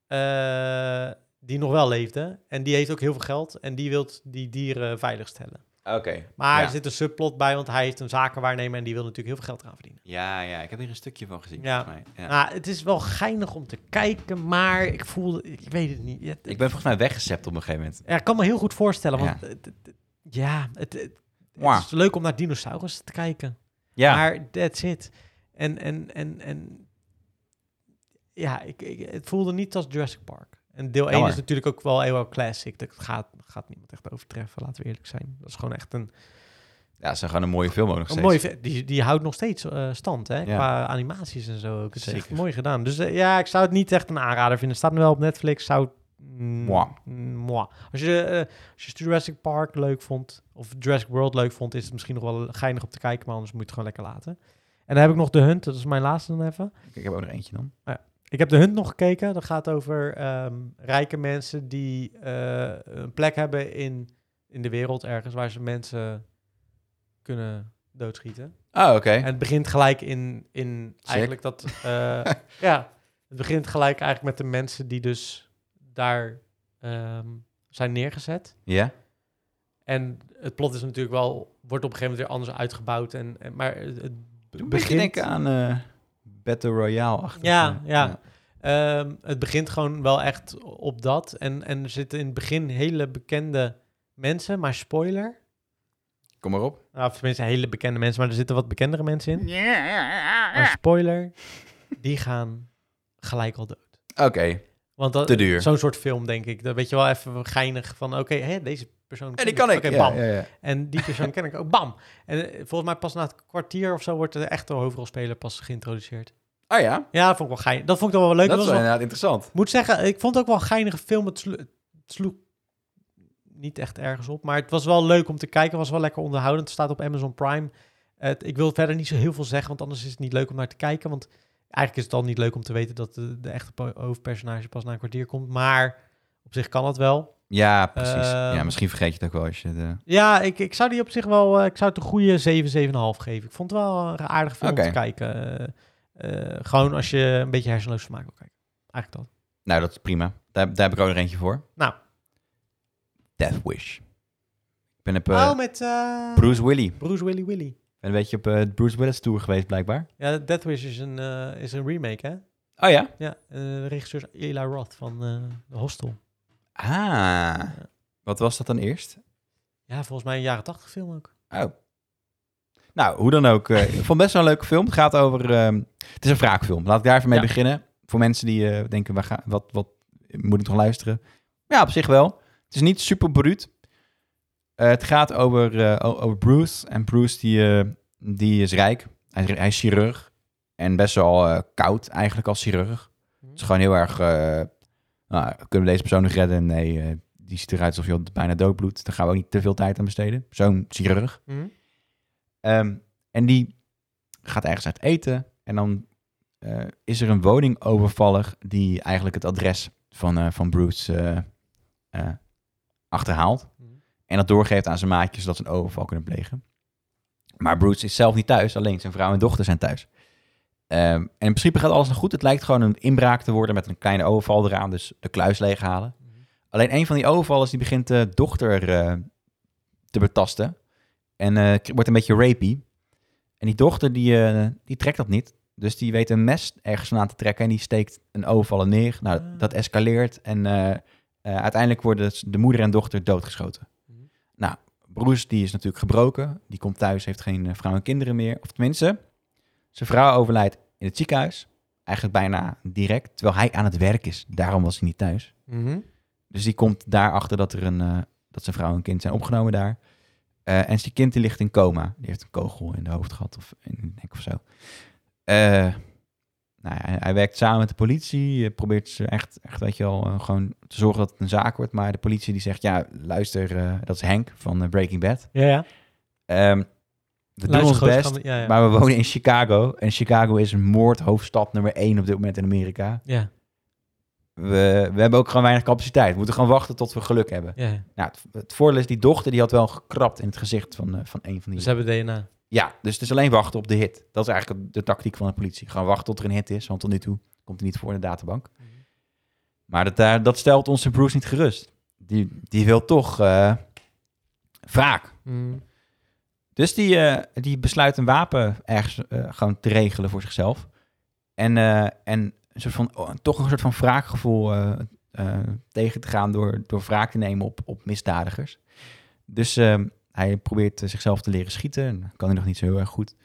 eh, die nog wel leefde. En die heeft ook heel veel geld en die wil die dieren veiligstellen.
oké.
Maar
ja.
er zit een subplot bij, want hij heeft een zakenwaarnemer en die wil natuurlijk heel veel geld gaan verdienen.
ja, ja, ik heb hier een stukje van gezien.
Ja.
Volgens mij. Ja.
Nou, het is wel geinig om te kijken, maar ik voelde, ik weet het niet. Het,
Ik ben volgens mij weggezet op een gegeven moment.
ja, ik kan me heel goed voorstellen, want het- het- het- ja, het, het-
Mwah.
het is leuk om naar dinosaurussen te kijken.
Ja,
Maar that's it. En, en, en, en ja, ik, ik, het voelde niet als Jurassic Park. En deel 1
Jammer.
is natuurlijk ook wel heel erg classic. Dat gaat, gaat niemand echt overtreffen, laten we eerlijk zijn. Dat is gewoon echt een,
ja, ze gaan een mooie film ook nog
een
steeds.
mooie... ve- Die, die houdt nog steeds eh, stand, hè?
Ja.
Qua animaties en zo ook. Het is echt
Zeker.
mooi gedaan. Dus eh, ja, ik zou het niet echt een aanrader vinden. Het staat nu wel op Netflix. Zou... Mm,
Moi.
mm, moi. Als je, eh, als je Jurassic Park leuk vond, of Jurassic World leuk vond, is het misschien nog wel geinig op te kijken, maar anders moet je het gewoon lekker laten. En dan heb ik nog The Hunt, dat is mijn laatste dan even.
Ik heb ook nog eentje dan.
Ik heb de Hunt nog gekeken. Dat gaat over ehm, rijke mensen die eh, een plek hebben in, in de wereld ergens waar ze mensen kunnen doodschieten.
Oh, oké.
En het begint gelijk in, in eigenlijk dat. eh, ja, het begint gelijk eigenlijk met de mensen die dus daar ehm, zijn neergezet.
Ja?
En het plot is natuurlijk wel, wordt op een gegeven moment weer anders uitgebouwd. En, en, maar het het
Doe een beetje
begint.
denken aan eh Battle Royale eh, achter.
Ja, ja. Ehm, het begint gewoon wel echt op dat. En, en er zitten in het begin hele bekende mensen, maar spoiler.
Kom maar op.
Nou, of tenminste, hele bekende mensen, maar er zitten wat bekendere mensen in. Maar spoiler, die gaan gelijk al dood.
Oké.
Want
Te
dat,
duur.
zo'n soort film, denk ik. Dan weet je wel even geinig van, oké, hè, deze persoon
En die kan ik.
Oké,
ja,
bam.
ja, ja.
En die persoon ken ik ook, bam. En eh, volgens mij pas na het kwartier of zo wordt de echte hoofdrolspeler pas geïntroduceerd.
Oh ja,
Ja, dat vond ik wel geinig. Dat vond ik dan wel leuk.
dat
was
is wel
wel-
inderdaad interessant.
moet zeggen, ik vond het ook wel een geinige film. Het slo- het sloeg niet echt ergens op. Maar het was wel leuk om te kijken. Het was wel lekker onderhoudend. Het staat op Amazon Prime. Het, ik wil verder niet zo heel veel zeggen, want anders is het niet leuk om naar te kijken. Want eigenlijk is het al niet leuk om te weten dat de, de echte po- hoofdpersonage pas na een kwartier komt. Maar op zich kan dat wel.
Ja, precies. ja,
Ehm,
misschien vergeet je het ook wel als je de...
Ja, ik, ik zou die op zich wel... eh, ik zou het een goede 7, 7,5 geven. Ik vond het wel een aardig film
Oké.
om te kijken. Eh, eh, gewoon als je een beetje hersenloos vermaak wil kijken. Eigenlijk dat.
Nou, dat is prima. Daar, daar heb ik ook nog eentje voor.
Nou.
Death Wish. Ik ben op eh,
Oh, met eh,
Bruce Willy. Ik
Bruce Willy Willy.
ben een beetje op eh, de Bruce Willis Tour geweest, blijkbaar.
Ja, Death Wish is een, eh, is een remake, hè?
Oh ja?
Ja, eh, de regisseur is Eli Roth van eh, The Hostel.
Ah. Wat was dat dan eerst?
Ja, volgens mij een jaren tachtig film ook.
Oh. Nou, hoe dan ook. eh, ik vond het best wel een leuke film. Het gaat over... ehm, het is een wraakfilm. Laat ik daar even mee
Ja.
beginnen. Voor mensen die eh, denken, waar ga, wat, wat moet ik nog luisteren? Ja, op zich wel. Het is niet super bruut. Eh, het gaat over, eh, o- over Bruce. En Bruce die, eh, die is rijk. Hij, is- hij is chirurg. En best wel eh, koud eigenlijk als chirurg. Het is gewoon heel erg... eh, nou, kunnen we deze persoon nog redden? Nee, eh, die ziet eruit alsof je bijna doodbloedt. Daar gaan we ook niet te veel tijd aan besteden. Zo'n chirurg.
Mhm.
Ehm, en die gaat ergens uit eten. En dan eh, is er een woning overvallig die eigenlijk het adres van, eh, van Bruce eh, eh, achterhaalt.
Mhm.
En dat doorgeeft aan zijn maatjes zodat ze een overval kunnen plegen. Maar Bruce is zelf niet thuis, alleen zijn vrouw en dochter zijn thuis. Ehm, en in principe gaat alles nog goed. Het lijkt gewoon een inbraak te worden met een kleine overval eraan. Dus de kluis leeghalen.
Mhm.
Alleen een van die overvallers die begint de dochter eh, te betasten. En eh, wordt een beetje rapey. En die dochter die, eh, die trekt dat niet. Dus die weet een mes ergens vandaan te trekken en die steekt een overvaller neer. Nou, dat,
Ah.
dat escaleert en eh, eh, uiteindelijk worden de moeder en dochter doodgeschoten.
Mhm.
Nou, Bruce die is natuurlijk gebroken. Die komt thuis, heeft geen eh, vrouw en kinderen meer. Of tenminste, zijn vrouw overlijdt in het ziekenhuis. Eigenlijk bijna direct, terwijl hij aan het werk is. Daarom was hij niet thuis.
Mhm.
Dus die komt daarachter dat, er een, eh, dat zijn vrouw en kind zijn opgenomen daar. Eh, en zijn kind die ligt in coma. Die heeft een kogel in de hoofd gehad of in de nek of zo. Eh, nou ja, hij- hij werkt samen met de politie, eh, probeert ze echt, echt weet je wel, eh, gewoon te zorgen dat het een zaak wordt. Maar de politie die zegt, ja, luister, eh, dat is Henk van eh, Breaking Bad.
Ja, ja.
Ehm, we doen ons
Luistergroot
best,
gaan we- Ja, ja.
maar we wonen in Chicago. En Chicago is een moordhoofdstad nummer één op dit moment in Amerika.
ja,
We, we hebben ook gewoon weinig capaciteit. We moeten gewoon wachten tot we geluk hebben.
ja. ja.
Nou, het, het voordeel is, die dochter die had wel gekrapt in het gezicht van, eh, van een van die...
Ze hebben DNA.
Ja, dus het is alleen wachten op de hit. Dat is eigenlijk de tactiek van de politie. Gaan wachten tot er een hit is, want tot nu toe komt er niet voor in de databank. Maar dat, daar dat stelt onze Bruce niet gerust. Die, die wil toch eh, wraak.
Mm.
Dus die, eh, die besluit een wapen ergens eh, gewoon te regelen voor zichzelf. En, eh, en een soort van, oh, toch een soort van wraakgevoel eh, eh, tegen te gaan door, door wraak te nemen op, op misdadigers. Dus ehm, hij probeert eh, zichzelf te leren schieten. En dat kan hij nog niet zo heel erg goed.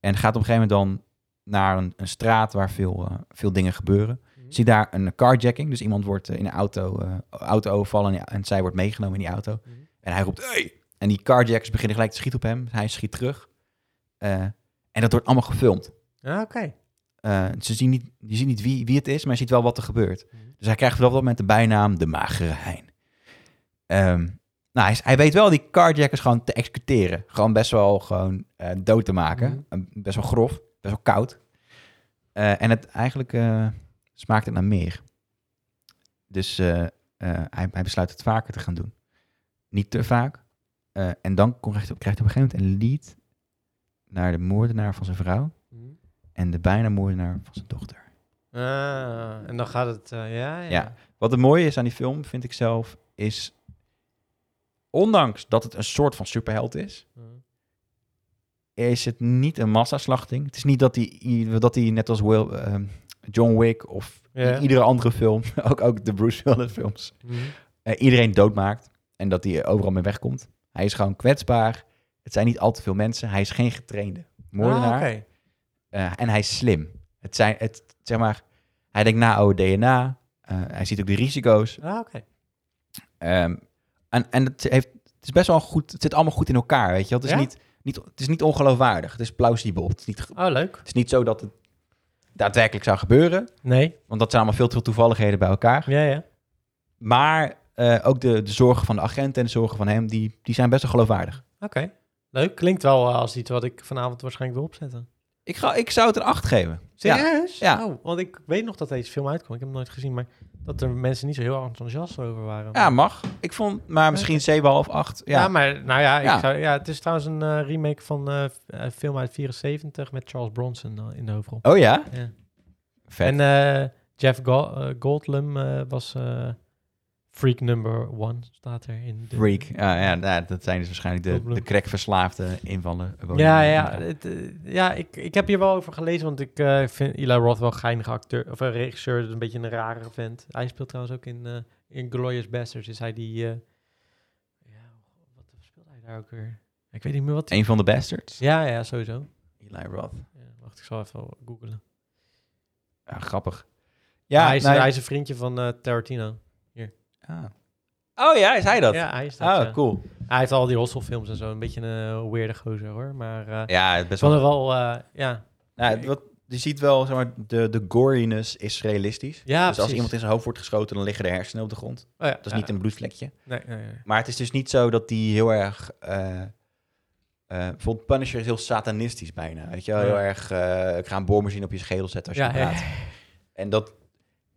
En gaat op een gegeven moment dan naar een, een straat waar veel, eh, veel dingen gebeuren.
Mhm.
Zie daar een carjacking. Dus iemand wordt eh, in een auto, eh auto overvallen en, en zij wordt meegenomen in die auto.
Mhm.
En hij roept, hey! En die carjackers beginnen gelijk te schieten op hem. Hij schiet terug. Eh, en dat wordt allemaal gefilmd.
Ja, Ah, oké.
Eh, ze zien niet, je ziet niet wie, wie het is, maar je ziet wel wat er gebeurt.
Mhm.
Dus hij krijgt op dat moment de bijnaam de magere hein. Ehm, nou, hij, is- hij weet wel die carjackers gewoon te executeren. Gewoon best wel gewoon eh, dood te maken. Eh, Best wel grof, best wel koud. Eh, en het eigenlijk eh, smaakt het naar meer. Dus eh, eh, hij, hij besluit het vaker te gaan doen. Niet te vaak. Eh, en dan kon- krijgt hij krijgt hij op een gegeven moment een lead naar de moordenaar van zijn vrouw
Mhm.
en de bijna moordenaar van zijn dochter.
Ah, en dan gaat het... eh, ja, ja.
Ja. Wat het mooie is aan die film, vind ik zelf, is ondanks dat het een soort van superheld is,
Mhm.
is het niet een massaslachting. Het is niet dat hij, dat hij net als Will, ehm, John Wick of
Ja.
i- iedere andere film, ook, ook de Bruce Willis films,
Mhm.
eh, iedereen doodmaakt en dat hij overal mee wegkomt. Hij is gewoon kwetsbaar. Het zijn niet al te veel mensen. Hij is geen getrainde moordenaar.
Ah, oké.
Eh, en hij is slim. Het zijn, het, zeg maar, hij denkt na over DNA. Eh, hij ziet ook de risico's.
Ah, oké.
Ehm, en en het, heeft, het is best wel goed. Het zit allemaal goed in elkaar, weet je. wel. Het is,
Ja?
niet, niet, het is niet ongeloofwaardig. Het is plausibel. Het is niet, ge-
Oh, leuk.
het is niet zo dat het daadwerkelijk zou gebeuren.
Nee.
Want dat zijn allemaal veel te veel toevalligheden bij elkaar.
Ja, ja.
Maar eh, ook de, de zorgen van de agent en de zorgen van hem, die, die zijn best wel geloofwaardig.
Oké. Leuk. Klinkt wel eh, als iets wat ik vanavond waarschijnlijk wil opzetten.
Ik, ga, ik zou het een 8 geven. Ja,
Serieus?
Ja.
Oh, want ik weet nog dat deze film uitkwam. Ik heb hem nooit gezien, maar dat er mensen niet zo heel enthousiast over waren.
ja, mag. Ik vond, maar misschien 7,5 of 8.
Ja,
Ja,
maar nou ja, ik
Ja.
Zou, ja, het is trouwens een eh, remake van eh, f- eh, een film uit 74 met Charles Bronson eh, in de hoofdrol.
Oh ja?
Ja.
Vet.
En eh, Jeff Go- eh, Goldblum eh, was eh, freak number one, staat er in. De
Freak. Ja, ja, nou, dat zijn dus waarschijnlijk de,
Goldblum.
de crackverslaafde invallen.
Ja, ja, het, eh, ja ik, ik heb hier wel over gelezen, want ik eh, vind Eli Roth wel een geinige acteur, of een regisseur, dus een beetje een rare vent. Hij speelt trouwens ook in, eh in Glorious Bastards, is hij die... eh, ja, wat speelt hij daar ook weer? Ik weet niet meer wat...
Een van de bastards.
Ja, ja, sowieso.
Eli Roth.
Ja, wacht, ik zal even googlen.
Ja, grappig.
Ja,
Ja,
hij, is,
nou,
hij is een vriendje van eh, Tarantino.
ah. Oh ja, is hij dat?
Ja, hij is dat,
oh,
ja.
cool.
Hij heeft al die hostelfilms en zo. Een beetje een uh, weirde gozer, hoor. Maar eh
Ja, best
het was
wel.
wel... eh, ja,
Ja, wat, je ziet wel, zeg maar, de, de goriness is realistisch.
ja
dus als
precies.
iemand in zijn hoofd wordt geschoten, dan liggen de hersenen op de grond.
Oh, ja,
Dat is
ja.
niet een bloedvlekje.
Nee, nee, nee.
Maar het is dus niet zo dat die heel erg... eh, eh, bijvoorbeeld Punisher is heel satanistisch bijna. Weet je wel,
Ja.
heel erg... eh, ik ga een boormachine op je schedel zetten als je
Ja, ja,
praat. En dat
dat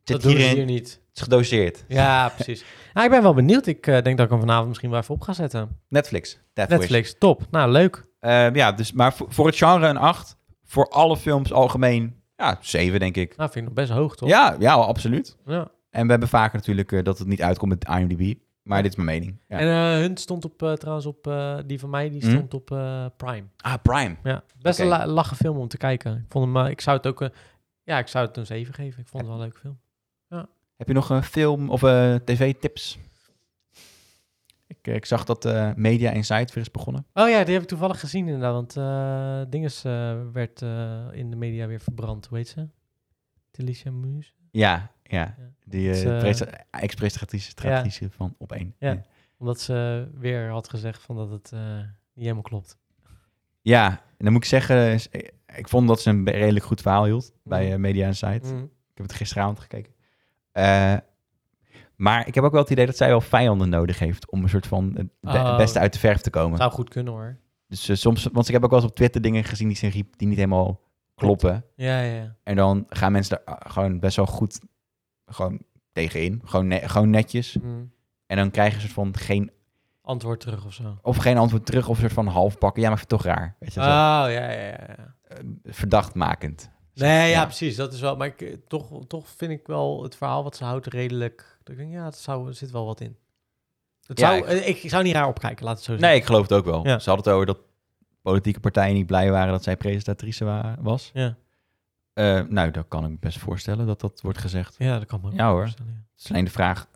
zit
doen ze
hierin,
hier niet.
het is gedoseerd.
Ja, precies. Nou, ik ben wel benieuwd. Ik eh, denk dat ik hem vanavond misschien wel even op ga zetten.
Netflix. Death Wish.
Netflix, top. Nou, leuk.
Eh, ja, dus, maar voor, voor het genre een 8. Voor alle films algemeen, ja, 7 denk ik.
Nou, vind ik nog best hoog, toch?
Ja, ja, absoluut.
Ja.
En we hebben vaker natuurlijk eh, dat het niet uitkomt met IMDb. Maar dit is mijn mening. Ja.
En eh hun stond op, eh, trouwens op, eh, die van mij, die
Hm?
stond op eh, Prime.
ah, Prime.
Ja, best
Oké.
een la- lachen film om te kijken. Ik vond hem, eh, ik zou het ook, eh, ja, ik zou het een 7 geven. Ik vond het wel een leuke film.
Heb je nog een film of eh, tv-tips? Ik, eh, ik zag dat eh, Media Insight weer is begonnen.
Oh ja, die heb ik toevallig gezien inderdaad, want eh Dinges eh, werd eh, in de media weer verbrand, hoe heet ze? Telicia Muus?
Ja, ja.
Ja.
Die
Het is,
eh
eh,
presta- ex-prestatrice traditie van op één.
Ja. Omdat ze weer had gezegd van dat het eh, niet helemaal klopt.
Ja, en dan moet ik zeggen, is- eh, ik vond dat ze een be- redelijk goed verhaal hield bij
Mhm.
eh, Media Insight.
Mm.
Ik heb het gisteravond gekeken. Eh, maar ik heb ook wel het idee dat zij wel vijanden nodig heeft om een soort van het be-
Oh.
beste uit de verf te komen.
Zou goed kunnen hoor.
Dus eh, soms, want ik heb ook wel eens op Twitter dingen gezien die ze riep die niet helemaal kloppen.
Ja, ja, ja.
En dan gaan mensen daar ah, gewoon best wel goed gewoon tegenin. Gewoon, ne- gewoon netjes.
Mm.
En dan krijgen ze van geen,
Antwoord terug of zo.
of geen antwoord terug of een soort van half pakken. Ja, maar ik vind het toch raar. Weet je,
Oh,
zo,
ja, ja, ja. ja.
eh, verdachtmakend.
Nee, ja,
ja.
precies. Dat is wel. Maar ik, eh, toch, toch vind ik wel het verhaal wat ze houdt redelijk. Dat ik denk, ja, het zou, er zit wel wat in. Het
Ja,
zou, eh, ik, zou niet raar opkijken, laat het zo zeggen.
Nee, ik geloof het ook wel.
Ja.
Ze hadden het over dat politieke partijen niet blij waren dat zij presentatrice wa- was.
Ja.
Eh, nou, dat kan ik me best voorstellen dat dat wordt gezegd.
Ja, dat kan me ook
Ja, hoor.
voorstellen, ja.
Het is alleen de vraag,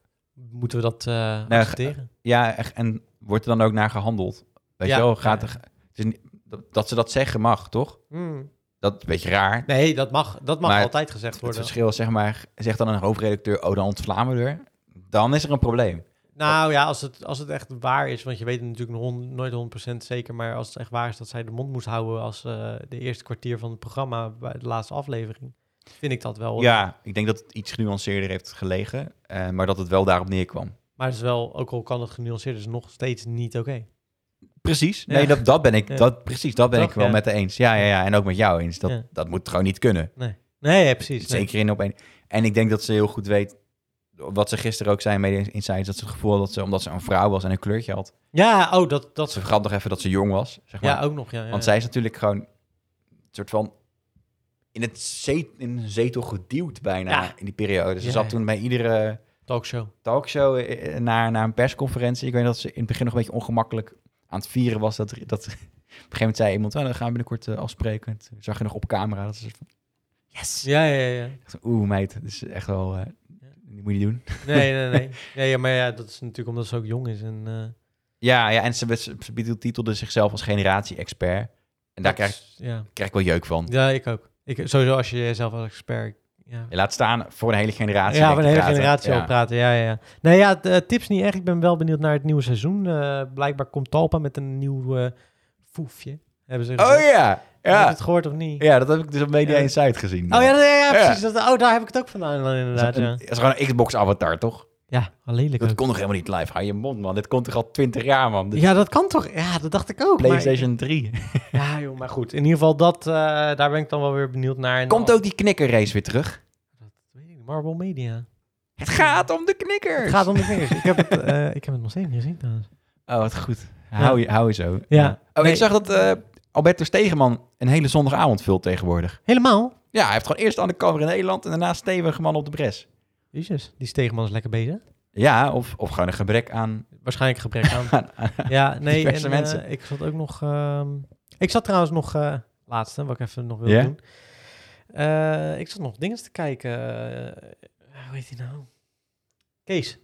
Moeten we dat eh
ga-
accepteren?
ja, echt, en wordt er dan ook naar gehandeld? Weet
Ja.
je wel, gaat er,
Ja.
het is niet- dat, dat ze dat zeggen mag, toch?
Mm.
Dat is een beetje raar.
Nee, dat mag, dat mag
Maar
altijd gezegd
Het
worden.
verschil is, zeg maar, zegt dan een hoofdredacteur, oh, dan ontvlamen we er. Dan is er een probleem.
Nou ja, als het, als het echt waar is, want je weet het natuurlijk nog hon- nooit 100% zeker, maar als het echt waar is dat zij de mond moest houden als eh, de eerste kwartier van het programma bij de laatste aflevering, vind ik dat wel.
Ja, ik denk dat het iets genuanceerder heeft gelegen, eh, maar dat het wel daarop neerkwam.
Maar het is wel, ook al kan het genuanceerd, is het nog steeds niet oké.
Precies.
Ja.
Nee, dat, dat ben ik.
Ja.
Dat, precies, dat ben
Toch?
ik wel
Ja.
met de eens. Ja, ja, ja. En ook met jou eens. Dat,
Ja.
dat moet gewoon niet kunnen.
Nee, ja, precies. nee.
Zeker in op één. En ik denk dat ze heel goed weet. Wat ze gisteren ook zei in Media Insights. Dat ze het gevoel had dat ze, omdat ze een vrouw was en een kleurtje had.
Ja, oh, dat, dat
Ze vergat nog even dat ze jong was. Zeg maar.
Ja, ook nog, ja. ja.
Want zij is natuurlijk gewoon. Een soort van. In, het ze- in een zetel geduwd bijna
Ja.
in die periode. Ze
Ja, ja.
zat toen bij iedere
Talkshow.
talkshow eh, eh, naar, naar een persconferentie. Ik weet dat ze in het begin nog een beetje ongemakkelijk aan het vieren was. Dat, dat, op een gegeven moment zei iemand, "Oh, dan gaan we binnenkort eh, afspreken. En toen zag je nog op camera. Dat ze, yes!
Ja, ja, ja.
Ik dacht, Oeh, meid, dat is echt wel... eh, dit moet je niet doen.
Nee, nee, nee. nee ja, maar ja, dat is natuurlijk omdat ze ook jong is. En, eh,
Ja, ja en ze, ze, ze betitelde zichzelf als generatie-expert. En daar
dat
krijg,
is- Ja.
krijg ik wel jeuk van.
ja, ik ook. Ik, sowieso als je jezelf als expert... Ja,
Je laat staan voor een hele generatie.
ja
denk
van de
ik,
hele
praten.
generatie
Ja.
al praten. Ja, ja, ja. Nee, ja, t- eh, tips niet echt. Ik ben wel benieuwd naar het nieuwe seizoen. Eh, blijkbaar komt Talpa met een nieuw eh foefje. Hebben ze gezegd.
Oh ja,
Heb je
ja.
het gehoord of niet?
Ja, dat heb ik dus op Media
Ja.
Insight gezien.
Oh ja, nee, ja,
Ja.
precies. Dat, oh, daar heb ik het ook vandaan dan
Dat is
inderdaad.
een-
Ja,
dat is gewoon een Xbox-avatar, toch?
ja wel lelijk
Dat
ook.
kon nog helemaal niet live. Hou je mond, man. Dit komt toch al 20 jaar, man. Dit
Ja, dat kan toch? Ja, dat dacht ik ook. maar-
PlayStation 3.
Ja, joh, maar goed. In ieder geval, dat, eh, daar ben ik dan wel weer benieuwd naar. En
Komt ook die knikkerrace weer terug?
Dat weet ik, Marble Media.
Het gaat om de knikkers.
Het gaat om de vingers. ik, heb het, eh, ik heb het nog steeds niet gezien trouwens.
Oh, wat goed. Hou, je, hou je zo.
Ja.
Oh,
Nee.
ik zag dat eh Alberto Stegeman een hele zondagavond vult tegenwoordig.
Helemaal?
Ja, hij heeft gewoon eerst aan de kamer in Nederland en daarna stevig man op de bres.
Jezus, die Stegeman is lekker bezig.
Ja, of, of gewoon een gebrek aan...
Waarschijnlijk gebrek aan... ja, nee, en,
Diverse
eh,
mensen.
ik zat ook nog... ehm, ik zat trouwens nog... eh, laatste, wat ik even nog wil
Ja?
doen. Eh, ik zat nog dingen te kijken. eh, hoe heet die nou? Kees.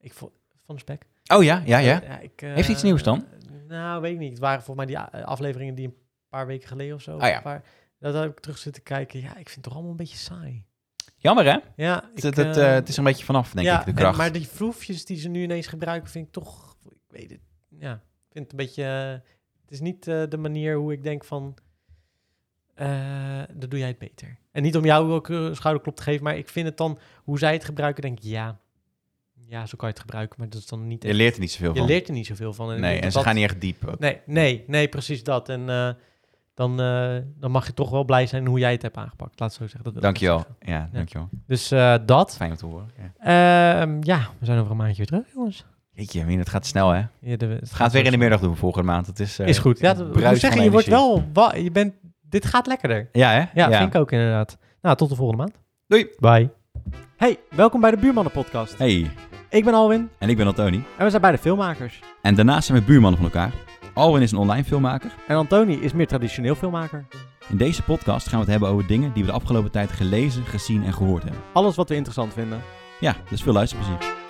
Ik vo- van de Spek.
Oh ja, ja, ja.
ik,
Heeft hij iets
eh,
nieuws dan?
Nou, weet ik niet. Het waren volgens mij die a- afleveringen die een paar weken geleden of zo.
Ah ja.
een paar- dat heb ik terug zitten kijken. Ja, ik vind het toch allemaal een beetje saai.
Jammer, hè?
Ja,
Het,
ik,
het, het,
eh,
eh, het is er een beetje vanaf, denk
ja,
ik, de
en-
kracht.
maar die vroefjes die ze nu ineens gebruiken, vind ik toch... Ik weet het. Ja, ik vind het een beetje... eh, het is niet eh, de manier hoe ik denk van... eh dan doe jij het beter. En niet om jou ook eh, een schouderklop te geven, maar ik vind het dan... Hoe zij het gebruiken, denk ik, ja... Ja, zo kan je het gebruiken, maar dat is dan niet...
Je leert er niet zoveel
Je
van.
leert er niet zoveel van. ik
nee,
denk
en
dat
ze
dat-
gaan niet echt diep. ook.
Nee, nee, nee, precies dat. En eh, dan, eh, dan mag je toch wel blij zijn hoe jij het hebt aangepakt. Laat het zo zeggen. Dat wil ik
Dankjewel.
zeggen.
Ja, dankjewel.
Dus eh, dat.
Fijn om te horen. Ja.
Ehm, ja, we zijn over een maandje weer terug, jongens.
Jeetje, Wien, het gaat snel, hè?
Ja, de- het
Het gaat weer in de middag doen volgende maand. Het is, eh,
Is goed. Ja, dat- ik
bruis
moet zeggen,
van
je wordt wel...
energie.
wa- je bent, dit gaat lekkerder.
Ja, hè?
Ja, vind ik ook inderdaad. Nou, tot de volgende maand.
Doei.
Bye. Hey, welkom bij de Buurmannen Podcast.
Hey,
Ik ben Alwin
en ik ben Antoni.
en we zijn beide filmmakers.
En daarnaast zijn we buurmannen van elkaar. Alwin is een online filmmaker.
En Antoni is meer traditioneel filmmaker.
In deze podcast gaan we het hebben over dingen die we de afgelopen tijd gelezen, gezien en gehoord hebben.
Alles wat we interessant vinden.
Ja, dus veel luisterplezier.